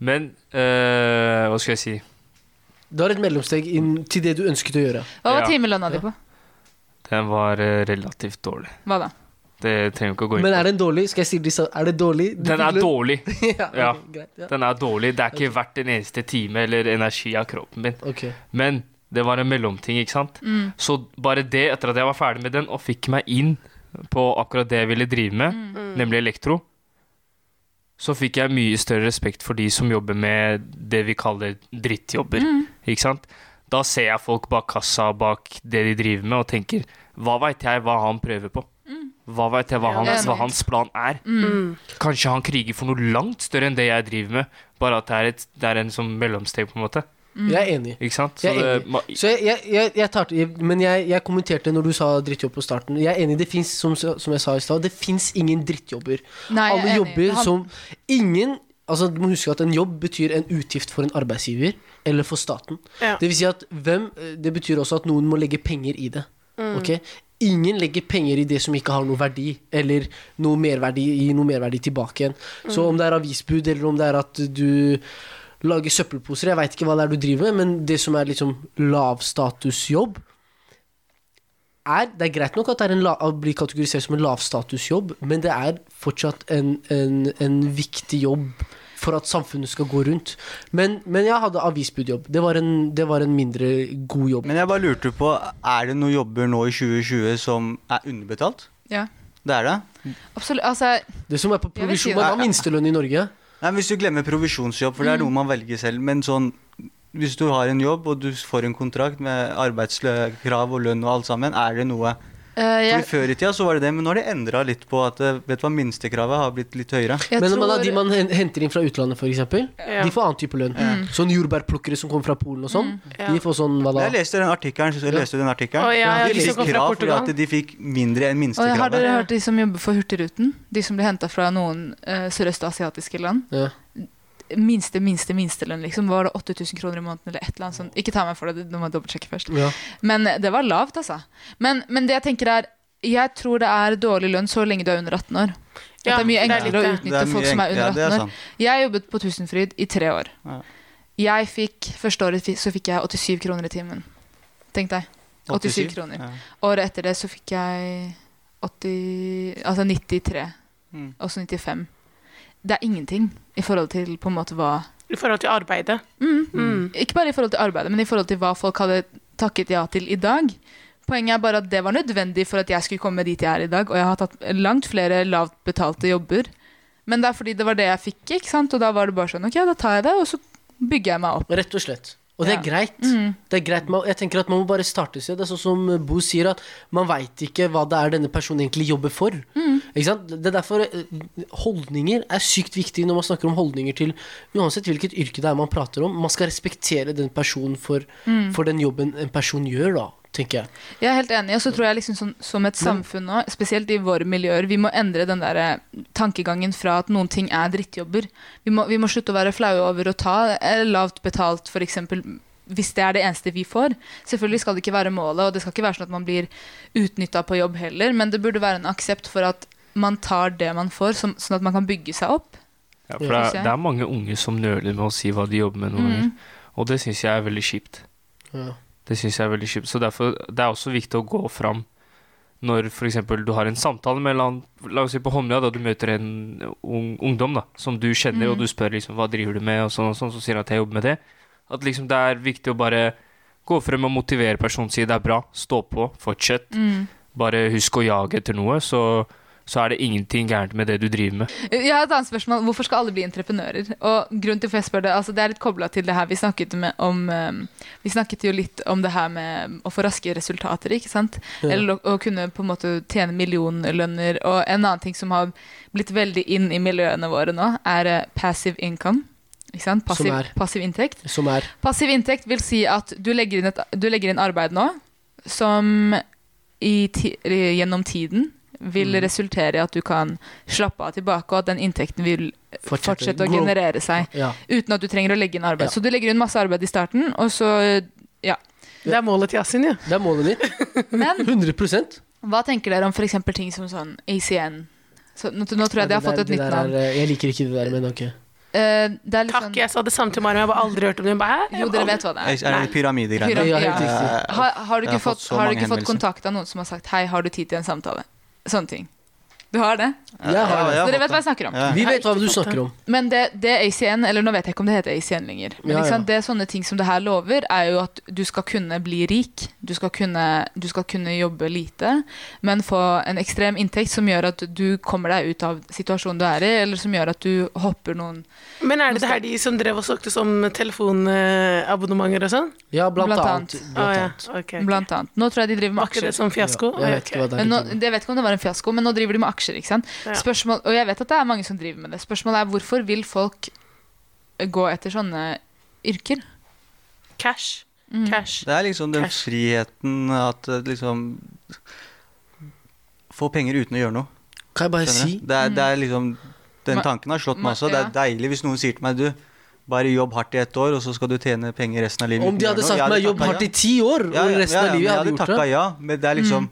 [SPEAKER 4] Men eh, Hva skal jeg si?
[SPEAKER 2] Du har et mellomsteg inn til det du ønsket å gjøre.
[SPEAKER 1] Hva var
[SPEAKER 4] Ja.
[SPEAKER 1] timelønna di på?
[SPEAKER 4] Den var eh, relativt dårlig.
[SPEAKER 1] Hva da?
[SPEAKER 4] Det trenger vi ikke å gå inn
[SPEAKER 2] Men er
[SPEAKER 4] på.
[SPEAKER 2] den dårlig? Skal jeg si det sånn? Er det dårlig? Du *laughs*
[SPEAKER 4] Den
[SPEAKER 2] fikk
[SPEAKER 4] er
[SPEAKER 2] lønn?
[SPEAKER 4] dårlig.
[SPEAKER 2] ja,
[SPEAKER 4] Ja.
[SPEAKER 2] ok, greit, ja.
[SPEAKER 4] Den er dårlig. Det er
[SPEAKER 2] *laughs*
[SPEAKER 4] ikke verdt en eneste time eller energi av kroppen min.
[SPEAKER 2] Ok.
[SPEAKER 4] Men det var en mellomting, ikke sant?
[SPEAKER 1] Mm.
[SPEAKER 4] Så bare det, etter at jeg var ferdig med den og fikk meg inn på akkurat det jeg ville drive med,
[SPEAKER 3] Mm.
[SPEAKER 4] nemlig elektro, så fikk jeg mye større respekt for de som jobber med det vi kaller drittjobber,
[SPEAKER 3] Mm.
[SPEAKER 4] ikke sant? Da ser jeg folk bak kassa, bak det de driver med, og tenker, hva vet jeg hva han prøver på? Hva vet jeg
[SPEAKER 3] Mm.
[SPEAKER 4] hva
[SPEAKER 3] Ja,
[SPEAKER 4] hans,
[SPEAKER 1] enig.
[SPEAKER 4] hva hans plan er?
[SPEAKER 3] Mm.
[SPEAKER 4] Kanskje han kriger for noe langt større enn det jeg driver med, bare at det er, et, det er en sånn mellomsteg på en måte,
[SPEAKER 2] Jeg er enig.
[SPEAKER 4] ikke sant?
[SPEAKER 2] Jeg er
[SPEAKER 4] det- ma-
[SPEAKER 2] Så jeg, jeg, jeg, jeg tar til, men jeg, jeg kommenterte når du sa drittjobb på starten. Jeg er enig, det fins, som, som jeg sa i stad, det fins ingen drittjobber.
[SPEAKER 1] Nei, jeg er
[SPEAKER 2] Alle
[SPEAKER 1] enig.
[SPEAKER 2] jobber
[SPEAKER 1] Det han-
[SPEAKER 2] som Ingen Altså, du må huske at en jobb betyr en utgift for en arbeidsgiver eller for staten.
[SPEAKER 3] Ja.
[SPEAKER 2] Det vil si at hvem eh, Det betyr også at noen må legge penger i det. Ok? Ingen legger penger i det som ikke har noe verdi, eller noe merverdi, gir noe merverdi tilbake igjen. Så om det er avisbud, eller om det er at du lager søppelposer, jeg veit ikke hva det er du driver med, men det som er liksom lavstatusjobb, er, det er greit nok at det er en la, å bli kategorisert som en lavstatusjobb, men det er fortsatt en, en, en viktig jobb for at samfunnet skal gå rundt. Men, men jeg hadde avisbudjobb. Det var, en, det var en mindre god jobb.
[SPEAKER 5] Men jeg bare lurte på, er det noen jobber nå i 2020 som er underbetalt?
[SPEAKER 1] Ja.
[SPEAKER 5] Det er det.
[SPEAKER 1] Absolutt. Altså,
[SPEAKER 2] Det som er på
[SPEAKER 1] Jeg vil si
[SPEAKER 2] provisjon, man
[SPEAKER 5] det.
[SPEAKER 2] har minstelønn i Norge.
[SPEAKER 5] Nei, men Hvis du glemmer provisjonsjobb, for
[SPEAKER 3] Mm.
[SPEAKER 5] det er noe man velger selv, men sånn Hvis du har en jobb og du får en kontrakt med arbeidskrav og lønn og alt sammen, er det noe
[SPEAKER 1] eh,
[SPEAKER 5] Fordi
[SPEAKER 1] jeg,
[SPEAKER 5] Før i tida så var det det, men nå har de endra litt på at eh, vet du hva, minstekravet har blitt litt høyere.
[SPEAKER 1] jeg
[SPEAKER 2] men
[SPEAKER 1] tror
[SPEAKER 2] man har de man hen- henter inn fra utlandet, f.eks.,
[SPEAKER 3] Ja.
[SPEAKER 2] de får annen type lønn.
[SPEAKER 1] Mm.
[SPEAKER 2] Sånn jordbærplukkere som kommer fra Polen og sånn,
[SPEAKER 3] Ja.
[SPEAKER 2] de får sånn hva da?
[SPEAKER 5] Jeg leste den artikkelen. Jeg leste den artikkelen.
[SPEAKER 3] Å, ja, ja,
[SPEAKER 5] de
[SPEAKER 3] de som
[SPEAKER 5] fikk
[SPEAKER 3] kom fra
[SPEAKER 5] krav fordi
[SPEAKER 3] Portugal.
[SPEAKER 5] at de fikk mindre
[SPEAKER 1] Og
[SPEAKER 5] enn
[SPEAKER 1] har
[SPEAKER 5] minstekravet.
[SPEAKER 1] dere hørt de som jobber for Hurtigruten? De som blir henta fra noen uh, sørøstasiatiske land?
[SPEAKER 2] Ja.
[SPEAKER 1] Minste, minste, minstelønn, liksom. Var det 8000 kroner i måneden eller et eller annet sånt? Ikke ta meg for det, du må dobbeltsjekke først.
[SPEAKER 2] Ja.
[SPEAKER 1] Men det var lavt, altså. Men, men det jeg tenker er jeg tror det er dårlig lønn så lenge du er under 18 år. At
[SPEAKER 3] Ja,
[SPEAKER 1] det er mye
[SPEAKER 3] det er
[SPEAKER 1] enklere
[SPEAKER 3] litt eh,
[SPEAKER 1] å
[SPEAKER 3] det.
[SPEAKER 1] utnytte
[SPEAKER 5] mye
[SPEAKER 1] folk som er
[SPEAKER 5] enklere,
[SPEAKER 1] under 18
[SPEAKER 5] ja, det er
[SPEAKER 1] år.
[SPEAKER 5] sant.
[SPEAKER 1] Jeg jobbet på Tusenfryd i tre år.
[SPEAKER 5] Ja.
[SPEAKER 1] Jeg fikk, Første året fi- så fikk jeg 87 kroner i timen. Tenk deg. 87 kroner.
[SPEAKER 5] Ja.
[SPEAKER 1] Året etter det så fikk jeg 80, altså 93,
[SPEAKER 5] Mm.
[SPEAKER 1] og så 95. Det er ingenting i forhold til på en måte hva
[SPEAKER 3] I forhold til arbeidet.
[SPEAKER 1] mm,
[SPEAKER 3] Mm.
[SPEAKER 1] Ikke bare i forhold til arbeidet, men i forhold til hva folk hadde takket ja til i dag. Poenget er bare at det var nødvendig for at jeg skulle komme dit jeg er i dag, og jeg har tatt langt flere lavt betalte jobber. Men det er fordi det var det jeg fikk, ikke sant? og da var det bare sånn ok, da tar jeg det, og så bygger jeg meg opp.
[SPEAKER 2] Rett og slett. Og det er
[SPEAKER 1] Ja.
[SPEAKER 2] greit.
[SPEAKER 1] Mm.
[SPEAKER 2] Det er greit. Man, jeg tenker at Man må bare starte et sted. Det er sånn som Bo sier, at man veit ikke hva det er denne personen egentlig jobber for.
[SPEAKER 1] Mm.
[SPEAKER 2] Ikke sant? Det er derfor eh, Holdninger er sykt viktig når man snakker om holdninger til uansett hvilket yrke det er man prater om. Man skal respektere den personen for,
[SPEAKER 1] Mm.
[SPEAKER 2] for den jobben en person gjør, da, tenker jeg.
[SPEAKER 1] Jeg er helt enig, og så tror jeg liksom som, som et samfunn nå, spesielt i våre miljøer, vi må endre den der eh, tankegangen fra at noen ting er drittjobber. Vi må, vi må slutte å være flaue over å ta eh, lavt betalt, for eksempel, hvis det er det eneste vi får. Selvfølgelig skal det ikke være målet, og det skal ikke være sånn at man blir utnytta på jobb heller, men det burde være en aksept for at man tar det man får, som, sånn at man kan bygge seg opp.
[SPEAKER 4] Ja, for det
[SPEAKER 1] Ja.
[SPEAKER 4] er, det er mange unge som nøler med å si hva de jobber med noen
[SPEAKER 1] Mm.
[SPEAKER 4] ganger. Og det syns jeg er veldig kjipt.
[SPEAKER 2] Ja.
[SPEAKER 4] Det synes jeg er veldig kjipt. Så derfor, det er også viktig å gå fram når f.eks. du har en samtale med en eller annen La oss si på Holmlia, da du møter en ung, ungdom da, som du kjenner, og du spør liksom hva driver du med, og sånn, og sånn, så sier han at jeg jobber med det. At liksom det er viktig å bare gå frem og motivere personen, si det er bra, stå på, fortsett. Bare husk å jage etter noe, så, så er det ingenting gærent med det du driver med.
[SPEAKER 1] Jeg har et annet spørsmål. Hvorfor skal alle bli entreprenører? Og grunnen til hvorfor jeg spør Det altså det er litt kobla til det her vi snakket med, om ehm, Vi snakket jo litt om det her med å få raske resultater, ikke sant?
[SPEAKER 2] Ja.
[SPEAKER 1] Eller å, å kunne på en måte tjene millionlønner. Og en annen ting som har blitt veldig inn i miljøene våre nå, er eh, passive income. Ikke sant? Passiv,
[SPEAKER 2] Som er?
[SPEAKER 1] passiv inntekt.
[SPEAKER 2] Som er
[SPEAKER 1] Passiv inntekt vil si at du legger inn, et, du legger inn arbeid nå som i ti, eller gjennom tiden vil resultere i at du kan slappe av tilbake, og at den inntekten vil
[SPEAKER 2] Fortsette.
[SPEAKER 1] fortsette å
[SPEAKER 2] Grow.
[SPEAKER 1] generere seg
[SPEAKER 2] Ja.
[SPEAKER 1] uten at du trenger å legge inn arbeid.
[SPEAKER 2] Ja.
[SPEAKER 1] Så du legger inn masse arbeid i starten, og så ja.
[SPEAKER 3] Det er målet til Yasin, ja.
[SPEAKER 2] Det er
[SPEAKER 1] *laughs*
[SPEAKER 2] målet mitt.
[SPEAKER 1] Men
[SPEAKER 2] 100
[SPEAKER 1] hva tenker dere om f.eks. ting som sånn ACN? Så, nå, nå tror jeg de har fått et
[SPEAKER 2] Det
[SPEAKER 1] nytt
[SPEAKER 2] der er,
[SPEAKER 1] navn.
[SPEAKER 2] eh, Jeg liker ikke det der, men ok.
[SPEAKER 1] Eh, det er litt
[SPEAKER 3] Takk,
[SPEAKER 1] sånn
[SPEAKER 3] jeg sa det samme til Mariam, jeg har bare aldri hørt om det. Hun Bare, "Hæ? Jeg
[SPEAKER 1] Jo,
[SPEAKER 3] har
[SPEAKER 1] dere
[SPEAKER 3] aldri-
[SPEAKER 1] vet hva det
[SPEAKER 5] Er
[SPEAKER 1] er.
[SPEAKER 5] er det
[SPEAKER 1] Pyra-
[SPEAKER 5] pyramidegreiene?
[SPEAKER 2] Ja,
[SPEAKER 1] ja.
[SPEAKER 2] helt riktig.
[SPEAKER 5] Eh,
[SPEAKER 1] Har, har du
[SPEAKER 5] Jeg
[SPEAKER 1] ikke
[SPEAKER 5] har
[SPEAKER 1] fått,
[SPEAKER 5] fått så
[SPEAKER 1] har du
[SPEAKER 5] mange
[SPEAKER 1] ikke fått
[SPEAKER 5] henvendelser.
[SPEAKER 1] kontakt av noen som har sagt 'hei, har du tid til en samtale'? Sånne ting. Du har det?
[SPEAKER 2] Jeg har det.
[SPEAKER 5] ja,
[SPEAKER 1] Så dere vet hva
[SPEAKER 5] fått
[SPEAKER 1] jeg snakker om.
[SPEAKER 5] det.
[SPEAKER 2] Vi vet hva du snakker om.
[SPEAKER 1] Men det, det ACN, eller nå vet jeg ikke om det heter ACN lenger Men
[SPEAKER 2] Ja,
[SPEAKER 1] ikke
[SPEAKER 2] ja.
[SPEAKER 1] sant, det sånne ting som det her lover, er jo at du skal kunne bli rik. Du skal kunne, du skal kunne jobbe lite, men få en ekstrem inntekt som gjør at du kommer deg ut av situasjonen du er i, eller som gjør at du hopper noen
[SPEAKER 3] Men er det det her de som drev og solgte som telefonabonnementer og sånn?
[SPEAKER 2] Ja, blant,
[SPEAKER 1] Blant
[SPEAKER 2] annet.
[SPEAKER 1] annet.
[SPEAKER 2] Blant
[SPEAKER 3] Å, ja.
[SPEAKER 2] annet.
[SPEAKER 3] Ok, ok.
[SPEAKER 1] Blant annet. Nå tror jeg de driver med
[SPEAKER 3] Var ikke
[SPEAKER 1] aksjer.
[SPEAKER 3] det som fiasko?
[SPEAKER 2] Jeg
[SPEAKER 3] Ja,
[SPEAKER 2] vet ikke hva det
[SPEAKER 1] Men
[SPEAKER 2] er.
[SPEAKER 1] Nå,
[SPEAKER 2] helt
[SPEAKER 1] jeg vet ikke om det var en fiasko, men nå driver de med aksjer. ikke sant?
[SPEAKER 3] Ja.
[SPEAKER 1] Spørsmål, og jeg vet at det er mange som driver med det. Spørsmålet er hvorfor vil folk gå etter sånne yrker?
[SPEAKER 3] Cash.
[SPEAKER 1] Mm.
[SPEAKER 3] Cash.
[SPEAKER 5] Det er liksom den
[SPEAKER 3] Cash.
[SPEAKER 5] friheten at eh, liksom Få penger uten å gjøre noe.
[SPEAKER 2] til. Kan jeg bare si
[SPEAKER 5] skjønner du? Det er, det
[SPEAKER 2] Mm.
[SPEAKER 5] er liksom Den
[SPEAKER 1] Ma-
[SPEAKER 5] tanken har slått
[SPEAKER 1] ma-
[SPEAKER 5] meg også. Det er deilig hvis noen sier til meg du, bare jobb hardt i ett år, og så skal du tjene penger resten av livet.
[SPEAKER 2] Om
[SPEAKER 5] uten
[SPEAKER 2] de
[SPEAKER 5] å
[SPEAKER 2] hadde
[SPEAKER 5] gjøre noe.
[SPEAKER 2] sagt
[SPEAKER 5] Jeg
[SPEAKER 2] meg 'jobb
[SPEAKER 5] takket
[SPEAKER 2] hardt i ti år',
[SPEAKER 5] ja,
[SPEAKER 2] og
[SPEAKER 5] ja,
[SPEAKER 2] resten
[SPEAKER 5] ja, ja,
[SPEAKER 2] av livet,
[SPEAKER 5] men
[SPEAKER 2] jeg hadde
[SPEAKER 5] jeg
[SPEAKER 2] gjort det.
[SPEAKER 5] takket
[SPEAKER 2] Mm.
[SPEAKER 5] ja, men det er liksom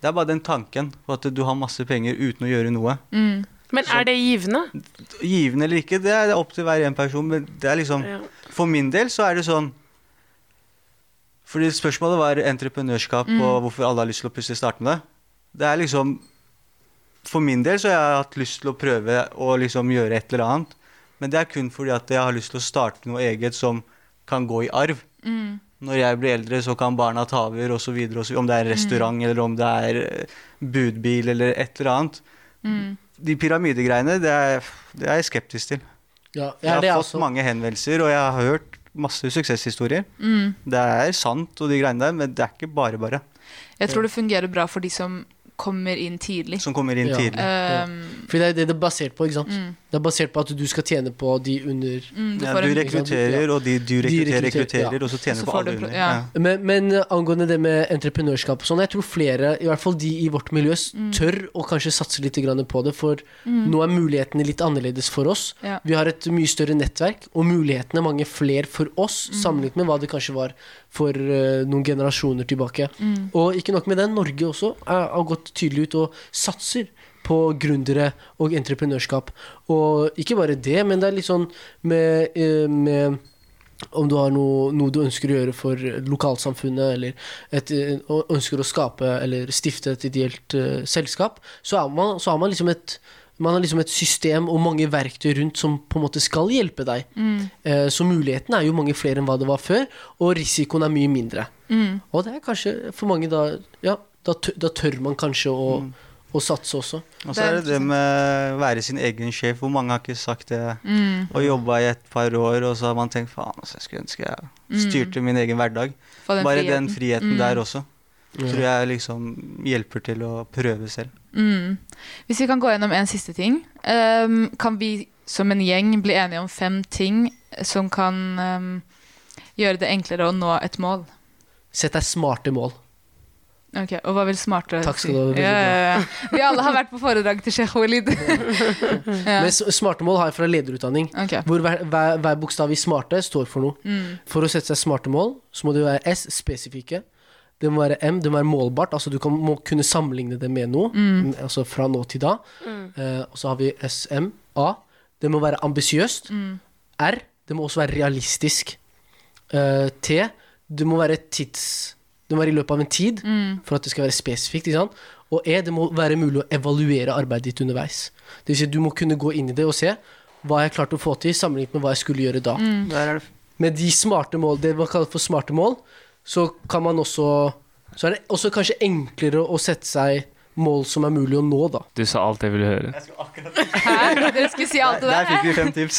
[SPEAKER 5] Det er bare den tanken på at du har masse penger uten å gjøre noe.
[SPEAKER 1] Mm,
[SPEAKER 3] Men er det givende?
[SPEAKER 5] Givende eller ikke, det er opp til hver en person, men det er
[SPEAKER 2] Mm.
[SPEAKER 5] liksom
[SPEAKER 3] Ja.
[SPEAKER 5] For min del så er det sånn Fordi spørsmålet var entreprenørskap og hvorfor alle har lyst til å plutselig starte med det. Det er liksom For min del så har jeg hatt lyst til å prøve å liksom gjøre et eller annet. Men det er kun fordi at jeg har lyst til å starte noe eget som kan gå i arv.
[SPEAKER 1] mm,
[SPEAKER 5] Når jeg blir eldre, så kan barna ta over, og så videre, og så, om det er en restaurant eller om det er eh, budbil eller et eller annet. De pyramidegreiene, det er, det er jeg skeptisk til.
[SPEAKER 2] Ja,
[SPEAKER 5] Jeg
[SPEAKER 2] ja,
[SPEAKER 5] har
[SPEAKER 2] det er altså-
[SPEAKER 5] fått
[SPEAKER 2] også.
[SPEAKER 5] mange henvendelser, og jeg har hørt masse suksesshistorier.
[SPEAKER 1] mm.
[SPEAKER 5] Det er sant, og de greiene der, men det er ikke bare bare
[SPEAKER 1] Jeg tror det fungerer bra for de som kommer inn tidlig.
[SPEAKER 5] som kommer inn
[SPEAKER 2] Ja.
[SPEAKER 5] tidlig.
[SPEAKER 1] Um,
[SPEAKER 2] For det er det det er basert på. ikke sant? Det er basert på at du skal tjene på de under
[SPEAKER 1] mm, du
[SPEAKER 5] Ja,
[SPEAKER 1] får
[SPEAKER 5] du
[SPEAKER 1] en,
[SPEAKER 5] rekrutterer, og de du
[SPEAKER 2] rekrutterer,
[SPEAKER 5] rekrutterer, rekrutterer,
[SPEAKER 2] ja.
[SPEAKER 5] og så tjener
[SPEAKER 1] Så
[SPEAKER 5] på
[SPEAKER 1] får
[SPEAKER 5] alle
[SPEAKER 1] du pro-
[SPEAKER 5] under.
[SPEAKER 1] ja.
[SPEAKER 5] Ja.
[SPEAKER 2] Men, men angående det med entreprenørskap og sånn, jeg tror flere, i hvert fall de i vårt miljø, s- tør å kanskje satse litt grann på det, for nå er mulighetene litt annerledes for oss.
[SPEAKER 1] Ja.
[SPEAKER 2] Vi har et mye større nettverk, og mulighetene er mange flere for oss, sammenlignet med hva det kanskje var for eh, noen generasjoner tilbake. Og ikke nok med det, Norge også er, har gått tydelig ut og satser på gründere og entreprenørskap. Og ikke bare det, men det er litt sånn med, eh, med om du har noe, noe du ønsker å gjøre for lokalsamfunnet, eller et, eh, og ønsker å skape eller stifte et ideelt eh, selskap, så, er man, så har man liksom et man har liksom et system og mange verktøy rundt som på en måte skal hjelpe deg. Eh, Så mulighetene er jo mange flere enn hva det var før, og risikoen er mye mindre.
[SPEAKER 1] mm,
[SPEAKER 2] Og det er kanskje for mange da Ja, da, tør, da tør man kanskje å, å satse også.
[SPEAKER 5] Og så er det det med å være sin egen sjef. Hvor mange har ikke sagt det?
[SPEAKER 1] Mm.
[SPEAKER 5] Og jobba i et par år, og så har man tenkt faen, altså, jeg skulle ønske jeg styrte min egen hverdag.
[SPEAKER 1] får Mm. den
[SPEAKER 5] Bare
[SPEAKER 1] friheten. Mm.
[SPEAKER 5] den friheten der også tror jeg liksom hjelper til å prøve selv.
[SPEAKER 1] Mm. Hvis vi kan gå gjennom en siste ting. ehm, kan vi som en gjeng bli enige om fem ting som kan ehm, gjøre det enklere å nå et mål?
[SPEAKER 2] Sett deg smarte mål.
[SPEAKER 1] Ok, Og hva vil smartere
[SPEAKER 2] Takk skal du ha, veldig
[SPEAKER 1] Ja, ja, ja. Vi alle har vært på foredrag til Sheikh
[SPEAKER 5] *laughs*
[SPEAKER 1] Walid. ja.
[SPEAKER 2] Men s- smarte mål har jeg fra lederutdanning.
[SPEAKER 1] Ok.
[SPEAKER 2] Hvor hver, hver, hver bokstav i smarte står for noe.
[SPEAKER 1] Mm.
[SPEAKER 2] For å sette seg smarte mål, så må det være S, spesifikke. Det må være M, det må være målbart. Altså du kan, må kunne sammenligne det med noe. Altså fra nå til da. Eh, og så har vi SM, A. Det må være ambisiøst. R. Det må også være realistisk. Eh, T. Det må være tids... Det må være i løpet av en tid for at det skal være spesifikt. Ikke sant? Og E. Det må være mulig å evaluere arbeidet ditt underveis. Det vil si, du må kunne gå inn i det og se hva jeg klarte å få til, sammenlignet med hva jeg skulle gjøre da.
[SPEAKER 1] Mm.
[SPEAKER 5] Der er det
[SPEAKER 2] Med de smarte mål, det man kaller for smarte mål, så kan man også Så er det også kanskje enklere å sette seg mål som er mulig å nå, da.
[SPEAKER 4] Du sa alt jeg ville høre.
[SPEAKER 1] Hæ? Dere skulle si alt det
[SPEAKER 5] Der
[SPEAKER 1] der?
[SPEAKER 5] fikk vi fem tips.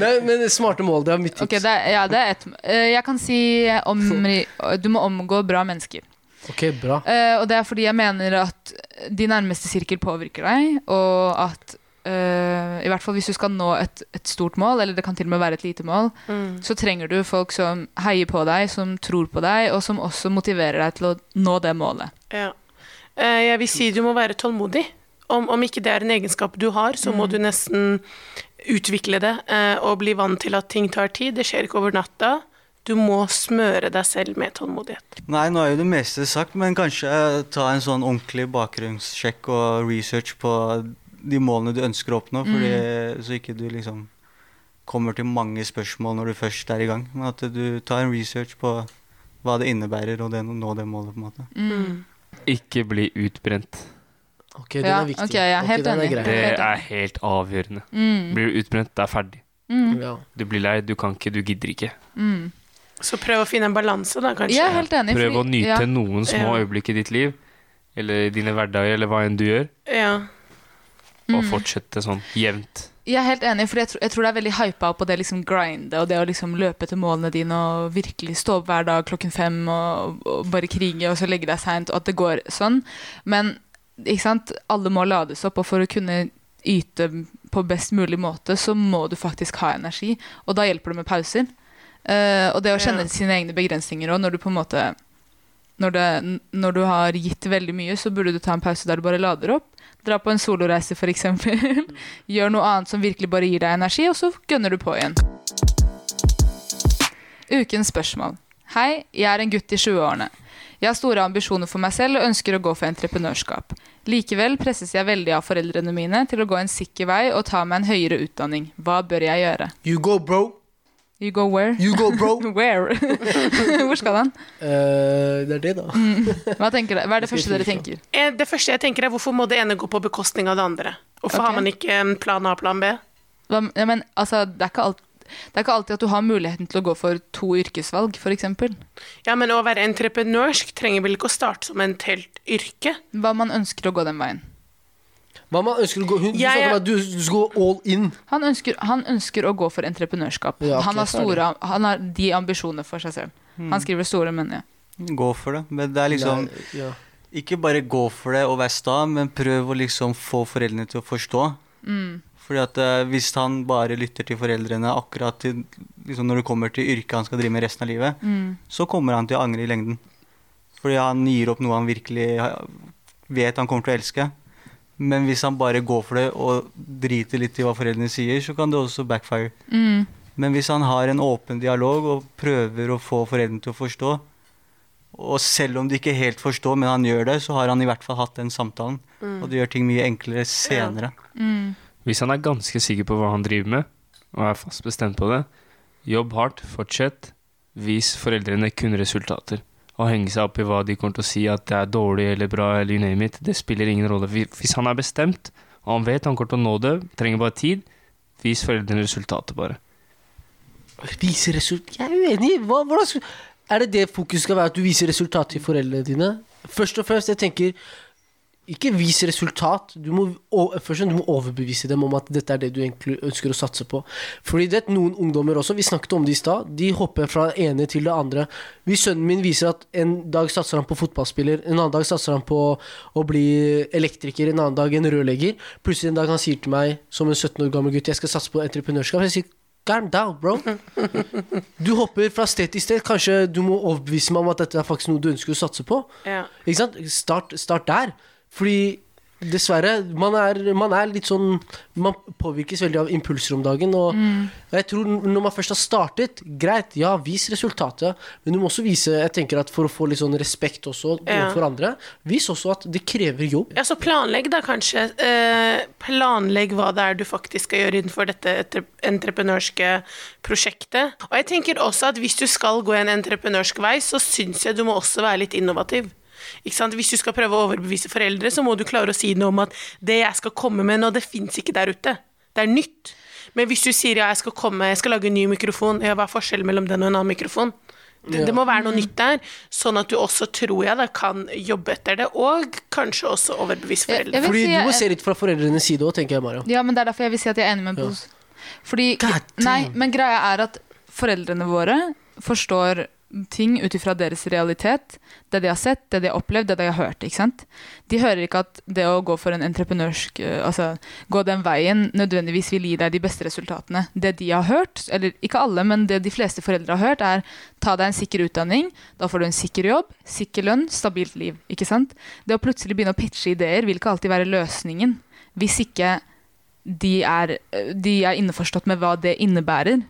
[SPEAKER 2] Men, men smarte mål, det er mitt tips.
[SPEAKER 1] Ok, det er, ja, det er ett. Eh, Jeg kan si om, du må omgå bra mennesker.
[SPEAKER 2] Ok, bra.
[SPEAKER 1] Eh, og det er fordi jeg mener at de nærmeste sirkel påvirker deg, og at eh, I hvert fall hvis du skal nå et, et stort mål, eller det kan til og med være et lite mål, så trenger du folk som heier på deg, som tror på deg, og som også motiverer deg til å nå det målet.
[SPEAKER 3] Ja. Eh, Jeg vil si du må være tålmodig. Om, om ikke det er en egenskap du har, så
[SPEAKER 1] Mm.
[SPEAKER 3] må du nesten utvikle det eh, og bli vant til at ting tar tid. Det skjer ikke over natta. Du må smøre deg selv med tålmodighet.
[SPEAKER 5] Nei, nå er jo det meste sagt, men kanskje eh, ta en sånn ordentlig bakgrunnssjekk og research på de målene du ønsker å oppnå, fordi, så ikke du liksom kommer til mange spørsmål når du først er i gang. Men at du tar en research på hva det innebærer å det- nå det målet, på en måte.
[SPEAKER 1] Mm.
[SPEAKER 4] Ikke bli utbrent.
[SPEAKER 2] Ok, den
[SPEAKER 1] Ja,
[SPEAKER 2] er viktig.
[SPEAKER 1] ok, jeg er
[SPEAKER 2] Ok,
[SPEAKER 1] helt
[SPEAKER 2] den
[SPEAKER 1] enig.
[SPEAKER 2] grei.
[SPEAKER 4] Det er helt avgjørende.
[SPEAKER 1] Mm.
[SPEAKER 4] Blir du utbrent, det er ferdig.
[SPEAKER 1] Mm.
[SPEAKER 2] Ja.
[SPEAKER 4] Du blir lei, du kan ikke, du gidder ikke.
[SPEAKER 1] Mm.
[SPEAKER 3] Så prøv å finne en balanse, da, kanskje.
[SPEAKER 1] Jeg er helt enig.
[SPEAKER 4] Prøv
[SPEAKER 1] fordi-
[SPEAKER 4] å nyte
[SPEAKER 1] ja.
[SPEAKER 4] noen små
[SPEAKER 3] Ja.
[SPEAKER 4] øyeblikk i ditt liv, eller i dine hverdager, eller hva enn du gjør,
[SPEAKER 3] Ja.
[SPEAKER 4] og
[SPEAKER 1] Mm.
[SPEAKER 4] fortsette sånn jevnt.
[SPEAKER 1] Jeg er helt enig, for jeg, tror- jeg tror det er veldig hypa på det liksom grindet og det å liksom løpe til målene dine og virkelig stå opp hver dag klokken fem og, og bare krige og så legge deg seint, og at det går sånn. Men ikke sant? alle må lades opp, og for å kunne yte på best mulig måte, så må du faktisk ha energi. Og da hjelper det med pauser. Eh, og det å kjenne
[SPEAKER 3] Ja.
[SPEAKER 1] sine egne begrensninger òg, når du på en måte når, det, når du har gitt veldig mye, så burde du ta en pause der du bare lader opp. Dra på en soloreise, *laughs* f.eks. Gjør noe annet som virkelig bare gir deg energi, og så gønner du på igjen. Ukens spørsmål. Hei, jeg er en gutt i 20-årene. Jeg har store ambisjoner for meg selv og ønsker å gå for entreprenørskap. Likevel presses jeg veldig av foreldrene mine til å gå en sikker vei og ta meg en høyere utdanning. Hva bør jeg gjøre?
[SPEAKER 2] You go, bro.
[SPEAKER 1] You go where?
[SPEAKER 2] You go, bro.
[SPEAKER 1] *laughs* Where? Hvor skal han?
[SPEAKER 2] Eh, det er det, da.
[SPEAKER 1] Hva, tenker dere? Hva er det
[SPEAKER 2] Skal jeg
[SPEAKER 1] første dere
[SPEAKER 2] finne
[SPEAKER 1] tenker?
[SPEAKER 3] Eh, Det første jeg tenker, er hvorfor må det ene gå på bekostning av det andre? Hvorfor
[SPEAKER 1] Ok.
[SPEAKER 3] har man ikke en plan A, plan B?
[SPEAKER 1] Hva, ja, men, altså, det, er ikke alt, det er ikke alltid at du har muligheten til å gå for to yrkesvalg, f.eks.
[SPEAKER 3] Ja, men å være entreprenørsk trenger vel ikke å starte som et helt yrke?
[SPEAKER 1] Hva man ønsker å gå den veien.
[SPEAKER 2] Mamma ønsker å gå Hun du
[SPEAKER 3] Jeg-
[SPEAKER 2] snakker om at du, du skal gå all in.
[SPEAKER 1] Han ønsker, han ønsker å gå for entreprenørskap.
[SPEAKER 2] Ja, ok,
[SPEAKER 1] han, har
[SPEAKER 2] ferdig. Hmm.
[SPEAKER 1] store, han har de ambisjonene for seg selv. Han skriver store, men ja.
[SPEAKER 5] Gå for det. Men det er liksom
[SPEAKER 2] Nei, ja.
[SPEAKER 5] Ikke bare gå for det og være sta, men prøv å liksom få foreldrene til å forstå. Fordi at eh, hvis han bare lytter til foreldrene akkurat til, liksom når det kommer til yrket han skal drive med resten av livet, så kommer han til å angre i lengden. Fordi han gir opp noe han virkelig har- vet han kommer til å elske. Men hvis han bare går for det og driter litt i hva foreldrene sier, så kan det også backfire.
[SPEAKER 1] Mm.
[SPEAKER 5] Men hvis han har en åpen dialog og prøver å få foreldrene til å forstå, og selv om de ikke helt forstår, men han gjør det, så har han i hvert fall hatt den samtalen. Og det gjør ting mye enklere senere.
[SPEAKER 1] Mm.
[SPEAKER 4] Hvis han er ganske sikker på hva han driver med, og er fast bestemt på det, jobb hardt, fortsett, vis foreldrene kun resultater. Å henge seg opp i hva de kommer til å si, at det er dårlig eller bra, eller you name it, det spiller ingen rolle. Vi- Hvis han er bestemt, og han vet han kommer til å nå det, trenger bare tid, vis foreldrene resultatet bare.
[SPEAKER 2] Vise result... Jeg er uenig. Hva, hvordan skal... Er det det fokuset skal være, at du viser resultat til foreldrene dine? Først og fremst, jeg tenker ikke vis resultat. Du må, og, først, og fremst, du må overbevise dem om at dette er det du egentlig ønsker å satse på. Fordi det er noen ungdommer også, vi snakket om det i stad, de hopper fra det ene til det andre. Hvis sønnen min viser at en dag satser han på fotballspiller, en annen dag satser han på å bli elektriker, en annen dag en rørlegger, plutselig en dag han sier til meg som en 17 år gammel gutt jeg skal satse på entreprenørskap, jeg sier Calm down, bro. Du hopper fra sted til sted. Kanskje du må overbevise meg om at dette er faktisk noe du ønsker å satse på.
[SPEAKER 3] Ja.
[SPEAKER 2] Ikke sant? Start, start der. Fordi dessverre, man er, man er litt sånn Man påvirkes veldig av impulser om dagen. Og
[SPEAKER 1] Mm.
[SPEAKER 2] jeg tror n- når man først har startet, greit, ja, vis resultatet. Men du må også vise, jeg tenker at for å få litt sånn respekt også
[SPEAKER 3] Ja.
[SPEAKER 2] overfor andre, vis også at det krever jobb.
[SPEAKER 3] Ja, så planlegg da kanskje. Eh, planlegg hva det er du faktisk skal gjøre innenfor dette entre- entreprenørske prosjektet. Og jeg tenker også at hvis du skal gå en entreprenørsk vei, så syns jeg du må også være litt innovativ. Ikke sant? Hvis du skal prøve å overbevise foreldre, så må du klare å si noe om at det jeg skal komme med nå, det fins ikke der ute. Det er nytt. Men hvis du sier ja, jeg skal komme, jeg skal lage en ny mikrofon, ja, hva er forskjellen mellom den og en annen mikrofon? Det, det må være noe nytt der, sånn at du også, tror jeg, da, kan jobbe etter det, og kanskje også overbevise
[SPEAKER 1] Jeg- jeg
[SPEAKER 3] foreldrene.
[SPEAKER 1] vil
[SPEAKER 2] Fordi
[SPEAKER 1] si
[SPEAKER 2] du må
[SPEAKER 1] jeg-
[SPEAKER 2] se litt fra foreldrenes side òg, tenker jeg, Mario.
[SPEAKER 1] Ja, men det er derfor jeg vil si at jeg er enig med Bos. Fordi,
[SPEAKER 2] God damn.
[SPEAKER 1] nei, men greia er at foreldrene våre forstår ting ut ifra deres realitet. Det de har sett, det de har opplevd, det de har hørt. ikke sant? De hører ikke at det å gå for en entreprenørsk eh, Altså gå den veien nødvendigvis vil gi deg de beste resultatene. Det de har hørt, eller ikke alle, men det de fleste foreldre har hørt, er ta deg en sikker utdanning, da får du en sikker jobb, sikker lønn, stabilt liv. ikke sant? Det å plutselig begynne å pitche ideer vil ikke alltid være løsningen hvis ikke de er, eh, de er innforstått med hva det innebærer.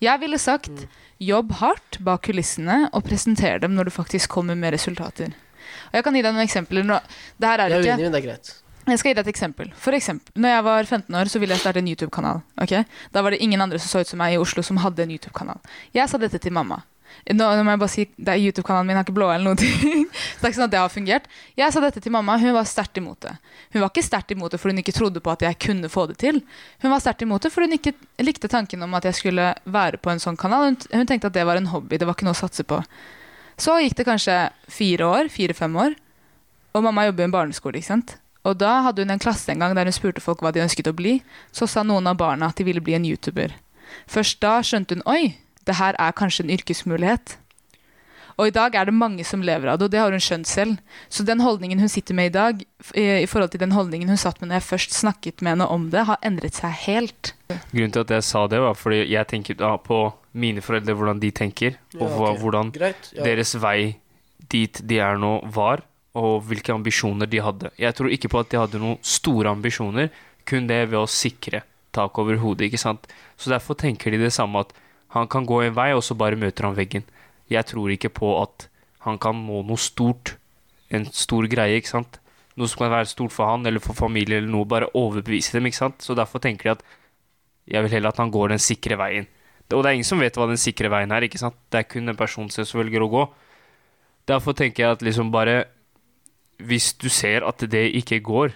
[SPEAKER 1] Jeg ville sagt jobb hardt bak kulissene og presenter dem når du faktisk kommer med resultater. Og jeg kan gi deg noen eksempler. Nå, det her er
[SPEAKER 2] Jeg er
[SPEAKER 1] ikke
[SPEAKER 2] uenig, men det er greit.
[SPEAKER 1] jeg skal gi deg et eksempel. For eksempel, når jeg var 15 år, så ville jeg starte en YouTube-kanal. ok? Da var det ingen andre som så ut som meg i Oslo som hadde en YouTube-kanal. Jeg sa dette til mamma. Nå, nå må jeg bare si, det er YouTube-kanalen min har ikke blå eller noen ting. *laughs* Så det er ikke sånn at det har fungert. Jeg sa dette til mamma, hun var sterkt imot det. Hun var ikke sterkt imot det fordi hun ikke trodde på at jeg kunne få det til. Hun var sterkt imot det fordi hun ikke likte tanken om at jeg skulle være på en sånn kanal. Hun, hun tenkte at det var en hobby, det var ikke noe å satse på. Så gikk det kanskje fire år, fire-fem år, og mamma jobber i en barneskole, ikke sant? Og da hadde hun en klasse en gang der hun spurte folk hva de ønsket å bli. Så sa noen av barna at de ville bli en YouTuber. Først da skjønte hun oi, det her er kanskje en yrkesmulighet. Og i dag er det mange som lever av det, og det har hun skjønt selv. Så den holdningen hun sitter med i dag, f- eh, i i forhold til den holdningen hun satt med når jeg først snakket med henne om det, har endret seg helt.
[SPEAKER 4] Grunnen til at jeg sa det, var fordi jeg tenker da på mine foreldre, hvordan de tenker, og
[SPEAKER 2] Ja,
[SPEAKER 4] hva,
[SPEAKER 2] ok.
[SPEAKER 4] hvordan
[SPEAKER 2] Greit. Ja.
[SPEAKER 4] deres vei dit de er nå, var, og hvilke ambisjoner de hadde. Jeg tror ikke på at de hadde noen store ambisjoner, kun det ved å sikre tak over hodet, ikke sant. Så derfor tenker de det samme, at han kan gå en vei, og så bare møter han veggen. Jeg tror ikke på at han kan nå noe stort, en stor greie, ikke sant. Noe som kan være stort for han eller for familie eller noe, bare overbevise dem, ikke sant. Så derfor tenker de at jeg vil heller at han går den sikre veien. Og det er ingen som vet hva den sikre veien er, ikke sant. Det er kun en person selv som velger å gå. Derfor tenker jeg at liksom bare Hvis du ser at det ikke går,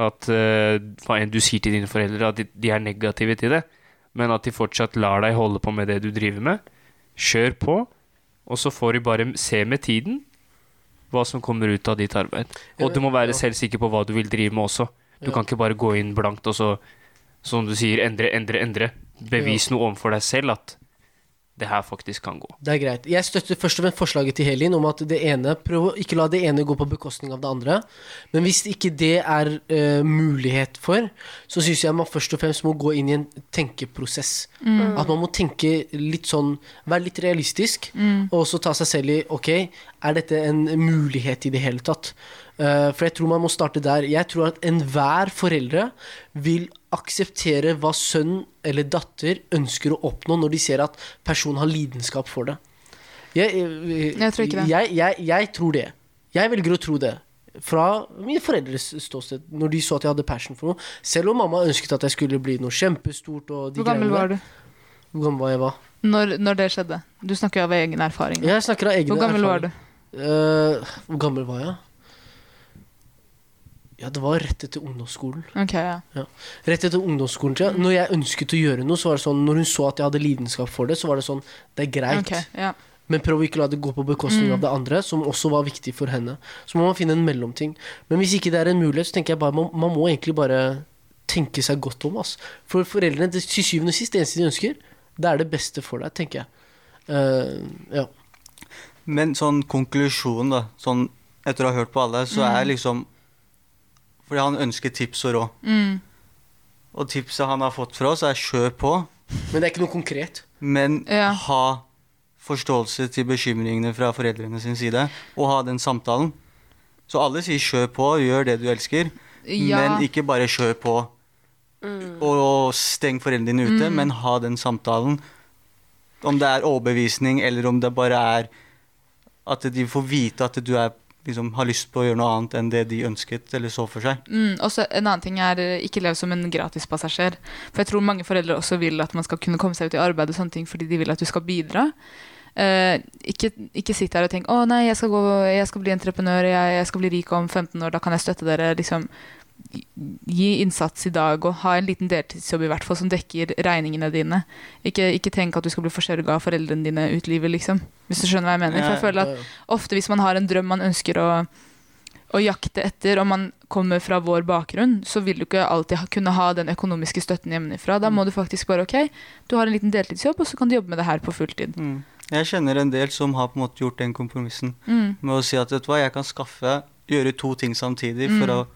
[SPEAKER 4] at eh, hva enn du sier til dine foreldre, at de, de er negative til det, men at de fortsatt lar deg holde på med det du driver med, kjør på, og så får de bare se med tiden hva som kommer ut av ditt arbeid. Og du må være selv sikker på hva du vil drive med også. Du
[SPEAKER 2] Ja.
[SPEAKER 4] kan ikke bare gå inn blankt og så, som du sier, endre, endre, endre. Bevis noe overfor deg selv at det her faktisk kan gå.
[SPEAKER 2] Det er greit. Jeg støtter først og fremst forslaget til Helin om at det ene, prøv å ikke la det ene gå på bekostning av det andre. Men hvis ikke det er eh, mulighet for, så syns jeg man først og fremst må gå inn i en tenkeprosess. At man må tenke litt sånn Være litt realistisk, og så ta seg selv i Ok, er dette en mulighet i det hele tatt? Eh, for jeg tror man må starte der. Jeg tror at enhver foreldre vil akseptere hva sønn eller datter ønsker å oppnå når de ser at personen har lidenskap for det. Jeg, eh,
[SPEAKER 1] Jeg tror ikke det.
[SPEAKER 2] Jeg, jeg, jeg tror det. Jeg velger å tro det. Fra mine foreldres ståsted, når de så at jeg hadde passion for noe. Selv om mamma ønsket at jeg skulle bli noe kjempestort. Og de
[SPEAKER 1] Hvor gammel
[SPEAKER 2] greiene
[SPEAKER 1] var
[SPEAKER 2] der.
[SPEAKER 1] du
[SPEAKER 2] Hvor gammel var jeg var?
[SPEAKER 1] når, når det skjedde? Du snakker jo av egen erfaring. nå.
[SPEAKER 2] Jeg snakker av egne
[SPEAKER 1] Hvor gammel var
[SPEAKER 2] erfaringer.
[SPEAKER 1] du?
[SPEAKER 2] Eh, hvor gammel var jeg? Ja, det var rett etter ungdomsskolen.
[SPEAKER 1] Ok, ja.
[SPEAKER 2] Rett etter ungdomsskolen, tror jeg. Når jeg ønsket å gjøre noe, så var det sånn Når hun så at jeg hadde lidenskap for det, så var det sånn Det er greit,
[SPEAKER 1] Ok, ja.
[SPEAKER 2] men prøv å ikke la det gå på bekostning
[SPEAKER 1] Mm.
[SPEAKER 2] av det andre, som også var viktig for henne. Så må man finne en mellomting. Men hvis ikke det er en mulighet, så tenker jeg bare man, man må egentlig bare tenke seg godt om. Ass. For foreldrene, det, til syvende og sist, det eneste de ønsker, det er det beste for deg, tenker jeg. Eh, ja.
[SPEAKER 5] Men sånn konklusjon, da, sånn etter å ha hørt på alle, så er liksom Fordi han ønsker tips og råd.
[SPEAKER 1] Mm.
[SPEAKER 5] Og tipset han har fått fra oss, er kjør på,
[SPEAKER 2] Men det er ikke noe konkret.
[SPEAKER 5] men
[SPEAKER 1] Ja.
[SPEAKER 5] ha forståelse til bekymringene fra foreldrene sin side, og ha den samtalen. Så alle sier kjør på, gjør det du elsker,
[SPEAKER 1] ja.
[SPEAKER 5] men ikke bare kjør på og steng foreldrene dine ute,
[SPEAKER 1] Mm.
[SPEAKER 5] men ha den samtalen. Om det er overbevisning, eller om det bare er at de får vite at du er, liksom, har lyst på å gjøre noe annet enn det de ønsket eller så for seg.
[SPEAKER 1] Mm, og så En annen ting er eh, ikke lev som en gratispassasjer. For jeg tror mange foreldre også vil at man skal kunne komme seg ut i arbeid og sånne ting fordi de vil at du skal bidra. Eh, ikke, ikke sitt der og tenk 'Å nei, jeg skal, gå, jeg skal bli entreprenør, jeg, jeg skal bli rik om 15 år, da kan jeg støtte dere'. Liksom, gi innsats i dag og ha en liten deltidsjobb i hvert fall som dekker regningene dine. Ikke, ikke tenk at du skal bli forsørga av foreldrene dine ut livet, liksom. Hvis du skjønner hva jeg mener. For jeg
[SPEAKER 5] Ja,
[SPEAKER 1] føler at ofte hvis man har en drøm man ønsker å, å jakte etter, og man kommer fra vår bakgrunn, så vil du ikke alltid ha- kunne ha den økonomiske støtten hjemmefra. Da må du faktisk bare ok, du har en liten deltidsjobb, og så kan du jobbe med det her på fulltid.
[SPEAKER 5] Jeg kjenner en del som har på en måte gjort den kompromissen
[SPEAKER 1] Mm.
[SPEAKER 5] med å si at vet du hva, jeg kan skaffe, gjøre to ting samtidig for
[SPEAKER 1] Mm.
[SPEAKER 5] å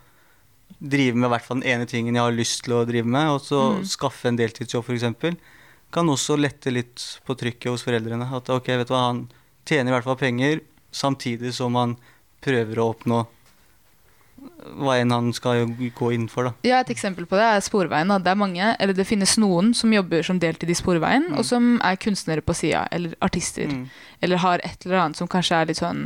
[SPEAKER 5] drive med i hvert fall den ene tingen jeg har lyst til å drive med, og så skaffe en deltidsjobb f.eks. Kan også lette litt på trykket hos foreldrene. At ok, vet du hva, han tjener i hvert fall penger samtidig som han prøver å oppnå hva enn han skal gå inn for, da.
[SPEAKER 1] Ja, Et eksempel på det er Sporveien. Da. Det er mange, eller det finnes noen som jobber som deltid i Sporveien, og som er kunstnere på sida, eller artister.
[SPEAKER 5] Mm.
[SPEAKER 1] Eller har et eller annet som kanskje er litt sånn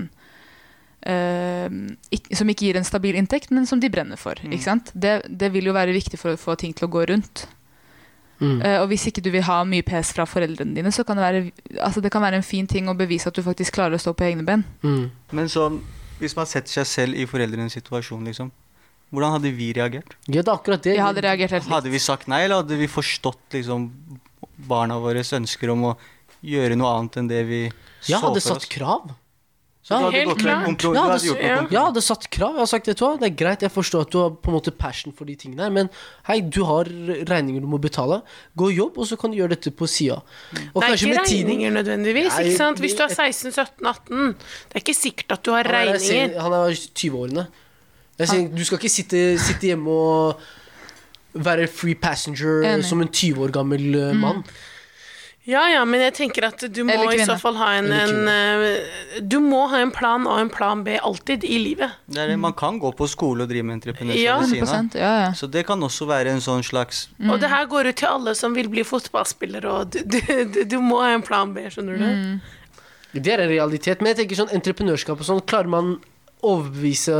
[SPEAKER 1] eh, ikk- Som ikke gir en stabil inntekt, men som de brenner for. Ikke sant? Det, det vil jo være viktig for å få ting til å gå rundt.
[SPEAKER 2] Mm.
[SPEAKER 1] Eh, og hvis ikke du vil ha mye pes fra foreldrene dine, så kan det være, altså det kan være en fin ting å bevise at du faktisk klarer å stå på egne ben.
[SPEAKER 2] Mm.
[SPEAKER 5] Men sånn, hvis man setter seg selv i foreldrenes situasjon, liksom. Hvordan hadde vi reagert?
[SPEAKER 2] Ja, det er akkurat det.
[SPEAKER 1] Jeg hadde reagert helt likt.
[SPEAKER 5] Hadde vi sagt nei, eller hadde vi forstått liksom barna våres ønsker om å gjøre noe annet enn det vi
[SPEAKER 2] jeg
[SPEAKER 5] så for
[SPEAKER 2] hadde
[SPEAKER 5] oss?
[SPEAKER 2] satt krav.
[SPEAKER 5] Så du hadde
[SPEAKER 3] Helt
[SPEAKER 5] gått til en
[SPEAKER 3] klart.
[SPEAKER 5] kompro-
[SPEAKER 2] Ja,
[SPEAKER 5] du
[SPEAKER 2] det-
[SPEAKER 5] hadde gjort noe
[SPEAKER 3] ja.
[SPEAKER 5] kompromiss.
[SPEAKER 2] Jeg hadde satt krav. Jeg hadde sagt, vet du hva, Det er greit, jeg forstår at du har på en måte passion for de tingene her, men hei, du har regninger du må betale. Gå og jobb, og så kan du gjøre dette på sida. Og
[SPEAKER 3] det er
[SPEAKER 2] kanskje
[SPEAKER 3] ikke
[SPEAKER 2] med tiden
[SPEAKER 3] regninger nødvendigvis.
[SPEAKER 2] Nei,
[SPEAKER 3] ikke sant? Hvis du er
[SPEAKER 2] vi-
[SPEAKER 3] 16, 17, 18 Det er ikke sikkert at du har
[SPEAKER 2] Han er,
[SPEAKER 3] regninger.
[SPEAKER 2] sen- han er 20-årene. Jeg sier, Du skal ikke sitte, sitte hjemme og være free passenger
[SPEAKER 1] Enig.
[SPEAKER 2] som en 20 år gammel eh,
[SPEAKER 3] Mm.
[SPEAKER 2] mann.
[SPEAKER 3] Ja, ja, men jeg tenker at du må
[SPEAKER 1] Eller
[SPEAKER 3] i
[SPEAKER 1] kvinne.
[SPEAKER 3] så fall ha en,
[SPEAKER 2] Eller
[SPEAKER 3] en eh, Du må ha en plan A og en plan B alltid i livet.
[SPEAKER 5] Det er det, man kan gå på skole og drive med entreprenørskap
[SPEAKER 3] Ja,
[SPEAKER 5] ved siden av.
[SPEAKER 1] 100%, ja, ja.
[SPEAKER 5] Så det kan også være en sånn slags
[SPEAKER 2] Mm.
[SPEAKER 3] Og det her går ut til alle som vil bli fotballspillere, og du, du, du, du må ha en plan B, skjønner du?
[SPEAKER 2] Mm. Det er en realitet. Men jeg tenker sånn entreprenørskap og sånn, klarer man overbevise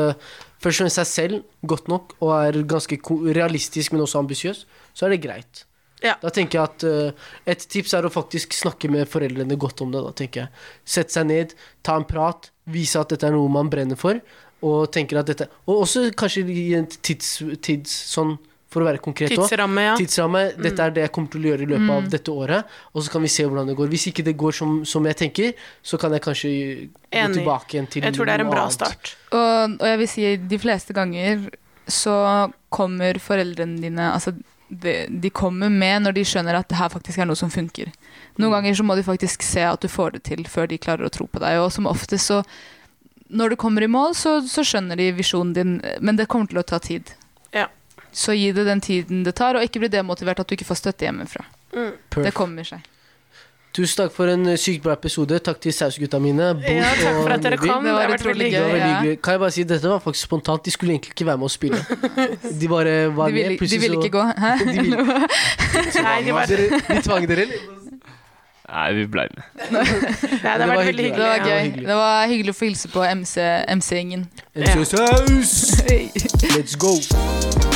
[SPEAKER 2] først og fremst seg selv godt nok og er ganske ko- realistisk, men også ambisiøs, så er det greit.
[SPEAKER 3] Ja.
[SPEAKER 2] Da tenker jeg at eh, Et tips er å faktisk snakke med foreldrene godt om det. da, tenker jeg. Sette seg ned, ta en prat, vise at dette er noe man brenner for. Og tenker at dette, og også kanskje gi en tids, tids sånn, for å være konkret òg.
[SPEAKER 3] Tidsramme, ja. Mm.
[SPEAKER 2] Tidsramme. Dette er det jeg kommer til å gjøre i løpet av dette året. Og så kan vi se hvordan det går. Hvis ikke det går som, som jeg tenker, så kan jeg kanskje gå
[SPEAKER 3] Enig.
[SPEAKER 2] tilbake igjen til
[SPEAKER 3] Jeg tror det er en
[SPEAKER 2] noe
[SPEAKER 3] bra
[SPEAKER 2] annet.
[SPEAKER 3] start.
[SPEAKER 1] Og, og jeg vil si de fleste ganger så kommer foreldrene dine Altså, de, de kommer med når de skjønner at det her faktisk er noe som funker. Noen ganger så må de faktisk se at du får det til før de klarer å tro på deg. Og som oftest så Når du kommer i mål, så, så skjønner de visjonen din, men det kommer til å ta tid.
[SPEAKER 3] Ja.
[SPEAKER 1] Så gi det den tiden det tar, og ikke bli demotivert at du ikke får støtte hjemmefra.
[SPEAKER 2] Perf.
[SPEAKER 1] Det kommer seg.
[SPEAKER 2] Tusen takk for en eh, sykt bra episode. Takk til sausgutta mine. Bo
[SPEAKER 3] Ja, takk
[SPEAKER 2] og
[SPEAKER 3] for at dere
[SPEAKER 2] Nabil.
[SPEAKER 3] kom. Det har
[SPEAKER 1] var
[SPEAKER 3] vært
[SPEAKER 1] utrolig
[SPEAKER 3] veldig
[SPEAKER 2] Det
[SPEAKER 3] gøy.
[SPEAKER 2] var veldig
[SPEAKER 1] Ja.
[SPEAKER 2] hyggelig. Kan jeg bare si, Dette var faktisk spontant. De skulle egentlig ikke være med å
[SPEAKER 3] *laughs*
[SPEAKER 2] spille. De bare var
[SPEAKER 1] De vil,
[SPEAKER 2] med.
[SPEAKER 1] de vil ikke gå. Hæ?
[SPEAKER 2] *laughs* De ville-
[SPEAKER 3] Nei, det, var,
[SPEAKER 2] Dere, de tvang
[SPEAKER 1] *laughs*
[SPEAKER 2] dere, eller?
[SPEAKER 4] Nei, vi blei med.
[SPEAKER 3] nei, det
[SPEAKER 2] Det
[SPEAKER 3] har
[SPEAKER 2] var
[SPEAKER 3] vært veldig
[SPEAKER 1] Det
[SPEAKER 2] hyggelig.
[SPEAKER 1] var
[SPEAKER 3] hyggelig. ja.
[SPEAKER 1] gøy.
[SPEAKER 2] hyggelig.
[SPEAKER 1] Det var hyggelig å få hilse på MC-gjengen.
[SPEAKER 2] En saus. Let's go.